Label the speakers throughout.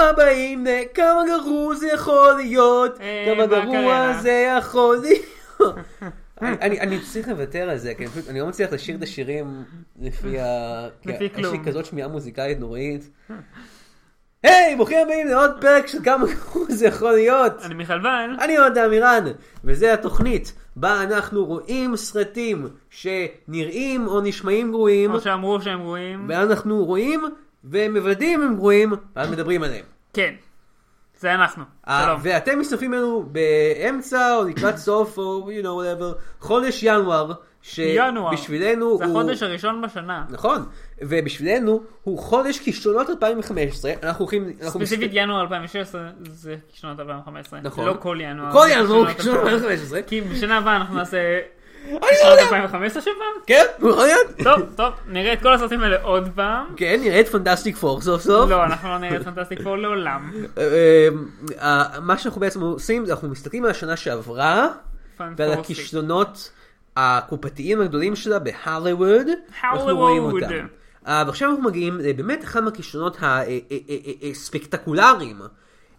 Speaker 1: הבאים, נה, כמה גרוע זה יכול להיות,
Speaker 2: אה,
Speaker 1: כמה גרוע
Speaker 2: בקריירה.
Speaker 1: זה יכול להיות. אני- אני אני צריך לוותר על זה, כי אני פשוט- אני לא מצליח לשיר את השירים לפי ה... כי
Speaker 2: לפי
Speaker 1: יש לי
Speaker 2: כלום.
Speaker 1: כזאת שמיעה מוזיקלית נוראית. היי, ברוכים הבאים לעוד פרק של כמה גרוע זה יכול להיות.
Speaker 2: אני מיכל ון,
Speaker 1: אני אוהד אמירן, וזה התוכנית בה אנחנו רואים סרטים שנראים או נשמעים גרועים,
Speaker 2: כמו שאמרו שהם רואים.
Speaker 1: ואז אנחנו רואים ומוודאים אם הם גרועים, ואז מדברים עליהם.
Speaker 2: כן. זה אנחנו.
Speaker 1: אה,
Speaker 2: שלום.
Speaker 1: ואתם מצטרפים אלינו באמצע או לקראת סוף או you know whatever, חודש ינואר,
Speaker 2: ינואר.
Speaker 1: שבשבילנו
Speaker 2: זה
Speaker 1: הוא...
Speaker 2: החודש הראשון בשנה.
Speaker 1: נכון, ובשבילנו הוא חודש כישלונות 2015, אנחנו הולכים... אנחנו מסת-
Speaker 2: ספציפית ינואר 2016 זה שנות 2015.
Speaker 1: נכון.
Speaker 2: לא כל ינואר.
Speaker 1: כל
Speaker 2: זה
Speaker 1: ינואר הוא כישלונות
Speaker 2: כישלונות
Speaker 1: 2015.
Speaker 2: כי בשנה הבאה אנחנו נעשה
Speaker 1: לא
Speaker 2: שנות
Speaker 1: יודע.
Speaker 2: 2015 שפעם.
Speaker 1: כן, יכול להיות.
Speaker 2: טוב, טוב, נראה את כל הסרטים האלה עוד פעם.
Speaker 1: כן, נראה את פנטסטיק פור סוף סוף.
Speaker 2: לא, אנחנו לא נראה את פנטסטיק פור לעולם.
Speaker 1: אה, אה, מה שאנחנו בעצם עושים זה אנחנו מסתכלים על השנה שעברה ועל
Speaker 2: פנטסטיק.
Speaker 1: הכישלונות הקופתיים הגדולים שלה בהליווד. אנחנו
Speaker 2: הוליווד.
Speaker 1: רואים אותם. אה, ועכשיו אנחנו מגיעים לבאמת אחד מהכישלונות אה, הספקטקולריים
Speaker 2: הוא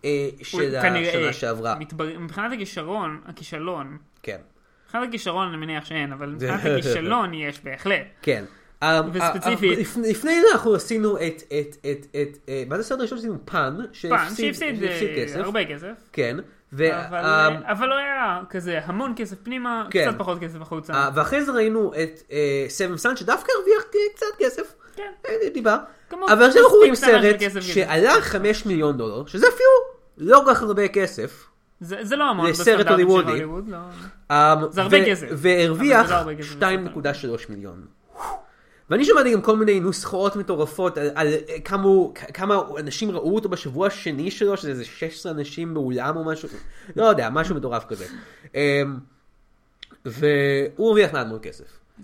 Speaker 1: אה, של
Speaker 2: כנראה
Speaker 1: השנה שעברה.
Speaker 2: מתבר- מבחינת הכישרון, הכישלון,
Speaker 1: כן,
Speaker 2: מבחינת הכישרון אני מניח שאין, אבל
Speaker 1: זה-
Speaker 2: מבחינת הכישלון יש בהחלט.
Speaker 1: כן. אה,
Speaker 2: וספציפית.
Speaker 1: אה, לפני לפני זה אנחנו עשינו את, את, את, את, אה, מה זה הסרט הראשון שעשינו? פן,
Speaker 2: פעם
Speaker 1: שהפסיד
Speaker 2: שהפסיד
Speaker 1: שהפסיד
Speaker 2: אה, הרבה כסף,
Speaker 1: כן. וה-
Speaker 2: אבל,
Speaker 1: אה,
Speaker 2: אה, אבל לא היה כזה המון כסף פנימה,
Speaker 1: כן.
Speaker 2: קצת פחות כסף החוצה.
Speaker 1: אה, ואחרי זה ראינו את אה, סבן סאן שדווקא הרוויח כ- קצת כסף.
Speaker 2: כן.
Speaker 1: אה, דיבה.
Speaker 2: כמו-
Speaker 1: אבל עכשיו אנחנו רואים
Speaker 2: מספיק קטנה של
Speaker 1: סרט
Speaker 2: כסף כזה.
Speaker 1: שעלה 5 מיליון דולר, שזה אפילו לא כל כך הרבה כסף.
Speaker 2: זה זה לא המון
Speaker 1: זה סרט
Speaker 2: בסטנדרטים של
Speaker 1: הוליוודי.
Speaker 2: הוליווד, לא.
Speaker 1: אה,
Speaker 2: זה הרבה
Speaker 1: ו-
Speaker 2: כסף. אבל
Speaker 1: והרוויח
Speaker 2: זה לא הרבה כסף
Speaker 1: 2.3 מיליון. ואני שמעתי גם כל מיני נוסחאות מטורפות על, על אה, כמה, הוא- כ- כמה אנשים ראו אותו בשבוע השני שלו, שזה איזה 16 אנשים באולם או משהו, לא יודע, משהו מטורף כזה. אה, והוא הרוויח מעט מאוד כסף.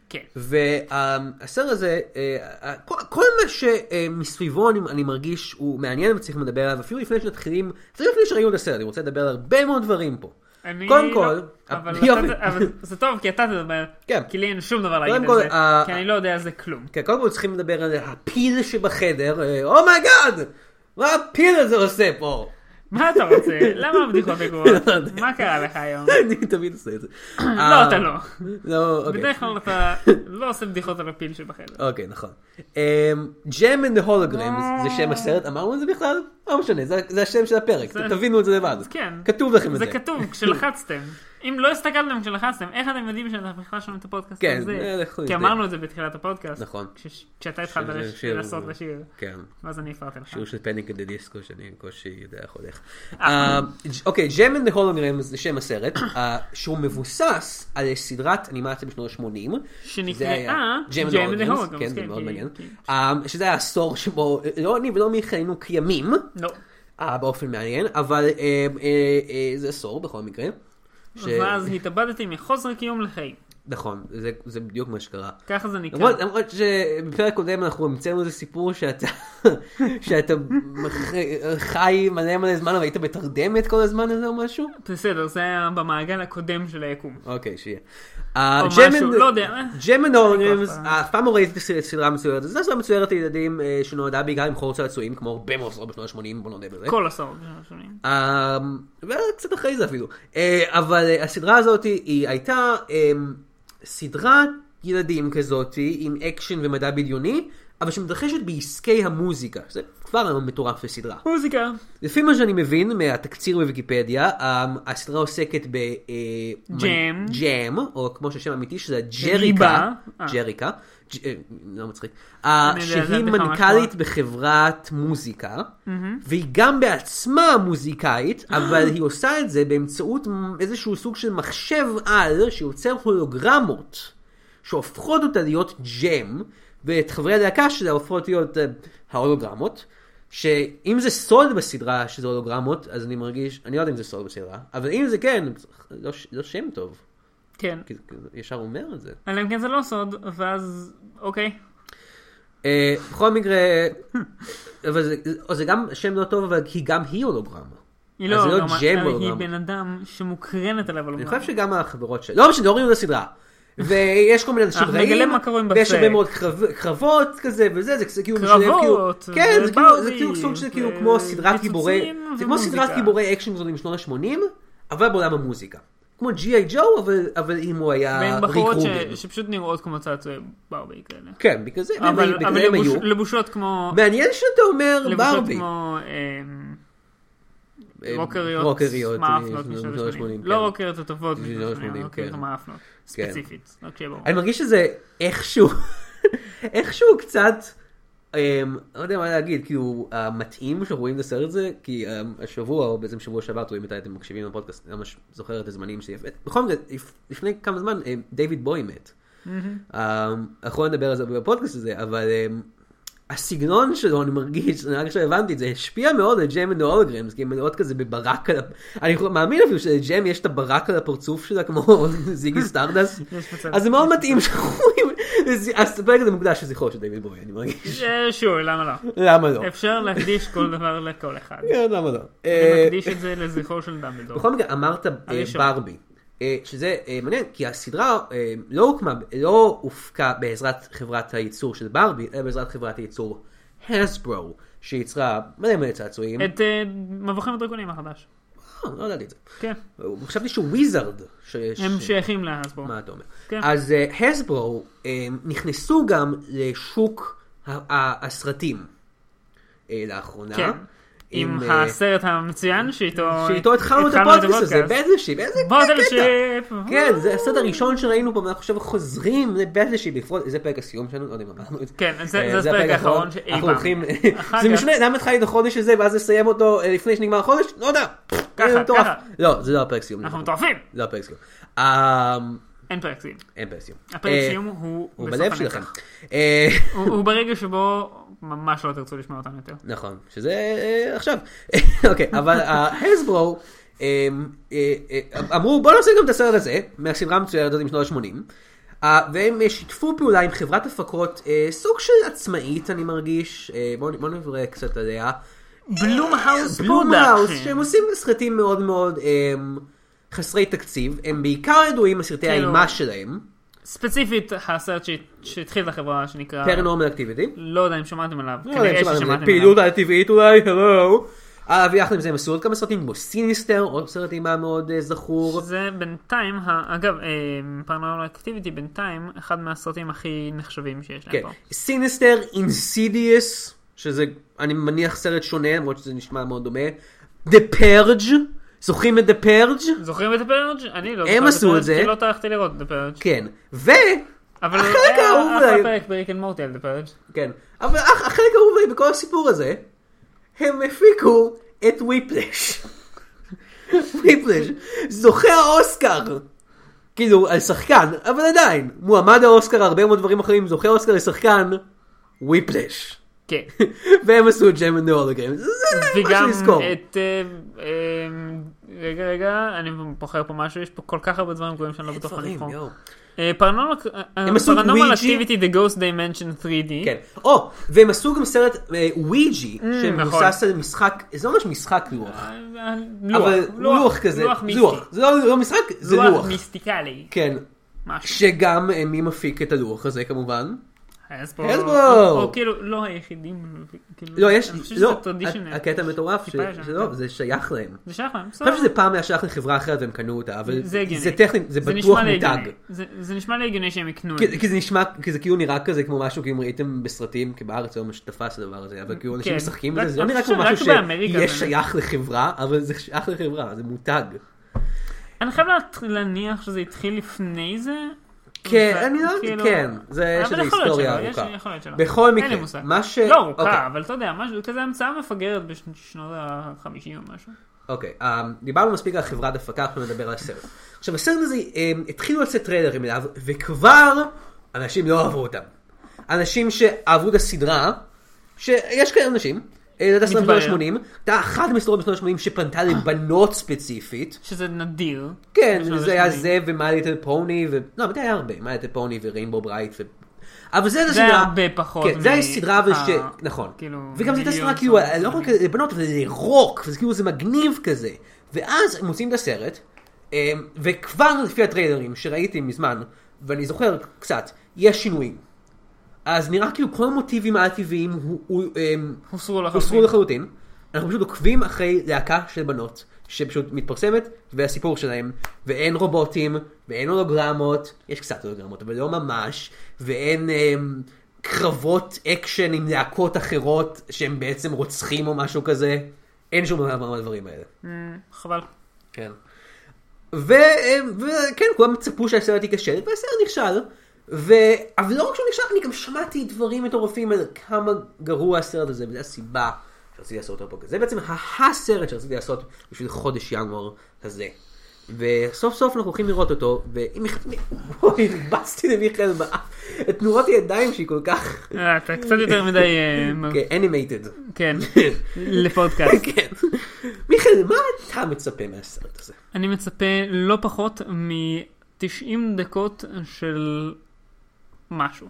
Speaker 2: כן.
Speaker 1: והסרט הזה, אה, אה, כל, כל מה שמסביבו אני, אני מרגיש הוא מעניין וצריך לדבר עליו, אפילו לפני שמתחילים, אפילו לפני שראינו את הסרט, אני רוצה לדבר על הרבה מאוד דברים פה.
Speaker 2: אני
Speaker 1: קודם
Speaker 2: לא-
Speaker 1: כל,
Speaker 2: אבל
Speaker 1: יופי.
Speaker 2: אתה- אבל זה טוב כי אתה תדבר,
Speaker 1: כן.
Speaker 2: כי לי אין שום דבר
Speaker 1: קודם
Speaker 2: להגיד
Speaker 1: כל,
Speaker 2: על זה,
Speaker 1: אה,
Speaker 2: כי אני לא יודע על זה כלום.
Speaker 1: כן, קודם כל צריכים לדבר על הפיל שבחדר, אה, אומייגאד! מה הפיל הזה עושה פה?
Speaker 2: מה אתה רוצה? למה הבדיחות הגרועות?
Speaker 1: לא יודע.
Speaker 2: מה קרה לך היום?
Speaker 1: אני תמיד עושה את זה.
Speaker 2: לא, אתה לא.
Speaker 1: לא, אוקיי.
Speaker 2: בדרך כלל אתה לא עושה בדיחות על הפיל שבחדר.
Speaker 1: אוקיי, נכון. ג'ם אנד הולוגרמס
Speaker 2: אה.
Speaker 1: זה שם הסרט, אמרנו את זה בכלל? לא משנה, זה- זה השם של הפרק,
Speaker 2: זה-
Speaker 1: תבינו את זה לבד.
Speaker 2: כן.
Speaker 1: כתוב לכם את זה.
Speaker 2: זה כתוב כשלחצתם. אם לא הסתכלתם כשלחצתם, איך אתם יודעים שאתם בכלל שומעים את הפודקאסט
Speaker 1: כן, אה,
Speaker 2: הזה?
Speaker 1: לכו נבדק.
Speaker 2: כי אמרנו את זה בתחילת הפודקאסט.
Speaker 1: נכון.
Speaker 2: כש- כשאתה התחלת
Speaker 1: שזה
Speaker 2: לש-
Speaker 1: שיר-
Speaker 2: לעשות לשיר,
Speaker 1: כן.
Speaker 2: ואז אני הפרעתי לך.
Speaker 1: שיר של פניק דה דיסקו שאני בקושי יודע איך הולך. אה, ג'- אוקיי, ג'ם אנד הולוגרם זה שם הסרט, אה, שהוא מבוסס על סדרת אנימציה בשנות ה-80.
Speaker 2: שנקראה
Speaker 1: ג'ם
Speaker 2: Gem
Speaker 1: אנד
Speaker 2: and the
Speaker 1: הולוגרם.
Speaker 2: Holograms,
Speaker 1: כן, זה
Speaker 2: כן,
Speaker 1: מאוד
Speaker 2: כי-
Speaker 1: מעניין.
Speaker 2: כי-
Speaker 1: אה, שזה היה עשור שבו לא אני ולא מיכה היינו קיימים,
Speaker 2: לא.
Speaker 1: אה, באופן מעניין, אבל אה, אה, אה, זה עשור בכל מקרה. ש-
Speaker 2: ואז התאבדתי מחוסר קיום לחיים.
Speaker 1: נכון, זה- זה בדיוק מה שקרה.
Speaker 2: ככה זה נקרא.
Speaker 1: למרות, למרות שבפרק קודם אנחנו המצאנו איזה סיפור שאתה, שאתה מח- חי מלא מלא זמן והיית בתרדמת כל הזמן הזה או משהו?
Speaker 2: בסדר, זה היה במעגל הקודם של היקום.
Speaker 1: אוקיי, שיהיה.
Speaker 2: או משהו, לא יודע.
Speaker 1: ג'מן
Speaker 2: אף
Speaker 1: אורנמס,
Speaker 2: פעם.
Speaker 1: אף פעם לא ראיתי את הסדרה המצוירת, זו סדרה מצוירת לילדים אה, שנועדה בעיקר למכור צעצועים, כמו הרבה מאוד סדרות בשנות ה-80, בוא נודה בזה.
Speaker 2: כל עשור. בשלוש שנים.
Speaker 1: אה, וקצת אחרי זה אפילו. אה, אבל אה, הסדרה הזאת היא הייתה אה, סדרת ילדים כזאת עם אקשן ומדע בדיוני, אבל שמתרחשת בעסקי המוזיקה. זה כבר היום מטורף בסדרה.
Speaker 2: מוזיקה.
Speaker 1: לפי מה שאני מבין מהתקציר בוויקיפדיה, אה, הסדרה עוסקת ב... אה,
Speaker 2: ג'ם.
Speaker 1: ג'ם, או כמו שהשם האמיתי, שזה
Speaker 2: ריבה.
Speaker 1: ג'ריקה.
Speaker 2: אה.
Speaker 1: ג'ריקה. ג'- אה, לא מצחיק. אה,
Speaker 2: אני יודע, זה
Speaker 1: שהיא
Speaker 2: בדיחה
Speaker 1: מנכ"לית
Speaker 2: ממש
Speaker 1: בחברת מוזיקה, והיא גם בעצמה מוזיקאית, אבל היא עושה את זה באמצעות איזשהו סוג של מחשב על שיוצר הולוגרמות, שהופכות אותה להיות ג'ם, ואת חברי הלהקה שלה הופכות להיות אה, ההולוגרמות. שאם זה סוד בסדרה שזה הולוגרמות, אז אני מרגיש, אני לא יודע אם זה סוד בסדרה, אבל אם זה כן, לא, ש- לא שם טוב,
Speaker 2: כן.
Speaker 1: כי כי זה ישר אומר את זה.
Speaker 2: אלא אם כן זה לא סוד, ואז, אוקיי.
Speaker 1: אה, בכל מקרה, אבל זה, או זה גם שם לא טוב, אבל כי גם היא הולוגרמה.
Speaker 2: היא
Speaker 1: אז
Speaker 2: לא,
Speaker 1: זה לא
Speaker 2: גם-
Speaker 1: ג'ם
Speaker 2: אלא היא
Speaker 1: הולוגרמה.
Speaker 2: בן אדם שמוקרנת עליו
Speaker 1: אני
Speaker 2: הולוגרמה.
Speaker 1: חושב שגם החברות שלה, לא משנה, לא ראינו את הסדרה. ויש כל מיני אנשים
Speaker 2: אנחנו
Speaker 1: רעים,
Speaker 2: אה, נגלה מה קורה עם
Speaker 1: ויש
Speaker 2: בסרט.
Speaker 1: הרבה מאוד קרב, קרבות כזה וזה, זה, זה כאילו,
Speaker 2: קרבות,
Speaker 1: כאילו, כן, זה כאילו, זה כאילו
Speaker 2: ובאוזים,
Speaker 1: סוג של כאילו
Speaker 2: ו-
Speaker 1: כמו סדרת
Speaker 2: פיצוצים
Speaker 1: גיבורי, זה כמו
Speaker 2: ומוזיקה.
Speaker 1: סדרת גיבורי אקשן גדולים משנות ה-80, אבל בעולם המוזיקה. כמו ג'י.איי ג'ו, אבל, אבל אם הוא היה
Speaker 2: בין
Speaker 1: ריק
Speaker 2: בחורות ש-
Speaker 1: רובין.
Speaker 2: שפשוט נראות כמו צעצועי ברבי כאלה.
Speaker 1: כן, בגלל זה,
Speaker 2: אבל
Speaker 1: בגלל
Speaker 2: אבל
Speaker 1: זה הם
Speaker 2: לבוש-
Speaker 1: היו.
Speaker 2: לבושות כמו...
Speaker 1: מעניין שאתה אומר
Speaker 2: לבושות
Speaker 1: ברבי.
Speaker 2: כמו... אמ,
Speaker 1: אה,
Speaker 2: רוקריות,
Speaker 1: רוקריות,
Speaker 2: מאפנות
Speaker 1: אה,
Speaker 2: משנות
Speaker 1: משנות
Speaker 2: ה-80.
Speaker 1: ה-שמונים,
Speaker 2: לא
Speaker 1: כן.
Speaker 2: רוקריות הטובות,
Speaker 1: משנות
Speaker 2: משנות
Speaker 1: ה-שמונים,
Speaker 2: ה-שמונים, רוקריות
Speaker 1: כן.
Speaker 2: המאפנות,
Speaker 1: כן.
Speaker 2: ספציפית, רק שיהיה ברור.
Speaker 1: אני מרגיש שזה איכשהו, איכשהו קצת, אמ, לא יודע מה להגיד, כאילו, המתאים שרואים את הסרט הזה, כי אמ, השבוע, או בעצם שבוע שעבר, תלוי מתי אתם מקשיבים לפודקאסט, אני ממש זוכר את הזמנים שלי. בכל מקרה, לפ- לפני כמה זמן, אמ, דיוויד בוי מת.
Speaker 2: Mm-hmm.
Speaker 1: אמ, אנחנו לא נדבר על זה בפודקאסט הזה, אבל אמ, הסגנון שלו, אני מרגיש, אני רק עכשיו הבנתי את זה, השפיע מאוד על ג'ם אנד הולגרמס, כי הם מלאות כאילו, כזה בברק על ה... אני מאמין אפילו שלג'ם יש את הברק על הפרצוף שלה, כמו זיגי סטרדס.
Speaker 2: יש מצב.
Speaker 1: אז זה מאוד מתאים שאנחנו רואים, אז הפרק הזה מוקדש לזכרו של דיוויד בוי, אני מרגיש.
Speaker 2: אה, שוב, למה לא?
Speaker 1: למה לא?
Speaker 2: אפשר להקדיש כל דבר לכל אחד.
Speaker 1: כן, למה לא?
Speaker 2: אני
Speaker 1: אה,
Speaker 2: מקדיש את זה לזכרו של דמבלדור.
Speaker 1: בכל מקרה, אמרת אה,
Speaker 2: הראשון.
Speaker 1: ברבי. אה, שזה אה, מעניין, כי הסדרה אה, לא הוקמה, לא הופקה בעזרת חברת הייצור של ברבי, אלא בעזרת חברת הייצור הסברו, שייצרה מלא מלא צעצועים.
Speaker 2: את אה, מבוכים ודרקונים החדש.
Speaker 1: אה, לא ידעתי את זה.
Speaker 2: כן.
Speaker 1: חשבתי שהוא וויזרד. ש-
Speaker 2: הם
Speaker 1: ש-
Speaker 2: שייכים להסבור.
Speaker 1: מה אתה אומר?
Speaker 2: כן.
Speaker 1: אז הסברו נכנסו גם לשוק ה- ה- הסרטים אה, לאחרונה.
Speaker 2: כן. עם
Speaker 1: אה,
Speaker 2: הסרט המצוין שאיתו...
Speaker 1: שאיתו התחלנו את הפודקאסט הזה, בטלשיפ, איזה קטע.
Speaker 2: בוטלשיפ.
Speaker 1: כן, זה הסרט הראשון שראינו פה, ואנחנו עכשיו חוזרים לבטלשיפ, לפחות, זה פרק הסיום שלנו, לא יודע אם אמרנו את זה.
Speaker 2: כן, זה-
Speaker 1: אה,
Speaker 2: זה הפרק האחרון שאי
Speaker 1: אנחנו
Speaker 2: פעם.
Speaker 1: הולכים,
Speaker 2: אחר
Speaker 1: זה
Speaker 2: כך-
Speaker 1: משנה, למה התחלתי את החודש הזה, ואז לסיים אותו אה, לפני שנגמר החודש? לא יודע.
Speaker 2: ככה,
Speaker 1: זה מטורף.
Speaker 2: ככה.
Speaker 1: לא, זה לא הפרק סיום.
Speaker 2: אנחנו מטורפים.
Speaker 1: לא הפרק סיום. אה,
Speaker 2: אין פרק סיום.
Speaker 1: אין פרק סיום.
Speaker 2: הפרק
Speaker 1: אה,
Speaker 2: סיום הוא
Speaker 1: הוא
Speaker 2: בסוף
Speaker 1: בלב
Speaker 2: הנצח.
Speaker 1: שלכם. אה,
Speaker 2: הוא הוא ברגע שבו ממש לא תרצו לשמוע אותם יותר.
Speaker 1: נכון, שזה אה, עכשיו. אוקיי, אבל הסברו אה, אמרו בוא נעשה גם את הסרט הזה, מהסדרה המצוירת הזאת משנות ה-80, והם אה, שיתפו פעולה עם חברת הפקות אה, סוג של עצמאית אני מרגיש, אה, בואו בואו נברא קצת עליה.
Speaker 2: בלום האוס
Speaker 1: בלומהאוס, שהם עושים סרטים מאוד מאוד אה, חסרי תקציב, הם בעיקר ידועים בסרטי
Speaker 2: כאילו-
Speaker 1: האימה שלהם,
Speaker 2: ספציפית הסרט שהת- שהתחיל את החברה שנקרא...
Speaker 1: פרנורמל אקטיביטי.
Speaker 2: לא יודע אם שמעתם עליו.
Speaker 1: לא יודע אם
Speaker 2: כנראה
Speaker 1: שמעתם,
Speaker 2: ששמעתם
Speaker 1: זה
Speaker 2: עליו.
Speaker 1: פעילות על טבעית אולי, הלו. אה, ויחד עם זה הם עשו עוד כמה סרטים כמו סיניסטר, עוד סרט אימה מאוד אה, זכור.
Speaker 2: זה בינתיים, ה- אגב, פרנורמל אקטיביטי בינתיים, אחד מהסרטים הכי נחשבים שיש להם
Speaker 1: כן.
Speaker 2: פה.
Speaker 1: סיניסטר, אינסידיאס, שזה אני מניח סרט שונה, למרות שזה נשמע מאוד דומה. דה פרג', זוכרים את דה פרג'?
Speaker 2: זוכרים את הפרג'? אני לא
Speaker 1: הם
Speaker 2: זוכר
Speaker 1: עשו את
Speaker 2: הפרג',
Speaker 1: זה.
Speaker 2: כי לא טרחתי לראות את הפרג'.
Speaker 1: כן. ו...
Speaker 2: אבל
Speaker 1: החלק האהוב
Speaker 2: היה
Speaker 1: עליי.
Speaker 2: אחלה פרק בריק אנד מורטי על הפרג'.
Speaker 1: כן. אבל הח- החלק האהוב עליי בכל הסיפור הזה, הם הפיקו את וויפלש. וויפלש, זוכה האוסקר. כאילו, על שחקן, אבל עדיין, מועמד האוסקר, הרבה מאוד דברים אחרים, זוכה האוסקר לשחקן, וויפלש.
Speaker 2: כן.
Speaker 1: והם עשו את ג'ם ונאולוגרם, זה זה
Speaker 2: וגם
Speaker 1: משהו לזכור.
Speaker 2: את... אה, אה, רגע, רגע, אני בוחר פה משהו, יש פה כל כך הרבה דברים גרועים שאני לא בטוח מה
Speaker 1: דברים,
Speaker 2: לבחור.
Speaker 1: יואו.
Speaker 2: אה, פרנורמל
Speaker 1: עשו את וויג'י.
Speaker 2: אקטיביטי, The Ghost Dimension 3D.
Speaker 1: כן. או, והם עשו גם סרט אה, וויג'י, שמבוסס
Speaker 2: נכון.
Speaker 1: על משחק, זה לא ממש משחק לוח.
Speaker 2: אה, אה, לוח,
Speaker 1: אבל לוח כזה,
Speaker 2: לוח מיסטי.
Speaker 1: לוח, זה לא לא משחק, זה לוח.
Speaker 2: לוח מיסטיקלי.
Speaker 1: כן,
Speaker 2: משהו.
Speaker 1: שגם אה, מי מפיק את הלוח הזה כמובן.
Speaker 2: הסבור.
Speaker 1: הסבור.
Speaker 2: או כאילו, לא היחידים. כאילו,
Speaker 1: לא, יש,
Speaker 2: אני חושב שזה
Speaker 1: לא,
Speaker 2: traditional.
Speaker 1: הקטע המטורף,
Speaker 2: טיפה כן. יש
Speaker 1: ש-
Speaker 2: שם.
Speaker 1: שלא, זה שייך להם. אני
Speaker 2: זה שייך להם, בסדר.
Speaker 1: חושב שזה פעם היה שייך לחברה אחרת והם קנו אותה, אבל
Speaker 2: זה הגיוני.
Speaker 1: זה טכנית, זה
Speaker 2: נשמע
Speaker 1: בטוח
Speaker 2: לי
Speaker 1: מותג. כן,
Speaker 2: הגיוני. זה- זה נשמע לי הגיוני שהם יקנו את
Speaker 1: כי-
Speaker 2: זה.
Speaker 1: כי זה נשמע, כי זה כאילו נראה כזה כמו משהו, כאילו ראיתם בסרטים, כי בארץ לא ממש תפס הדבר הזה, אבל כאילו אנשים
Speaker 2: כן.
Speaker 1: משחקים
Speaker 2: רק-
Speaker 1: בזה, זה לא
Speaker 2: אני
Speaker 1: נראה
Speaker 2: חושב
Speaker 1: כמו משהו
Speaker 2: שרק באמריקה
Speaker 1: שיהיה
Speaker 2: זה-
Speaker 1: שייך לחברה, אבל זה שייך לחברה, זה מותג.
Speaker 2: אני חייב להת- להניח שזה התחיל לפני זה.
Speaker 1: כן,
Speaker 2: ו-
Speaker 1: אני לא-
Speaker 2: כאילו-
Speaker 1: כן, זה-
Speaker 2: אבל
Speaker 1: יש איזו
Speaker 2: יכול להיות
Speaker 1: היסטוריה
Speaker 2: שלא, יש-
Speaker 1: ארוכה.
Speaker 2: יכול להיות שלא.
Speaker 1: בכל
Speaker 2: אין לי
Speaker 1: מקרה,
Speaker 2: מושג.
Speaker 1: מה ש-
Speaker 2: לא
Speaker 1: אוקיי.
Speaker 2: ארוכה, אבל אתה יודע, משהו כזה המצאה מפגרת בשנות ה-50 או משהו.
Speaker 1: אוקיי, um, דיברנו מספיק על חברת הפקה, אנחנו נדבר על הסרט. עכשיו הסרט הזה, um, התחילו לצאת טריילרים אליו, וכבר אנשים לא אהבו אותם. אנשים שאהבו את הסדרה, שיש כאלה אנשים, אה, אתה סרט
Speaker 2: מתברר.
Speaker 1: בשנות ה-80, אתה אחת מסדרות בשנות ה-80 שפנתה לבנות ספציפית.
Speaker 2: שזה נדיר.
Speaker 1: כן,
Speaker 2: בשנות
Speaker 1: זה היה
Speaker 2: ה-שמונים.
Speaker 1: זה ומיי ליטל פוני, ו... לא, מתי היה הרבה? מיי ליטל פוני וריינבו ברייט ו... אבל זה
Speaker 2: זה
Speaker 1: הסדרה...
Speaker 2: היה הרבה פחות.
Speaker 1: כן, זה היה
Speaker 2: מ-
Speaker 1: סדרה אבל ש...
Speaker 2: ה-
Speaker 1: נכון.
Speaker 2: כאילו,
Speaker 1: וגם זו הייתה
Speaker 2: מיליון
Speaker 1: סדרה כאילו,
Speaker 2: סרטים.
Speaker 1: לא רק לבנות, אבל זה רוק, וזה כאילו זה מגניב כזה. אה, ואז הם מוצאים את הסרט, אמ, וכבר לפי הטריילרים שראיתי מזמן, ואני זוכר קצת, יש שינויים. אז נראה כאילו כל המוטיבים העל-טבעיים הוא- הוא, אמ,
Speaker 2: הוסרו
Speaker 1: הוסרו
Speaker 2: לחלוטין.
Speaker 1: לחלוטין. אנחנו פשוט עוקבים אחרי להקה של בנות, שפשוט מתפרסמת, והסיפור שלהם, ואין רובוטים, ואין הולוגרמות, יש קצת הולוגרמות, אבל לא ממש, ואין אמ, קרבות אקשן עם להקות אחרות שהם בעצם רוצחים או משהו כזה, אין שום דבר מהדברים האלה.
Speaker 2: אמ, חבל.
Speaker 1: כן. וכן, כולם צפו שהסרט ייכשל, והסרט נכשל. ו... אבל לא רק שהוא נכשל, אני גם שמעתי דברים מטורפים על כמה גרוע הסרט הזה, וזו הסיבה שרציתי לעשות אותו פה. זה בעצם הסרט שרציתי לעשות בשביל חודש ינואר הזה. וסוף סוף אנחנו הולכים לראות אותו, ואם... אוי, הרבצתי למיכאל באף. את תנועות הידיים שהיא כל כך...
Speaker 2: אה, אתה קצת יותר מדי... אה, מ-
Speaker 1: אנימייטד.
Speaker 2: כן, לפודקאסט.
Speaker 1: כן. מיכאל, מה אתה מצפה מהסרט הזה?
Speaker 2: אני מצפה לא פחות מ-90 דקות של משהו.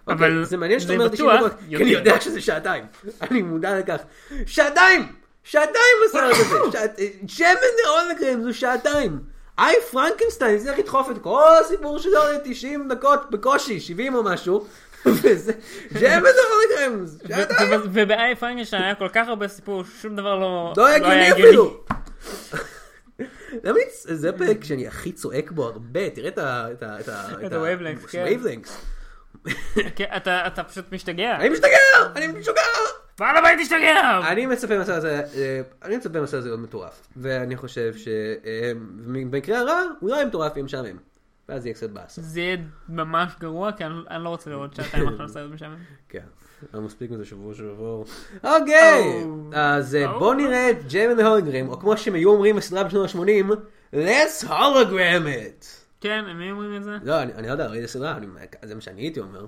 Speaker 1: אוקיי,
Speaker 2: אבל
Speaker 1: זה מעניין שאתה
Speaker 2: זה
Speaker 1: אומר 90
Speaker 2: בטוח
Speaker 1: דקות, כי
Speaker 2: יותר.
Speaker 1: אני יודע שזה שעתיים. אני מודע לכך. שעתיים! שעתיים בסרט הזה! שעת- שמן להולגרם זו שעתיים! איי פרנקנשטיין הצליח לדחוף את כל הסיפור שלו ל-90 דקות בקושי, 70 או משהו. וזה, שמן להולגרם! שעתיים!
Speaker 2: ובאי פרנקשטיין היה כל כך הרבה סיפור, שום דבר לא...
Speaker 1: לא היה
Speaker 2: היה
Speaker 1: הגיוני אפילו! למה אני- זה פרק שאני הכי צועק בו הרבה, תראה את ה... את ה... את ה...
Speaker 2: את ה-wavelengths, כן.
Speaker 1: wavelengths.
Speaker 2: כן, אתה אתה פשוט משתגע.
Speaker 1: אני משתגע! אני משוגע!
Speaker 2: בעל הבית השתגע!
Speaker 1: אני מצפה מהסרט הזה, אה, אני מצפה מהסרט הזה להיות מטורף. ואני חושב שבמקרה הרע, הוא לא יהיה מטורף יהיה משעמם. ואז יהיה קצת באסה.
Speaker 2: זה יהיה ממש גרוע, כי אני אני לא רוצה לראות שעתיים אחרי סרט משעמם.
Speaker 1: כן. היה מספיק מזה שבוע שעבור. אוקיי!
Speaker 2: Oh.
Speaker 1: אז אה,
Speaker 2: Oh.
Speaker 1: בואו נראה את ג'יימן הולגרם, או כמו שהם היו אומרים בסדרה בשנות ה-80, let's hologram it!
Speaker 2: כן, מי אומרים את זה?
Speaker 1: לא, אני אני לא יודע, ראיתי סדרה, אני- זה מה שאני הייתי אומר.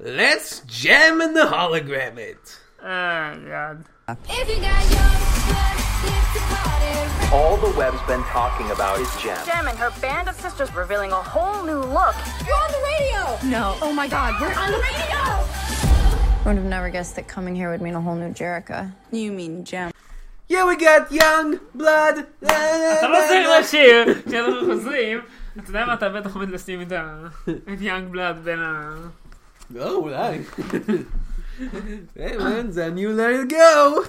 Speaker 1: let's German hologram it!
Speaker 2: אה, יד.
Speaker 3: If you got your butt, it's a party.
Speaker 4: All the web's been talking about is Jem.
Speaker 5: Jem and her band of sisters revealing a whole new look.
Speaker 3: You're on the radio! No. Oh my god, we're on the radio!
Speaker 6: Would have never guessed that coming here would mean a whole new Jericho. You mean Jim.
Speaker 1: Yeah, we got young blood!
Speaker 2: אתה לא צריך לשיר, כשאנחנו חוזרים, אתה יודע מה, אתה בטח עומד לשים את ה- את יאנג בלאד בין ה...
Speaker 1: לא, אולי. היי מן, זה ה-new let it go!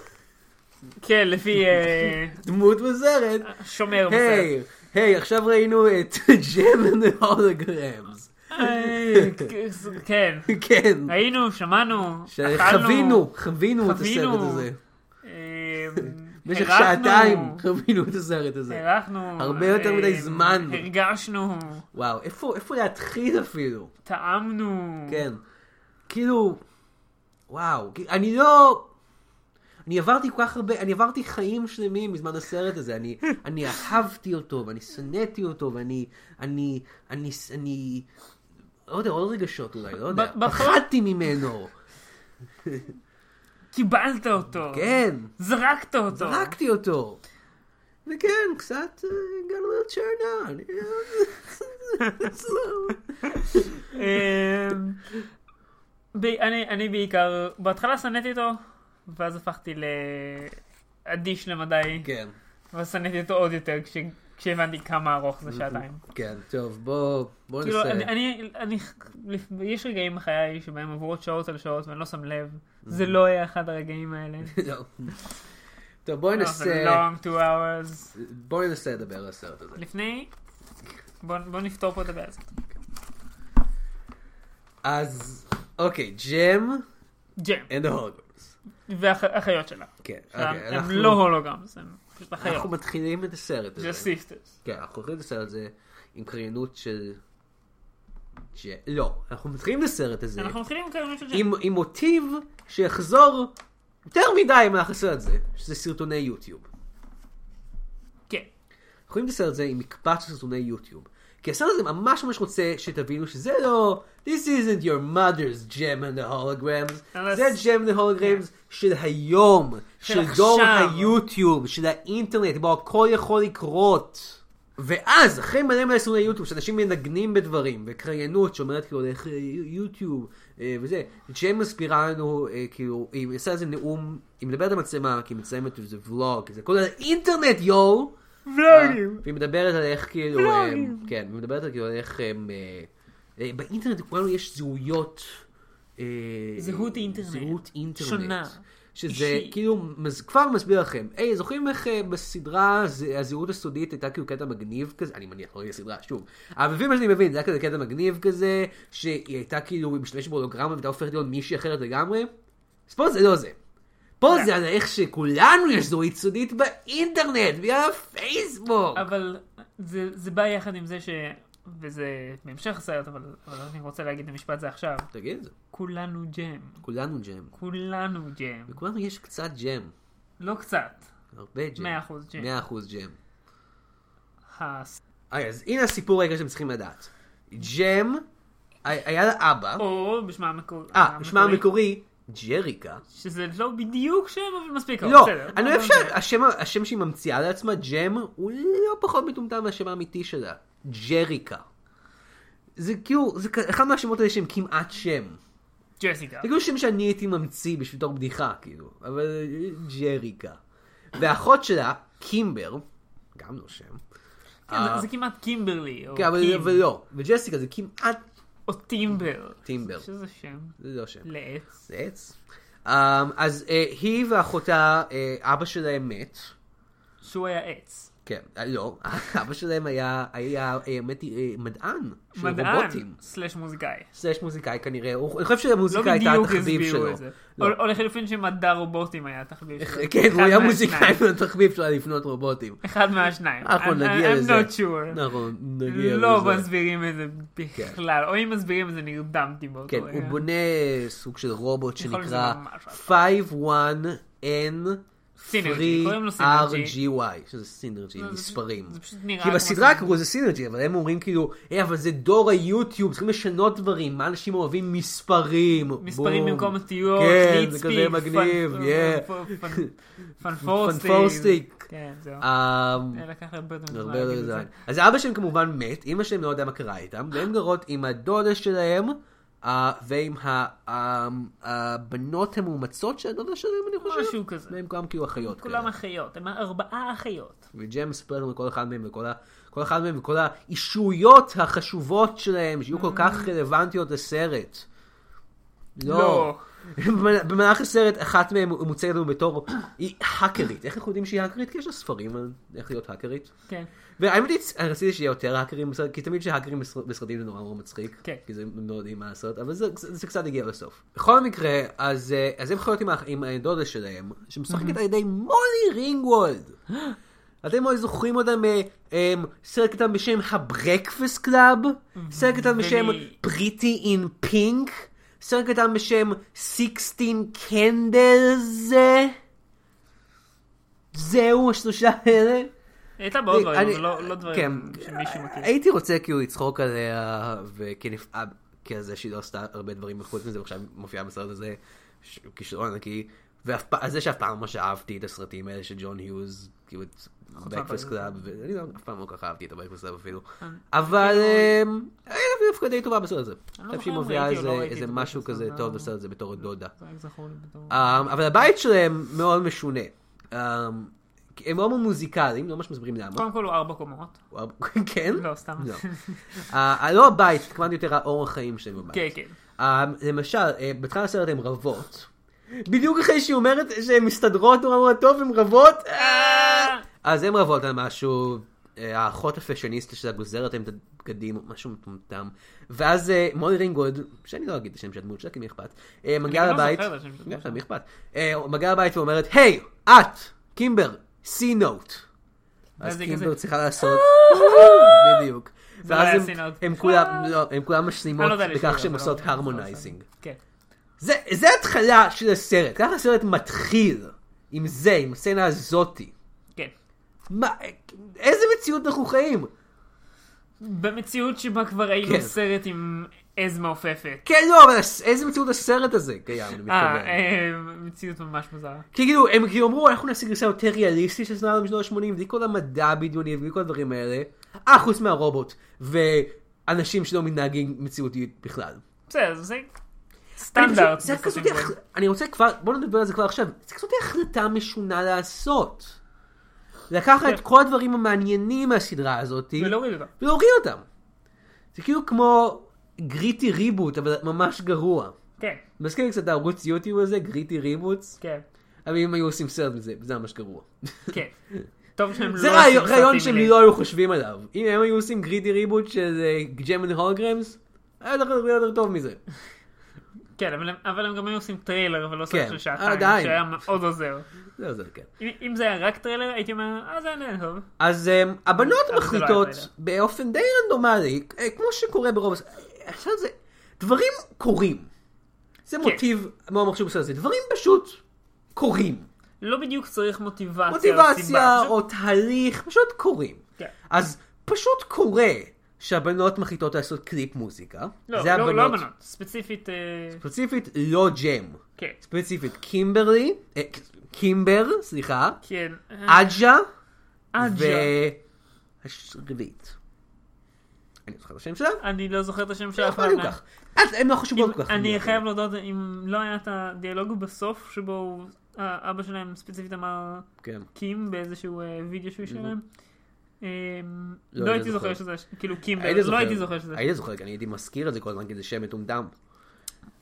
Speaker 2: כן, לפי אה,
Speaker 1: דמות בסרט.
Speaker 2: שומר בסרט.
Speaker 1: היי, היי, עכשיו ראינו את ג'ם הולוגרמס.
Speaker 2: אה, כ- כן,
Speaker 1: כן.
Speaker 2: ראינו, שמענו, אכלנו,
Speaker 1: חווינו, חווינו את
Speaker 2: חווינו.
Speaker 1: הסרט הזה.
Speaker 2: אה,
Speaker 1: במשך
Speaker 2: הרחנו,
Speaker 1: שעתיים חווינו את הסרט הזה.
Speaker 2: הארכנו,
Speaker 1: כן. הרבה יותר מדי
Speaker 2: אה,
Speaker 1: זמן.
Speaker 2: הרגשנו,
Speaker 1: וואו, איפה איפה להתחיל אפילו?
Speaker 2: טעמנו,
Speaker 1: כן. כאילו, וואו, כי- אני לא... אני עברתי כל כך הרבה, אני עברתי חיים שלמים בזמן הסרט הזה, אני, אני אהבתי אותו, ואני שנאתי אותו, ואני, אני, אני, אני, לא יודע, עוד רגשות אולי, לא יודע,
Speaker 2: ב- בפועל-
Speaker 1: פחדתי ממנו,
Speaker 2: קיבלת אותו,
Speaker 1: כן,
Speaker 2: זרקת אותו,
Speaker 1: זרקתי אותו. וכן, קצת אה, הגענו לצ'רנה, אני- אה,
Speaker 2: אמ, ב- אני, אני בעיקר, בהתחלה שנאתי אותו, ואז הפכתי לאדיש למדי,
Speaker 1: כן,
Speaker 2: ואז שנאתי אותו עוד יותר כש, כשהבנתי כמה ארוך זה שעתיים.
Speaker 1: כן, טוב, בוא, בוא
Speaker 2: כאילו,
Speaker 1: ננסה.
Speaker 2: אני, אני, אני, לפ- יש רגעים בחיי שבהם עבורות שעות על שעות ואני לא שם לב,
Speaker 1: Mm-hmm.
Speaker 2: זה לא היה אחד הרגעים האלה.
Speaker 1: לא. טוב, בוא
Speaker 2: That was a
Speaker 1: ננסה.
Speaker 2: long two hours.
Speaker 1: בואי ננסה לדבר על הסרט הזה.
Speaker 2: לפני, בוא, בוא נפתור פה את הבעיה הזאת.
Speaker 1: אז, אוקיי, ג'ם
Speaker 2: ג'ם,
Speaker 1: and the holograms.
Speaker 2: והאחיות שלה.
Speaker 1: כן,
Speaker 2: הם
Speaker 1: אוקיי,
Speaker 2: הם
Speaker 1: אנחנו-
Speaker 2: לא הולוגרמס, הם פשוט
Speaker 1: אנחנו
Speaker 2: אחיות.
Speaker 1: מתחילים את הסרט
Speaker 2: זה
Speaker 1: הזה.
Speaker 2: סיסטרס.
Speaker 1: כן, אנחנו הולכים את הסרט הזה עם קריינות של... ג'- לא, אנחנו מתחילים את הסרט הזה
Speaker 2: אנחנו מתחילים עם קריינות של ג'ם.
Speaker 1: עם עם מוטיב שיחזור יותר מדי במהלך הסרט הזה, שזה סרטוני יוטיוב.
Speaker 2: כן.
Speaker 1: אנחנו רואים את הסרט הזה עם מקבץ של סרטוני יוטיוב. כי הסרט הזה ממש ממש רוצה שתבינו שזה לא, This isn't your mother's gem and the holograms,
Speaker 2: אבל
Speaker 1: זה gem
Speaker 2: הס-
Speaker 1: and the holograms של היום,
Speaker 2: של
Speaker 1: של דור
Speaker 2: עכשיו.
Speaker 1: היוטיוב, של האינטרנט, בו הכל יכול לקרות. ואז, אחרי מלא מלא סרטוני יוטיוב, שאנשים מנגנים בדברים, וקריינות שאומרת כאילו, איך אה, יוטיוב, אה, וזה, ג'יי מסבירה לנו, אה, כאילו, היא עושה איזה נאום, היא מדברת על מצלמה, כי היא מצלמת איזה ולוג, זה כל האינטרנט, יואו!
Speaker 2: ולוגים.
Speaker 1: אה, והיא מדברת על איך כאילו, הם, כן, היא מדברת על כאילו על איך הם, אה, אה, באינטרנט לכולנו יש זהויות. אה,
Speaker 2: זהות אינטרנט.
Speaker 1: זהות אינטרנט.
Speaker 2: שונה.
Speaker 1: שזה
Speaker 2: אישית.
Speaker 1: כאילו, מז, כבר מסביר לכם, היי, זוכרים איך אה, בסדרה זה- הזהות הסודית הייתה כאילו קטע מגניב כזה, אני מניח, לא ראיתי סדרה, שוב. אבל לפי מה שאני מבין, זה היה כזה קטע מגניב כזה, שהיא הייתה כאילו, היא משתמשת בהולוגרמה והייתה הופכת להיות מישהי אחרת לגמרי? אז פה זה לא זה. פה
Speaker 2: כן.
Speaker 1: זה על איך שכולנו יש זהות סודית באינטרנט, בגלל הפייסבוק.
Speaker 2: אבל זה זה בא יחד עם זה ש... וזה בהמשך הסרט, אבל אבל אני רוצה להגיד את המשפט הזה עכשיו.
Speaker 1: תגיד את זה.
Speaker 2: כולנו ג'ם.
Speaker 1: כולנו ג'ם.
Speaker 2: כולנו ג'ם.
Speaker 1: לכולנו יש קצת ג'ם.
Speaker 2: לא קצת.
Speaker 1: הרבה ג'ם.
Speaker 2: מאה אחוז ג'ם.
Speaker 1: 100 אחוז ג'ם.
Speaker 2: הס-
Speaker 1: אוקיי, אז הנה הסיפור העיקר שאתם צריכים לדעת. ג'ם, ה- היה לה אבא,
Speaker 2: או בשמה המקור- המקורי.
Speaker 1: אה, בשמה המקורי, ג'ריקה.
Speaker 2: שזה לא בדיוק שם, אבל מספיק קרוב.
Speaker 1: לא,
Speaker 2: בסדר.
Speaker 1: אני
Speaker 2: לא
Speaker 1: חושב
Speaker 2: משנה.
Speaker 1: שהשם שהיא ממציאה לעצמה, ג'ם, הוא לא פחות מטומטם מהשם האמיתי שלה. ג'ריקה. זה כאילו, זה כ- אחד מהשמות האלה שהם כמעט שם.
Speaker 2: ג'סיקה.
Speaker 1: זה כאילו שם שאני הייתי ממציא בשביל תור בדיחה, כאילו. אבל אה, ג'ריקה. והאחות שלה, קימבר, גם לא שם.
Speaker 2: כן, זה- זה כמעט קימברלי. או
Speaker 1: אה. כן, אבל
Speaker 2: קים,
Speaker 1: אבל לא. וג'סיקה זה כמעט,
Speaker 2: או טימבר.
Speaker 1: טימבר.
Speaker 2: שזה שם
Speaker 1: זה לא שם.
Speaker 2: לעץ.
Speaker 1: זה עץ. אמ, אז אה, היא ואחותה, אה, אבא שלהם מת.
Speaker 2: שהוא היה עץ.
Speaker 1: כן, אה, לא. אבא שלהם היה, היה, אה, מת, אה, מדען. של רובוטים.
Speaker 2: מדען. סלאש מוזיקאי.
Speaker 1: סלש מוזיקאי כנראה. הוא- אני חושב
Speaker 2: לא
Speaker 1: שהמוזיקה הייתה
Speaker 2: בדיוק
Speaker 1: התחביב
Speaker 2: הסבירו
Speaker 1: שלו.
Speaker 2: את זה.
Speaker 1: לא.
Speaker 2: או- או לחילופין שמדע רובוטים היה התחביב שלו.
Speaker 1: כן, הוא
Speaker 2: אחד
Speaker 1: היה
Speaker 2: מהשניים.
Speaker 1: מוזיקאי והתחביב שלו היה לבנות רובוטים.
Speaker 2: אחד מהשניים.
Speaker 1: אנחנו
Speaker 2: I'm-
Speaker 1: נגיע לזה.
Speaker 2: I'm not sure.
Speaker 1: נכון, נגיע לזה.
Speaker 2: לא מסבירים את זה בכלל. או אם מסבירים את זה נרדמתי באותו
Speaker 1: כן,
Speaker 2: רגע.
Speaker 1: הוא בונה סוג של רובוט
Speaker 2: יכול להיות
Speaker 1: שנקרא
Speaker 2: שזה ממש לא. רק
Speaker 1: 51N3RGY,
Speaker 2: סינרג'י, קוראים לו סינרג'י. לא,
Speaker 1: שזה סינרג'י,
Speaker 2: זה
Speaker 1: מספרים.
Speaker 2: פשוט- זה פשוט נראה
Speaker 1: כי
Speaker 2: כמו
Speaker 1: בסדרה
Speaker 2: סינרג'י.
Speaker 1: קראו לזה סינרג'י, אבל הם אומרים כאילו, היי, אבל זה דור היוטיוב, צריכים לשנות דברים, מה אנשים אוהבים? מספרים.
Speaker 2: מספרים
Speaker 1: בום.
Speaker 2: במקום אותיות,
Speaker 1: כן,
Speaker 2: ליטספיק,
Speaker 1: זה כזה מגניב,
Speaker 2: פנ-
Speaker 1: yeah.
Speaker 2: פ- פ- פנפורסטיק.
Speaker 1: פנפורסטיק.
Speaker 2: כן, זהו.
Speaker 1: אמ,
Speaker 2: זה לקח לי הרבה יותר
Speaker 1: הרבה
Speaker 2: זמן
Speaker 1: יותר
Speaker 2: להגיד את זה.
Speaker 1: זמן. אז אבא שלהם כמובן מת, אימא שלהם לא יודע מה קרה איתם, והם גרות עם הדודה שלהם, אה, ועם ה- ה- הבנות המאומצות של הדודה שלהם, אני חושב.
Speaker 2: משהו כזה.
Speaker 1: והם כולם כאילו אחיות.
Speaker 2: כולם
Speaker 1: כאלה.
Speaker 2: אחיות, הם ארבעה אחיות.
Speaker 1: וג'ם ספר לנו כל אחד מהם וכל ה- כל אחד מהם וכל האישויות החשובות שלהם, שיהיו כל כך
Speaker 2: Mm.
Speaker 1: רלוונטיות לסרט. לא.
Speaker 2: לא.
Speaker 1: במ- במהלך הסרט אחת מהם מוצגת לנו בתור, היא האקרית. איך אנחנו יודעים שהיא האקרית? כי יש לה ספרים על איך להיות האקרית.
Speaker 2: כן.
Speaker 1: והאמת היא, אה, רציתי שיהיה יותר האקרים בסרט, כי תמיד שהאקרים בסר- בסרטים זה נורא נורא מצחיק,
Speaker 2: כן.
Speaker 1: כי זה הם לא יודעים מה לעשות, אבל זה, זה, זה קצת הגיע לסוף. בכל מקרה, אז, אה, אז הם חיות עם, האח- עם הדודה שלהם, שמשחקת על ידי מולי רינגוולד. אתם אולי זוכרים אה, אותה מסרט קטן בשם הברקפסט קלאב, סרט קטן בשם
Speaker 2: ומי-
Speaker 1: פריטי אין פינק, סרט קטן בשם 16 קנדלס. זהו השלושה האלה.
Speaker 2: היא הייתה בעוד דברים,
Speaker 1: אני-
Speaker 2: אבל לא- לא דברים
Speaker 1: כן.
Speaker 2: שמישהו מכיר.
Speaker 1: הייתי רוצה כאילו לצחוק עליה וכנפעל כזה שהיא לא עשתה הרבה דברים חוץ מזה ועכשיו היא מופיעה בסרט הזה ש- כישרון ענקי ואף פעם זה שאף פעם ממש אהבתי את הסרטים האלה של ג'ון היוז כאילו את
Speaker 2: מהפרק.
Speaker 1: בקפסט קלאב ואני לא אף פעם לא כל כך אהבתי את הבקפסט קלאב אפילו
Speaker 2: אה, לא-
Speaker 1: אבל אמ, היה לה דווקא די טובה בסרט הזה. אני חושב
Speaker 2: זוכר
Speaker 1: שהיא
Speaker 2: אם
Speaker 1: מופיעה
Speaker 2: ראיתי או לא
Speaker 1: איזה-
Speaker 2: ראיתי
Speaker 1: איזה
Speaker 2: את
Speaker 1: משהו
Speaker 2: ה-Breakfast
Speaker 1: כזה
Speaker 2: Club.
Speaker 1: טוב בסרט הזה בתור דודה.
Speaker 2: זה רק זכור לי בתור...
Speaker 1: אמ, אבל הבית שלהם מאוד משונה. אמ, הם מאוד מוזיקליים, לא ממש מסבירים למה.
Speaker 2: קודם כל הוא ארבע קומות.
Speaker 1: וואו, כן?
Speaker 2: לא, סתם.
Speaker 1: לא. אה, לא הבית, התכוונתי יותר האורח חיים שלהם בבית.
Speaker 2: כן, כן.
Speaker 1: אה, למשל, אה, בתחילת הסרט הן רבות. בדיוק אחרי שהיא אומרת שהן מסתדרות נורא נורא טוב, הן רבות. אה! אז הן רבות על משהו, אה, האחות הפשיוניסטית שלה גוזרת להם את הבגדים, משהו מטומטם. ואז אה, מולי רינגולד, שאני לא אגיד את השם של הדמות שלה, כי מי אכפת, אה, מגיעה
Speaker 2: גם לא
Speaker 1: לבית,
Speaker 2: זוכר את השם של הדמות שלה.
Speaker 1: מי אכפת, אה, מגיעה לבית ואומרת, היי, את, קימבר, סי נוט.
Speaker 2: ואז
Speaker 1: אז
Speaker 2: היא
Speaker 1: קימבר
Speaker 2: כזה-
Speaker 1: צריכה לעשות, בדיוק.
Speaker 2: זה לא היה
Speaker 1: ואז
Speaker 2: סי
Speaker 1: הם-
Speaker 2: נוט.
Speaker 1: הם כולם, לא, הם כולם
Speaker 2: אני
Speaker 1: משלימות
Speaker 2: לא יודע לשיר,
Speaker 1: בכך
Speaker 2: אבל
Speaker 1: שהן
Speaker 2: לא-
Speaker 1: עושות
Speaker 2: לא
Speaker 1: הרמונייזינג.
Speaker 2: עושה. כן.
Speaker 1: זה, זה התחלה של הסרט, ככה הסרט מתחיל עם זה, עם הסצנה הזאתי.
Speaker 2: כן.
Speaker 1: מה, איזה מציאות אנחנו חיים?
Speaker 2: במציאות שבה כבר ראינו
Speaker 1: כן.
Speaker 2: סרט עם עז מעופפת.
Speaker 1: כן, לא, אבל הס- איזה מציאות הסרט הזה קיים, אני
Speaker 2: אה,
Speaker 1: מתכוון.
Speaker 2: אה, מציאות ממש מוזרה.
Speaker 1: כי כאילו, הם כאילו אמרו, אנחנו נעשה גרסה יותר ריאליסטית של סצנה משנות ה-80, בלי כל המדע הבדיוני ובלי כל הדברים האלה. אה, חוץ מהרובוט, ואנשים שלא מתנהגים מציאותית בכלל.
Speaker 2: בסדר, זה
Speaker 1: אני
Speaker 2: סטנדרט.
Speaker 1: חושב- זה
Speaker 2: בסרטים
Speaker 1: כזאת,
Speaker 2: כאלה.
Speaker 1: הח- אני רוצה כבר, בוא נדבר על זה כבר עכשיו, זה כזאת החלטה משונה לעשות. לקחת את כל הדברים המעניינים מהסדרה הזאת,
Speaker 2: כן. ולהוריד אותה.
Speaker 1: ולהוריד אותם. זה כאילו כמו גריטי ריבוט, אבל ממש גרוע.
Speaker 2: כן,
Speaker 1: מזכיר לי קצת הערוץ יוטיוב הזה, גריטי ריבוטס,
Speaker 2: כן,
Speaker 1: אבל אם היו עושים סרט מזה, זה ממש גרוע.
Speaker 2: כן. טוב שהם לא...
Speaker 1: זה
Speaker 2: עושים
Speaker 1: רעיון- רעיון
Speaker 2: סרטים
Speaker 1: שהם
Speaker 2: מלאים.
Speaker 1: לא היו חושבים עליו. אם הם היו עושים גריטי ריבוט של ג'מן הולגרמס, היה יותר- היה יותר טוב מזה.
Speaker 2: כן, אבל הם- אבל הם גם היו עושים טריילר, אבל לא
Speaker 1: כן,
Speaker 2: סרט של שעתיים,
Speaker 1: עדיין.
Speaker 2: שהיה מאוד עוזר.
Speaker 1: זה עוזר, כן.
Speaker 2: אם אם זה היה רק טריילר, הייתי אומר, אה, זה היה נראה טוב.
Speaker 1: אז אמ, הבנות
Speaker 2: אבל זה לא
Speaker 1: מחליטות
Speaker 2: היה פרידה.
Speaker 1: באופן די רנדומלי, אה, כמו שקורה ברוב... הס- אה, עכשיו זה... דברים קורים. זה
Speaker 2: כן.
Speaker 1: מוטיב מאוד מחשוב בסרט הזה. דברים פשוט קורים.
Speaker 2: לא בדיוק צריך מוטיבציה. או סיבה,
Speaker 1: מוטיבציה
Speaker 2: פשוט-
Speaker 1: או תהליך, פשוט קורים.
Speaker 2: כן.
Speaker 1: אז פשוט קורה שהבנות מחליטות לעשות קליפ מוזיקה.
Speaker 2: לא,
Speaker 1: זה
Speaker 2: לא- לא הבנות. ספציפית, אה,
Speaker 1: ספציפית לא ג'ם.
Speaker 2: כן.
Speaker 1: ספציפית קימברלי, אה, קימבר, סליחה,
Speaker 2: כן. אה,
Speaker 1: עג'ה,
Speaker 2: עג'ה.
Speaker 1: והשרביט. אני לא זוכר את השם שלה,
Speaker 2: אני לא זוכר את השם של
Speaker 1: לא
Speaker 2: אף אחד.
Speaker 1: אכפת לי כל כך. אז הן לא חשובות כל כך.
Speaker 2: אני חייב להודות, אם לא היה את הדיאלוג בסוף, שבו הוא- אה, אבא שלהם ספציפית אמר
Speaker 1: כן.
Speaker 2: קים באיזשהו אה, וידאו שהוא שלהם,
Speaker 1: לא,
Speaker 2: לא
Speaker 1: אני
Speaker 2: הייתי
Speaker 1: זוכר.
Speaker 2: זוכר שזה, כאילו קים,
Speaker 1: היית
Speaker 2: לא
Speaker 1: זוכר.
Speaker 2: הייתי זוכר שזה.
Speaker 1: היית זוכר, כי אני הייתי מזכיר את זה כל הזמן, כי זה שם מטומטם.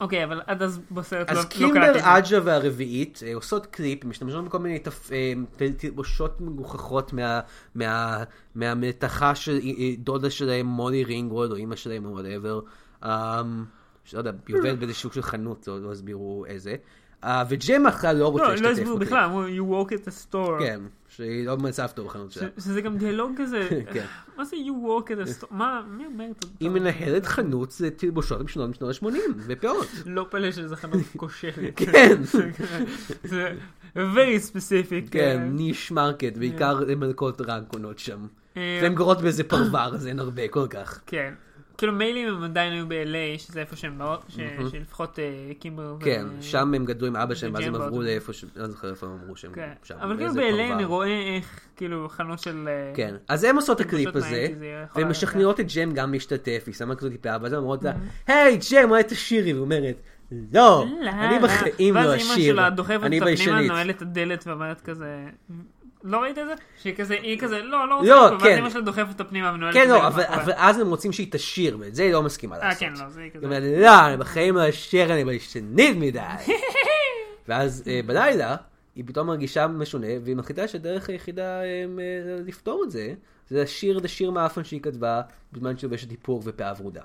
Speaker 2: אוקיי, אבל עד אז בסרט לא לא
Speaker 1: אז
Speaker 2: קלטתי.
Speaker 1: קימבר
Speaker 2: את זה.
Speaker 1: עג'ה והרביעית אה, עושות קליפ, משתמשות בכל מיני תפ- אה, ת- תלבושות מגוחכות מה- מה- מהמלתחה של אה, אה, דודה שלהם, מולי רינגרוד, או אימא שלהם, או וואטאבר. שלא יודע, היא עובדת באיזה שוק של חנות, לא לא הסבירו איזה. אה, וג'מה בכלל לא רוצה
Speaker 2: לא,
Speaker 1: להשתתף.
Speaker 2: לא הסבירו
Speaker 1: בקליפ.
Speaker 2: בכלל, אמרו you walk at the store.
Speaker 1: כן, שהיא לא במצב טוב בחנות שלה.
Speaker 2: ש- שזה גם דיאלוג כזה,
Speaker 1: כן.
Speaker 2: מה זה you walk at the store? מה, מי אומר את זה?
Speaker 1: היא מנהלת חנות זה תלבושות משנות משנות ה-80, בפאות.
Speaker 2: לא פלא שזה חנות כושלת.
Speaker 1: כן.
Speaker 2: זה very specific.
Speaker 1: כן,
Speaker 2: אה,
Speaker 1: ניש מרקט, בעיקר מלכות רג קונות שם.
Speaker 2: כן. אה,
Speaker 1: והן גרות באיזה פרבר, אז אין הרבה כל כך.
Speaker 2: כן. כאילו מילא אם הם עדיין היו ב-LA, שזה איפה שהם באות, ש- שלפחות אה, קימבר ו...
Speaker 1: כן, שם הם גדלו עם אבא שלהם, ואז הם
Speaker 2: וג'מבו.
Speaker 1: עברו לאיפה ש... לא זוכר איפה הם אמרו שהם
Speaker 2: כן.
Speaker 1: שם.
Speaker 2: אבל כאילו
Speaker 1: באיזה
Speaker 2: ב-LA
Speaker 1: פרבר.
Speaker 2: אני רואה איך, כאילו, חנות של... אה,
Speaker 1: כן, אז הם עושות את
Speaker 2: תלבושות
Speaker 1: הקליפ הזה,
Speaker 2: מהאייטיז, זה יכול כן.
Speaker 1: והן
Speaker 2: היה
Speaker 1: משכנעות את ג'ם גם להשתתף, היא שמה כזאת טיפה, ואז הן אומרות לה, היי ג'ם, אולי תשירי, והיא אומרת, לא,
Speaker 2: Mm-hmm. לא,
Speaker 1: אני
Speaker 2: לא.
Speaker 1: בחיים לא
Speaker 2: ואז אימא
Speaker 1: אשיר,
Speaker 2: שלה דוחפת
Speaker 1: אני
Speaker 2: אותה פנימה,
Speaker 1: ביישנית.
Speaker 2: נועלת את הדלת ואומרת כזה... לא ראית את זה? שהיא כזה, היא כזה, לא, לא
Speaker 1: לא,
Speaker 2: רוצה, ואז
Speaker 1: כן.
Speaker 2: אימא שלה דוחפת אותה פנימה ונועלת את
Speaker 1: כן,
Speaker 2: הדלת.
Speaker 1: לא, אבל
Speaker 2: מאחוריה.
Speaker 1: אבל אז הם רוצים שהיא תשיר, ואת זה היא לא מסכימה
Speaker 2: נכון. אה,
Speaker 1: לעשות.
Speaker 2: כן, לא, זה
Speaker 1: היא
Speaker 2: כזה.
Speaker 1: אומרת, לא, אני בחיים לא אשיר, אני ביישנית מדי. ואז אה, בלילה, היא פתאום מרגישה משונה, והיא מחליטה שהדרך היחידה אה, אה, לפתור את זה, זה לשיר את השיר מהאפן שהיא כתבה, בזמן שהיא לובשת איפור ופאה ורודה.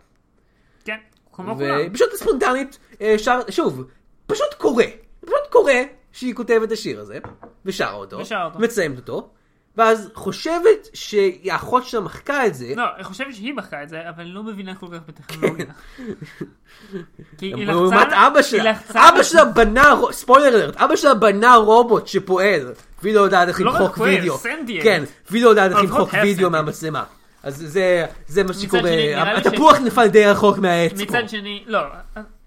Speaker 2: כן, כמו כולם.
Speaker 1: והיא פשוט ספונטנית, אה, שר, שוב, פשוט קורה, פשוט קורה שהיא כותבת את השיר הזה, ושרה אותו,
Speaker 2: ושרה אותו.
Speaker 1: מציימת אותו, ואז חושבת שהאחות שלה מחקה את זה,
Speaker 2: לא, אני חושבת שהיא בחרה את זה, אבל לא מבינה כל כך בטכנולוגיה. כי היא לחצה...
Speaker 1: לעומת אבא
Speaker 2: היא
Speaker 1: שלה.
Speaker 2: לחצה
Speaker 1: אבא שלה בנה, רו- ספוילר אלרט, אבא שלה בנה רובוט שפועל, והיא לא יודעת איך
Speaker 2: לא רק
Speaker 1: למחוק
Speaker 2: פועל,
Speaker 1: וידאו.
Speaker 2: sentient.
Speaker 1: כן, והיא לא יודעת איך
Speaker 2: לפחות
Speaker 1: למחוק
Speaker 2: היה
Speaker 1: וידאו
Speaker 2: sentient.
Speaker 1: מהמצלמה. אז זה, זה מה שקורה,
Speaker 2: שני, נראה לי ש-
Speaker 1: התפוח נפל די רחוק מהעץ פה.
Speaker 2: מצד שני, לא,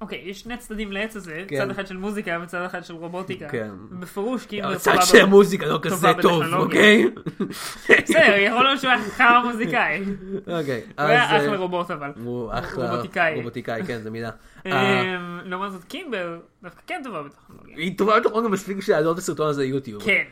Speaker 2: אוקיי, יש שני צדדים לעץ הזה,
Speaker 1: כן.
Speaker 2: צד אחד של מוזיקה וצד אחד של רובוטיקה.
Speaker 1: כן.
Speaker 2: בפירוש, כאילו...
Speaker 1: הצד
Speaker 2: סבבה.
Speaker 1: של המוזיקה לא כזה טוב,
Speaker 2: בטכנולוגיה.
Speaker 1: אוקיי?
Speaker 2: בסדר, יכול להיות שהוא היה חרא מוזיקאי. הוא
Speaker 1: אוקיי, אז...
Speaker 2: היה
Speaker 1: אה,
Speaker 2: אחלה רובוט אבל.
Speaker 1: הוא אחלה
Speaker 2: רובוטיקאי.
Speaker 1: רובוטיקאי, כן, זו מילה. אה,
Speaker 2: אמ, לעומת זאת, קימבר דווקא כן טובה בטכנולוגיה.
Speaker 1: היא טובה בטכנולוגיה מספיק בשביל לעלות את הסרטון הזה ליוטיוב.
Speaker 2: כן.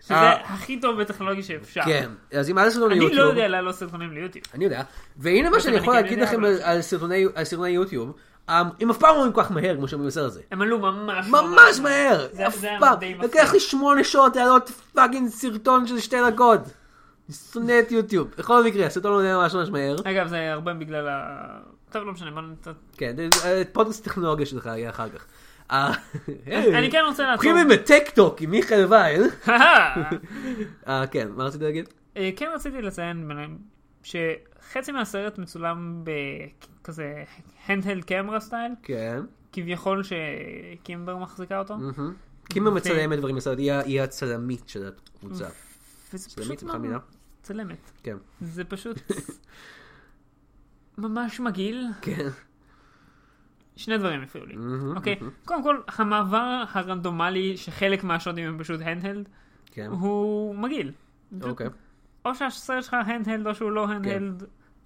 Speaker 2: שזה
Speaker 1: אה.
Speaker 2: הכי טוב בטכנולוגיה שאפשר.
Speaker 1: כן, אז אם היה סרטון ליוטיוב...
Speaker 2: אני לא יודע לעלות סרטונים ליוטיוב.
Speaker 1: אני יודע. והנה מה שאני
Speaker 2: אני
Speaker 1: יכול
Speaker 2: כן
Speaker 1: להגיד
Speaker 2: יודע,
Speaker 1: לכם
Speaker 2: אבל-
Speaker 1: על- על סרטוני- על סרטוני יוטיוב, אמ, הם אף פעם לא עולים כל כך מהר כמו שהם בסרט הזה.
Speaker 2: הם עלו ממש
Speaker 1: ממש מהר!
Speaker 2: זה-
Speaker 1: אף
Speaker 2: זה היה
Speaker 1: פעם. אוקיי,
Speaker 2: די מפחיד.
Speaker 1: לקח לי שמונה שעות לעלות פאגינג סרטון של שתי דקות. אני שונא את יוטיוב. בכל מקרה, הסרטון עולה ממש ממש מהר.
Speaker 2: אגב, זה הרבה בגלל ה... טוב, לא משנה, בוא נצא...
Speaker 1: כן, זה- אה, פודקאסט טכנולוגיה שלך יהיה אחר כך. אה,
Speaker 2: אני כן רוצה לעצור.
Speaker 1: הולכים עם הטק טוק עם מיכאל וייל. אה, כן, מה רצית להגיד?
Speaker 2: אה, כן רציתי לציין ביניהם שחצי מהסרט מצולם בכזה הנדהלד קמרה סטייל,
Speaker 1: כן.
Speaker 2: כביכול שקימבר מחזיקה
Speaker 1: אה,
Speaker 2: אותו,
Speaker 1: קימה מצלמת דברים בסרט, היא ה- היא הצלמית של הקבוצה.
Speaker 2: וזה
Speaker 1: צלמית,
Speaker 2: פשוט
Speaker 1: בכלל מילה?
Speaker 2: צלמת.
Speaker 1: כן.
Speaker 2: זה פשוט ממש מגעיל.
Speaker 1: כן.
Speaker 2: שני דברים הפריעו לי, אוקיי? קודם כל, המעבר הרנדומלי שחלק מהשוטים הם פשוט הנדהלד,
Speaker 1: כן.
Speaker 2: הוא מגעיל.
Speaker 1: אוקיי. כן.
Speaker 2: או שהסרט שלך הנדהלד או שהוא לא הנדהלד.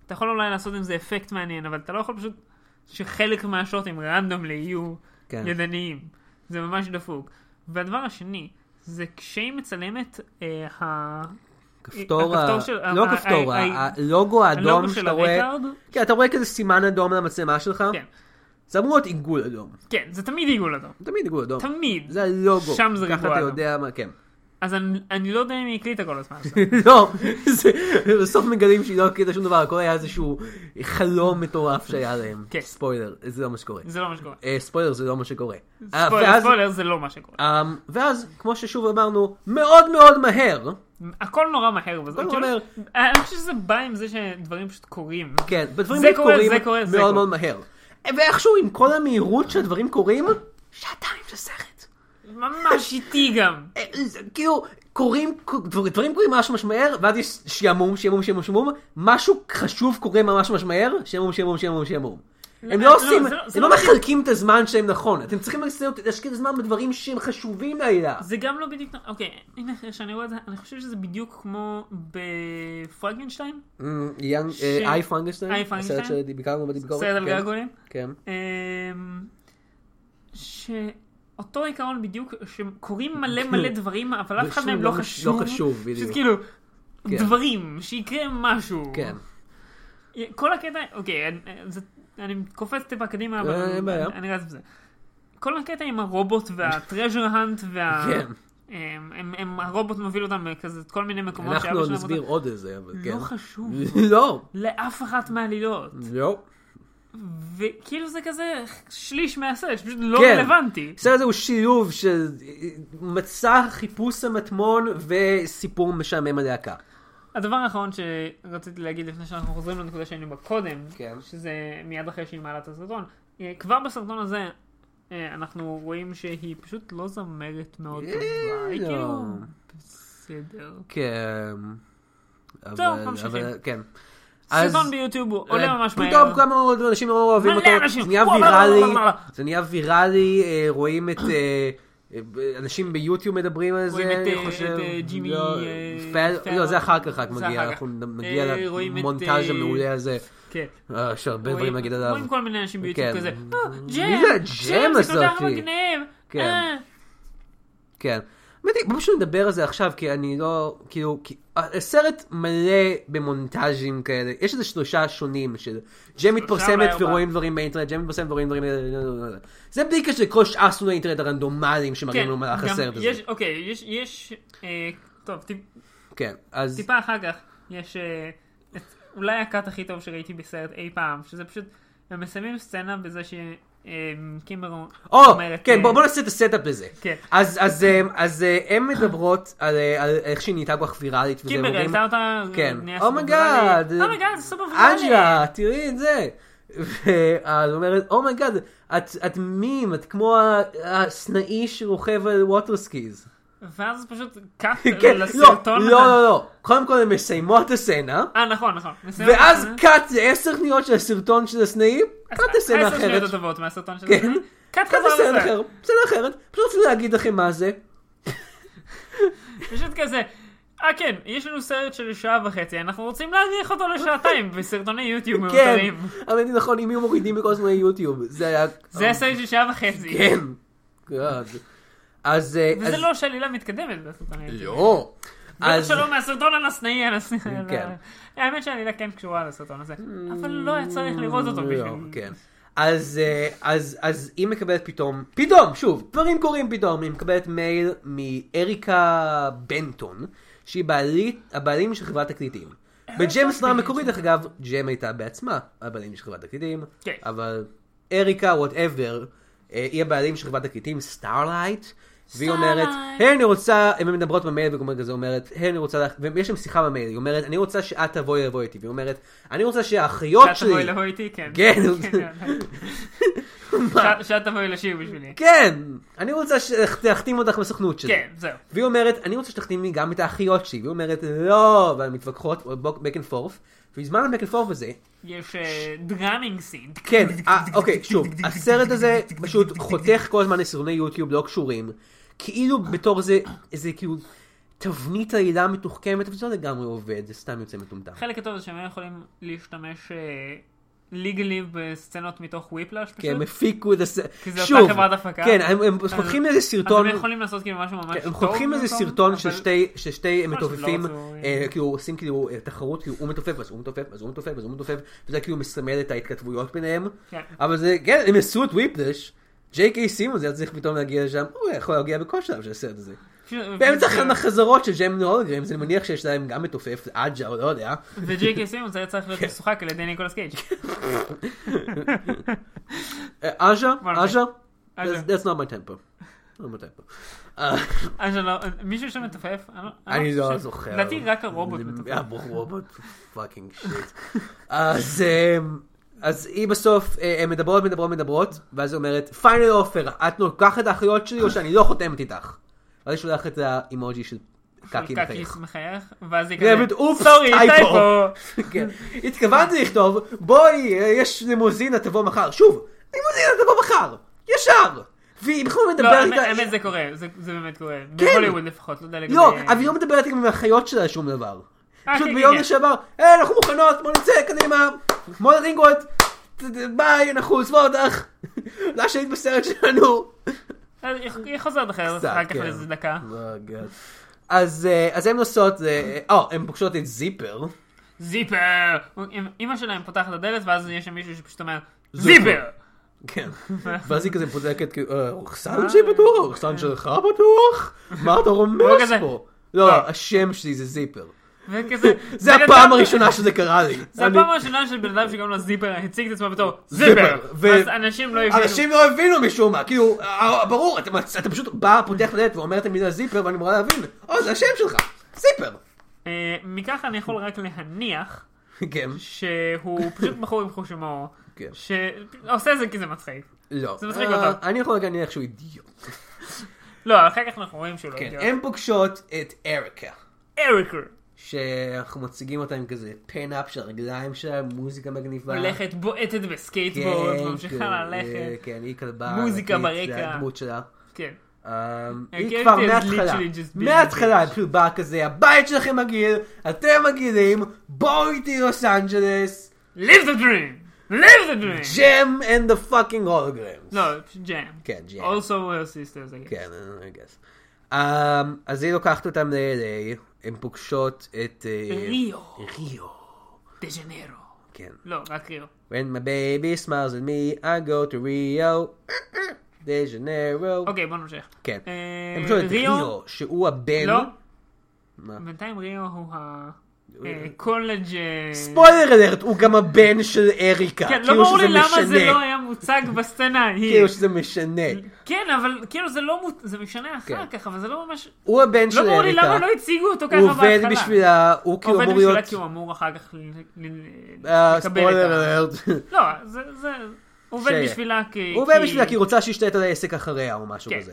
Speaker 2: אתה יכול אולי לעשות עם זה אפקט מעניין, אבל אתה לא יכול פשוט שחלק מהשוטים רנדומלי יהיו
Speaker 1: כן.
Speaker 2: ידניים. זה ממש דפוק. והדבר השני, זה כשהיא מצלמת, אה, ה-
Speaker 1: הכפתור, ה-
Speaker 2: הכפתור של-
Speaker 1: לא
Speaker 2: ה-
Speaker 1: הכפתור,
Speaker 2: ה-
Speaker 1: ה-
Speaker 2: ה-
Speaker 1: הלוגו האדום
Speaker 2: הלוגו של
Speaker 1: שאתה רואה,
Speaker 2: הרקארד?
Speaker 1: כן, אתה רואה כזה סימן אדום על המצלמה שלך,
Speaker 2: כן,
Speaker 1: זה אמור להיות עיגול אדום,
Speaker 2: כן, זה תמיד עיגול אדום.
Speaker 1: תמיד עיגול אדום,
Speaker 2: תמיד.
Speaker 1: זה הלוגו,
Speaker 2: שם זה
Speaker 1: ככה
Speaker 2: ריבוע
Speaker 1: אתה
Speaker 2: אדום.
Speaker 1: יודע מה, כן,
Speaker 2: אז אני- אני לא יודע אם היא הקליטה כל הזמן.
Speaker 1: לא, זה- בסוף מגלים שהיא לא הקליטה שום דבר, הכל היה איזשהו חלום מטורף שהיה להם,
Speaker 2: כן.
Speaker 1: ספוילר, זה לא מה שקורה,
Speaker 2: זה לא מה שקורה.
Speaker 1: אה, ספוילר זה לא מה שקורה, אה,
Speaker 2: ספוילר,
Speaker 1: ואז-
Speaker 2: ספוילר זה לא מה שקורה.
Speaker 1: אמ, ואז, כמו ששוב אמרנו, מאוד מאוד מהר,
Speaker 2: הכל נורא מהר. וזה-
Speaker 1: הכל
Speaker 2: כאילו,
Speaker 1: מהר.
Speaker 2: אני חושב שזה בא עם זה שדברים פשוט קורים.
Speaker 1: כן, בדברים
Speaker 2: זה
Speaker 1: האלה
Speaker 2: קורה,
Speaker 1: קורים
Speaker 2: זה קורה, זה
Speaker 1: מאוד
Speaker 2: קורה.
Speaker 1: מאוד מהר. ואיכשהו עם כל המהירות שהדברים קורים, שעתיים של סרט.
Speaker 2: ממש איטי גם.
Speaker 1: אה, זה- כאילו, קורים, דבר- דברים קורים ממש ממש מהר, ואז יש שעמום, שעמום, שעמום, שעמום, משהו חשוב קורה ממש ממש מהר, שעמום, שעמום, שעמום, שעמום. הם
Speaker 2: לא,
Speaker 1: לא עושים,
Speaker 2: זה לא- זה
Speaker 1: הם לא
Speaker 2: לא בדיוק.
Speaker 1: מחלקים את הזמן שלהם נכון, אתם צריכים לעשות- להשקיע זמן בדברים שהם חשובים לעילה.
Speaker 2: זה גם לא בדיוק... אוקיי, הנה אחרי שאני רואה את זה, אני חושב שזה בדיוק כמו בפרגנשטיין, ש-
Speaker 1: Mm, אה, איי פרנגשטיין,
Speaker 2: איי פרנקנשטיין?
Speaker 1: הסרט שביקרנו בביקורת,
Speaker 2: סרט על
Speaker 1: כן,
Speaker 2: געגועים.
Speaker 1: כן.
Speaker 2: אמ, שאותו עיקרון בדיוק, שקורים מלא מלא דברים, אבל אף אחד
Speaker 1: ושום
Speaker 2: מהם
Speaker 1: לא
Speaker 2: לא
Speaker 1: מש-
Speaker 2: חשוב.
Speaker 1: לא חשוב, בדיוק.
Speaker 2: פשוט כאילו,
Speaker 1: כן.
Speaker 2: דברים, שיקרה משהו.
Speaker 1: כן.
Speaker 2: כל הקטע, אוקיי, אני- זה- אני קופץ טיפה קדימה, אבל
Speaker 1: אה, אין
Speaker 2: אני-
Speaker 1: בעיה.
Speaker 2: אני רץ בזה. כל הקטע עם הרובוט והטרז'ר האנט וה...
Speaker 1: כן.
Speaker 2: הם, הם, הם, הרובוט מוביל אותם כזה את כל מיני מקומות
Speaker 1: אנחנו
Speaker 2: שאבא
Speaker 1: עוד
Speaker 2: שלהם
Speaker 1: נסביר
Speaker 2: רוצה-
Speaker 1: עוד איזה, אבל כן.
Speaker 2: לא חשוב
Speaker 1: לא,
Speaker 2: לאף אחת מהעלילות.
Speaker 1: לא.
Speaker 2: וכאילו זה כזה שליש מהסרט, שפשוט לא
Speaker 1: כן.
Speaker 2: רלוונטי.
Speaker 1: הסרט הזה הוא שילוב של מצע חיפוש המטמון וסיפור משעמם הלהקה.
Speaker 2: הדבר האחרון שרציתי להגיד לפני שאנחנו חוזרים לנקודה שהיינו בה קודם,
Speaker 1: כן.
Speaker 2: שזה מיד אחרי שהיא מעלה את הסרטון, אה, כבר בסרטון הזה אה, אנחנו רואים שהיא פשוט לא זמרת מאוד
Speaker 1: אה,
Speaker 2: טובה, היא
Speaker 1: לא.
Speaker 2: כאילו בסדר.
Speaker 1: כן. אבל-
Speaker 2: טוב, ממשיכים.
Speaker 1: אבל- כן.
Speaker 2: סרטון ביוטיוב הוא עולה ממש מהר.
Speaker 1: אה, פתאום כמה עוד אנשים נורא אוהבים
Speaker 2: מלא
Speaker 1: אותו,
Speaker 2: אנשים.
Speaker 1: זה נהיה
Speaker 2: וואו, וואו,
Speaker 1: ויראלי,
Speaker 2: וואו, וואו.
Speaker 1: זה נהיה ויראלי, אה, רואים את אה, אה, אנשים ביוטיוב מדברים על
Speaker 2: רואים
Speaker 1: זה,
Speaker 2: את,
Speaker 1: אני
Speaker 2: אה,
Speaker 1: חושב,
Speaker 2: את, אה, ג'ימי,
Speaker 1: לא,
Speaker 2: אה,
Speaker 1: פל-
Speaker 2: פל-
Speaker 1: לא זה אחר כך רק
Speaker 2: זה
Speaker 1: מגיע,
Speaker 2: אחר כך.
Speaker 1: אנחנו נגיע
Speaker 2: אה, רואים את,
Speaker 1: למונטאז'
Speaker 2: אה,
Speaker 1: המעולה הזה,
Speaker 2: כן.
Speaker 1: אה, יש הרבה דברים
Speaker 2: רואים-
Speaker 1: להגיד עליו,
Speaker 2: רואים כל מיני אנשים ביוטיוב
Speaker 1: כן.
Speaker 2: כזה, "אה,
Speaker 1: מי
Speaker 2: ג'ם,
Speaker 1: זה הג'ם
Speaker 2: ג'ם זה כל כך
Speaker 1: הזאתי?"
Speaker 2: מגניב,
Speaker 1: כן.
Speaker 2: אה,
Speaker 1: כן. האמת היא, בוא פשוט נדבר על זה עכשיו, כי אני לא, כאילו, כי- הסרט מלא במונטאז'ים כאלה, יש איזה שלושה שונים של ג'ם מתפרסמת
Speaker 2: אולי ארבעה.
Speaker 1: ורואים דברים באינטרנט, ג'ם מתפרסמת ורואים דברים, לא, זה בלי קשר לכל שאר סוגי האינטרנט הרנדומליים שמראים
Speaker 2: כן,
Speaker 1: לנו במהלך
Speaker 2: גם
Speaker 1: הסרט הזה.
Speaker 2: יש- אוקיי, יש- יש, אה, טוב, טיפ-
Speaker 1: כן, אז,
Speaker 2: טיפה אחר כך יש אה, את אולי הקאט הכי טוב שראיתי בסרט אי פעם, שזה פשוט, הם מסיימים סצנה בזה אה, שקימבר
Speaker 1: או, כן, בוא בוא נעשה את הסטאפ לזה.
Speaker 2: אה, כן.
Speaker 1: אז- אז הם- אז אה, הן מדברות על אה, על איך שהיא נהייתה כל כך ויראלית, וזה
Speaker 2: קימבר
Speaker 1: אומרים,
Speaker 2: העלתה אותה, אה,
Speaker 1: כן.
Speaker 2: נהיה
Speaker 1: Oh
Speaker 2: סופר
Speaker 1: my
Speaker 2: ויראלי.
Speaker 1: God.
Speaker 2: Oh my God, זה סופר ויראלי.
Speaker 1: אג'לה, תראי את זה. ואז אומרת, אומייגאד, את, את מים, את כמו ה- הסנאי שרוכב על ווטרסקיז.
Speaker 2: ואז פשוט קאט
Speaker 1: כן, לא,
Speaker 2: לסרטון.
Speaker 1: לא, לא, לא. קודם כל הם מסיימות את הסצנה,
Speaker 2: אה, נכון, נכון. מסיימים את
Speaker 1: ואז
Speaker 2: הסצנה.
Speaker 1: קאט זה עשר שניות של הסרטון של הסנאי, קאט זה סצנה
Speaker 2: עשר שניות
Speaker 1: אחרת.
Speaker 2: הטובות מהסרטון של
Speaker 1: כן.
Speaker 2: זה. אה? קאט
Speaker 1: קאט זה
Speaker 2: חזר
Speaker 1: סצנה
Speaker 2: לסרט.
Speaker 1: אחרת, סצנה אחרת. פשוט רציתי להגיד לכם מה זה.
Speaker 2: פשוט כזה. אה כן, יש לנו סרט של שעה וחצי, אנחנו רוצים להאריך אותו לשעתיים בסרטוני יוטיוב
Speaker 1: כן,
Speaker 2: מאותרים.
Speaker 1: האמת היא נכון, אם היו מורידים מכל זמן יוטיוב, זה היה...
Speaker 2: זה הסרט של שעה וחצי.
Speaker 1: אה, כן. God. אז... אה,
Speaker 2: וזה
Speaker 1: אז-
Speaker 2: לא שעלילה מתקדמת בסרטון היוטיוב.
Speaker 1: לא.
Speaker 2: בטח
Speaker 1: אז-
Speaker 2: שלא מהסרטון על הסנאי, על הסנאי. על
Speaker 1: כן.
Speaker 2: ה- האמת שהעלילה כן קשורה לסרטון הזה, אבל לא היה צריך לראות אותו
Speaker 1: לא,
Speaker 2: בשביל...
Speaker 1: כן. אז, אה, אז, אז היא מקבלת פתאום, פתאום, שוב, דברים קורים פתאום, היא מקבלת מייל מאריקה בנטון, שהיא בעלית, הבעלים של חברת תקליטים.
Speaker 2: אה,
Speaker 1: בג'ם הסדרה המקורית, דרך אגב, ג'ם הייתה בעצמה הבעלים של חברת תקליטים,
Speaker 2: כן.
Speaker 1: אבל אריקה, וואטאבר, היא הבעלים של חברת תקליטים, סטארלייט, והיא אומרת, היי אני רוצה, הן מדברות במייל וכמובן כזה אומרת, היי אני רוצה, לך-" ויש להם שיחה במייל, היא אומרת, אני רוצה שאת תבואי לבוא איתי, והיא אומרת, אני רוצה שהאחיות
Speaker 2: שאת
Speaker 1: שלי,
Speaker 2: תבואי לבוא איתי, כן.
Speaker 1: כן.
Speaker 2: שאת- שאת תבואי לשיר בשבילי.
Speaker 1: כן, אני רוצה שתחתים אותך בסוכנות שלי.
Speaker 2: כן, זהו.
Speaker 1: והיא אומרת, אני רוצה שתחתימי גם את האחיות שלי. והיא אומרת, לא, והן מתווכחות, back and forth. ובזמן ה-back and forth הזה,
Speaker 2: יש אה, דראמינג סין.
Speaker 1: כן, אה, אוקיי, שוב, הסרט הזה פשוט חותך כל הזמן לסרטוני יוטיוב לא קשורים. כאילו בתור זה, איזה כאילו תבנית עלילה מתוחכמת, וזה לא לגמרי עובד, זה סתם יוצא מטומטם.
Speaker 2: החלק הטוב זה שהם היו יכולים להשתמש אה, ליגלי בסצנות מתוך וויפלאש פשוט?
Speaker 1: כי כן, הם הפיקו את הס...
Speaker 2: כי זה אותה
Speaker 1: שוב,
Speaker 2: חברת הפקה?
Speaker 1: כן, הם- הם
Speaker 2: אז-
Speaker 1: חותכים איזה סרטון,
Speaker 2: אז הם יכולים לעשות כאילו משהו ממש טוב.
Speaker 1: כן, הם חותכים איזה
Speaker 2: במקום,
Speaker 1: סרטון של
Speaker 2: אבל-
Speaker 1: שתי- של שתי
Speaker 2: לא
Speaker 1: מתופפים,
Speaker 2: רצו,
Speaker 1: אה,
Speaker 2: אה.
Speaker 1: כאילו עושים כאילו אה, תחרות, כאילו הוא מתופף, אז הוא מתופף, אז הוא מתופף, אז הוא מתופף, וזה כאילו מסמל את ההתכתבויות ביניהם,
Speaker 2: כן.
Speaker 1: אבל זה, כן, הם עשו את וויפלש, ג'יי קיי סימון, זה היה צריך פתאום להגיע לשם, הוא יכול להגיע בכל שלב של הסרט הזה.
Speaker 2: פשוט-
Speaker 1: באמצע
Speaker 2: כאילו, ו-
Speaker 1: החזרות של ג'יימן הולגרמס, אני מניח שיש להם גם מתופף, עג'ה או לא יודע.
Speaker 2: וג'י קיי סימון זה היה צריך
Speaker 1: כן.
Speaker 2: להיות משוחק על ידי ניקולס קייג'.
Speaker 1: אה, עג'ה,
Speaker 2: וואלה.
Speaker 1: עג'ה,
Speaker 2: עג'ה.
Speaker 1: That's- that's not my tempo. Not my tempo. אה,
Speaker 2: אז אני לא- מישהו שמתופף? אני לא-
Speaker 1: אני לא
Speaker 2: חושב.
Speaker 1: זוכר.
Speaker 2: לדעתי רק הרובוט
Speaker 1: אני-
Speaker 2: מתופף.
Speaker 1: אה, הרובוט, פאקינג שיט. אז אמ, אז היא בסוף, אה, הן מדברות, מדברות, מדברות, ואז היא אומרת, פיינל אופר, את לוקחת את האחריות שלי או שאני לא חותמת איתך? ואז היא שולחת את האימוג'י של קקי
Speaker 2: קקי
Speaker 1: מחייך.
Speaker 2: מחייך, ואז היא
Speaker 1: כן,
Speaker 2: כזה,
Speaker 1: אופס,
Speaker 2: סורי,
Speaker 1: טייפו."
Speaker 2: טייפו.
Speaker 1: כן. התכוונתי לכתוב, בואי, אה, יש לימוזינה, תבוא מחר. שוב, לימוזינה, תבוא מחר. ישר. והיא בכלל
Speaker 2: לא,
Speaker 1: מדברת
Speaker 2: האמת
Speaker 1: איתה...
Speaker 2: האמת זה קורה, זה זה באמת קורה. בהוליווד לפחות, לא יודע לגבי...
Speaker 1: כן. לא, אבל היא לא מדברת עם האחיות שלה שום דבר.
Speaker 2: אה,
Speaker 1: פשוט
Speaker 2: כן,
Speaker 1: ביום
Speaker 2: כן.
Speaker 1: שעבר, "אה, אנחנו מוכנות, בוא נצא קדימה, כמו לרינגוט, ת- ת- ביי, אנחנו עוזבות אותך, לא שהיית בסרט שלנו.
Speaker 2: Oh אז אה, היא- היא חוזרת אחר
Speaker 1: קצת,
Speaker 2: אחר כך
Speaker 1: כן.
Speaker 2: לאיזה דקה.
Speaker 1: לא, גאד. אז אה, אז הן נוסעות, אה, או, הן פוגשות את זיפר.
Speaker 2: זיפר! אימא שלהם פותחת את הדלת ואז יש שם מישהו שפשוט אומר זיפר!
Speaker 1: כן. ואז היא כזה בודקת, כאילו, "אה, האוכסן שלי בטוח, האוכסן שלך בטוח? מה אתה
Speaker 2: אה, לא
Speaker 1: רומז
Speaker 2: כזה.
Speaker 1: פה? לא, השם שלי זה זיפר.
Speaker 2: וכזה...
Speaker 1: זה
Speaker 2: בן
Speaker 1: הפעם
Speaker 2: אדם-
Speaker 1: הראשונה שזה קרה לי.
Speaker 2: זה
Speaker 1: אני-
Speaker 2: הפעם הראשונה של בן אדם שקוראים לו זיפר הציג את עצמו בתור
Speaker 1: זיפר,
Speaker 2: זיפר!
Speaker 1: ו-
Speaker 2: אז אנשים לא הבינו.
Speaker 1: אנשים לא הבינו משום מה, כאילו, אה, ברור, אתה מצ- אתה פשוט בא, פותח את הדלת ואומר את המילה זיפר, ואני אמורה להבין, או, זה השם שלך, זיפר.
Speaker 2: אה, מכך אני יכול רק להניח
Speaker 1: כן,
Speaker 2: שהוא פשוט בחור עם חוש הומור.
Speaker 1: כן.
Speaker 2: שעושה את זה כי זה מצחיק.
Speaker 1: לא.
Speaker 2: זה מצחיק
Speaker 1: אה,
Speaker 2: אותם.
Speaker 1: אני יכול להניח שהוא אידיוט.
Speaker 2: לא, אחר כך אנחנו רואים שהוא לא
Speaker 1: כן,
Speaker 2: הגיע.
Speaker 1: הן פוגשות את אריקה,
Speaker 2: אריקר
Speaker 1: אה. שאנחנו מציגים אותה עם כזה פן-אפ של הרגליים שלה, מוזיקה מגניבה.
Speaker 2: הולכת בועטת
Speaker 1: כן,
Speaker 2: בסקייטבורד,
Speaker 1: כן,
Speaker 2: ממשיכה ללכת.
Speaker 1: כן, היא כלבה.
Speaker 2: מוזיקה
Speaker 1: ענקית,
Speaker 2: ברקע.
Speaker 1: זה הדמות שלה.
Speaker 2: כן.
Speaker 1: אמ,
Speaker 2: character
Speaker 1: היא כבר
Speaker 2: is
Speaker 1: מההתחלה,
Speaker 2: literally just being
Speaker 1: מההתחלה
Speaker 2: a bitch.
Speaker 1: היא פשוט באה כזה, הבית שלכם מגעיל, אתם מגעילים, בואו איתי לוס אנג'לס,
Speaker 2: Live the dream! Live the dream!
Speaker 1: ג'ם and the fucking holograms.
Speaker 2: לא, פשוט ג'אם.
Speaker 1: כן, ג'ם.
Speaker 2: Also we're sisters, I guess.
Speaker 1: כן, I guess. אמ, אז היא לוקחת אותם ל-LA, הן פוגשות את... אה,
Speaker 2: ריו.
Speaker 1: ריו.
Speaker 2: דה ז'נרו.
Speaker 1: כן.
Speaker 2: לא, רק ריו.
Speaker 1: When my baby smiles at me, I go to Rio. דה ז'נרו.
Speaker 2: אוקיי, בוא נמשיך.
Speaker 1: כן.
Speaker 2: אה,
Speaker 1: הן פוגשות את
Speaker 2: ריו?
Speaker 1: ריו, שהוא הבן...
Speaker 2: לא.
Speaker 1: מה?
Speaker 2: בינתיים ריו הוא ה... אה, קולג'... אה,
Speaker 1: ספוילר אלרט, הוא גם הבן של אריקה.
Speaker 2: כן, לא
Speaker 1: כאילו
Speaker 2: ברור לי
Speaker 1: שזה
Speaker 2: למה זה
Speaker 1: משנה.
Speaker 2: לא היה מוצג בסצנה ההיא.
Speaker 1: כאילו שזה משנה.
Speaker 2: כן, אבל כאילו זה לא מוצ... זה משנה
Speaker 1: כן.
Speaker 2: אחר כך, אבל זה לא ממש...
Speaker 1: הוא הבן של
Speaker 2: לא ברור לי למה
Speaker 1: אריקה.
Speaker 2: לא הציגו אותו ככה
Speaker 1: הוא
Speaker 2: בהתחלה.
Speaker 1: עובד בשבילה, הוא
Speaker 2: הוא
Speaker 1: כאילו
Speaker 2: עובד
Speaker 1: אמור
Speaker 2: בשבילה
Speaker 1: להיות...
Speaker 2: כי הוא אמור אחר כך ל- ל-
Speaker 1: אה,
Speaker 2: לקבל
Speaker 1: ספוילר
Speaker 2: את ה...
Speaker 1: אלרט.
Speaker 2: לא, זה... זה- הוא עובד
Speaker 1: שיהיה.
Speaker 2: בשבילה כי...
Speaker 1: הוא עובד בשבילה כי היא רוצה שישתה את העסק אחריה או משהו
Speaker 2: כן.
Speaker 1: כזה.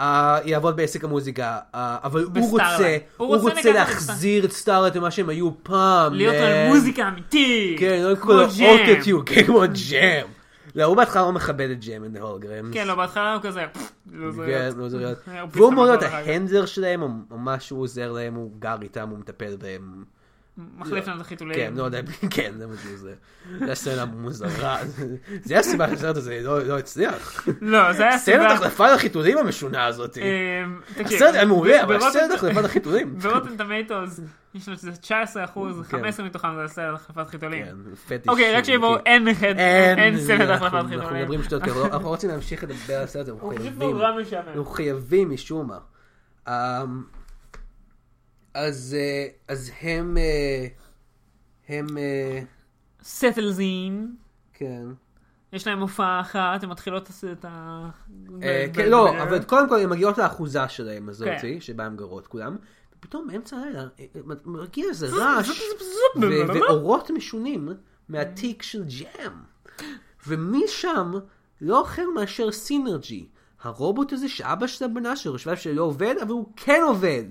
Speaker 1: אה, יעבוד בעסק המוזיקה, אה, אבל הוא
Speaker 2: בסטארלייט.
Speaker 1: רוצה,
Speaker 2: הוא
Speaker 1: הוא
Speaker 2: רוצה
Speaker 1: רוצה
Speaker 2: לקחת את
Speaker 1: להחזיר את סטארלט למה שהם היו פעם.
Speaker 2: להיות
Speaker 1: man.
Speaker 2: על מוזיקה אמיתית.
Speaker 1: כן, לא את
Speaker 2: כמו
Speaker 1: כל
Speaker 2: ג'ם.
Speaker 1: האוטוטיו, כן, כמו ג'ם. לא, הוא בהתחלה לא מכבד את ג'ם אנד הולגרמס.
Speaker 2: כן, לא, בהתחלה הוא כזה... "פפ, לא זה
Speaker 1: כן,
Speaker 2: להיות."
Speaker 1: לא זה להיות.
Speaker 2: הוא פשוט
Speaker 1: והוא אמור
Speaker 2: הכל
Speaker 1: להיות
Speaker 2: אחר כך.
Speaker 1: ההנדלר שלהם, או או משהו עוזר להם, הוא גר איתם, הוא מטפל בהם.
Speaker 2: מחליף לנו את החיתולים.
Speaker 1: כן, לא יודע, כן, זה מה שזה. זה הסצנה המוזרה. זה הסיבה שהסרט הזה לא לא הצליח.
Speaker 2: לא, זה היה
Speaker 1: סצנת
Speaker 2: סיבה...
Speaker 1: החלפת החיתולים המשונה הזאת.
Speaker 2: אמ, תקשיב,
Speaker 1: אה, הסרט היה מעולה,
Speaker 2: ב-
Speaker 1: אבל
Speaker 2: ברוטן-
Speaker 1: הסרט החלפת החיתולים.
Speaker 2: ברוטן טמטוס יש לו שזה 19 אחוז, 15 מתוכם זה הסרט החלפת חיתולים.
Speaker 1: כן, פטיש.
Speaker 2: אוקיי, רק שיבואו,
Speaker 1: כן. אה,
Speaker 2: אין חד- אין סרט
Speaker 1: אנחנו-
Speaker 2: החלפת
Speaker 1: אנחנו מדברים
Speaker 2: חיתולים.
Speaker 1: שטויות, כאלה, לא- אנחנו רוצים להמשיך לדבר על הסרט, אנחנו
Speaker 2: הוא פשוט
Speaker 1: חייבים.
Speaker 2: נורא משעמם.
Speaker 1: אנחנו חייבים משום מה. אמ, אז אה, אז הם, אה, הם, אה,
Speaker 2: סטלזין,
Speaker 1: כן.
Speaker 2: יש להם הופעה אחת, הן מתחילות את ה- את ה...
Speaker 1: אה,
Speaker 2: ב-
Speaker 1: כן,
Speaker 2: ב-
Speaker 1: לא,
Speaker 2: ב-
Speaker 1: אבל קודם כל הן מגיעות לאחוזה שלהם
Speaker 2: כן.
Speaker 1: הזאתי, שבה הן גרות כולם, ופתאום באמצע הלילה אה, אה, מגיע איזה רעש, ו-
Speaker 2: בלה, בלה.
Speaker 1: ואורות משונים מהתיק של ג'אם. ומשם, לא אחר מאשר סינרג'י, הרובוט הזה שאבא של הבנה שלו חשבה שלא עובד, אבל הוא כן עובד.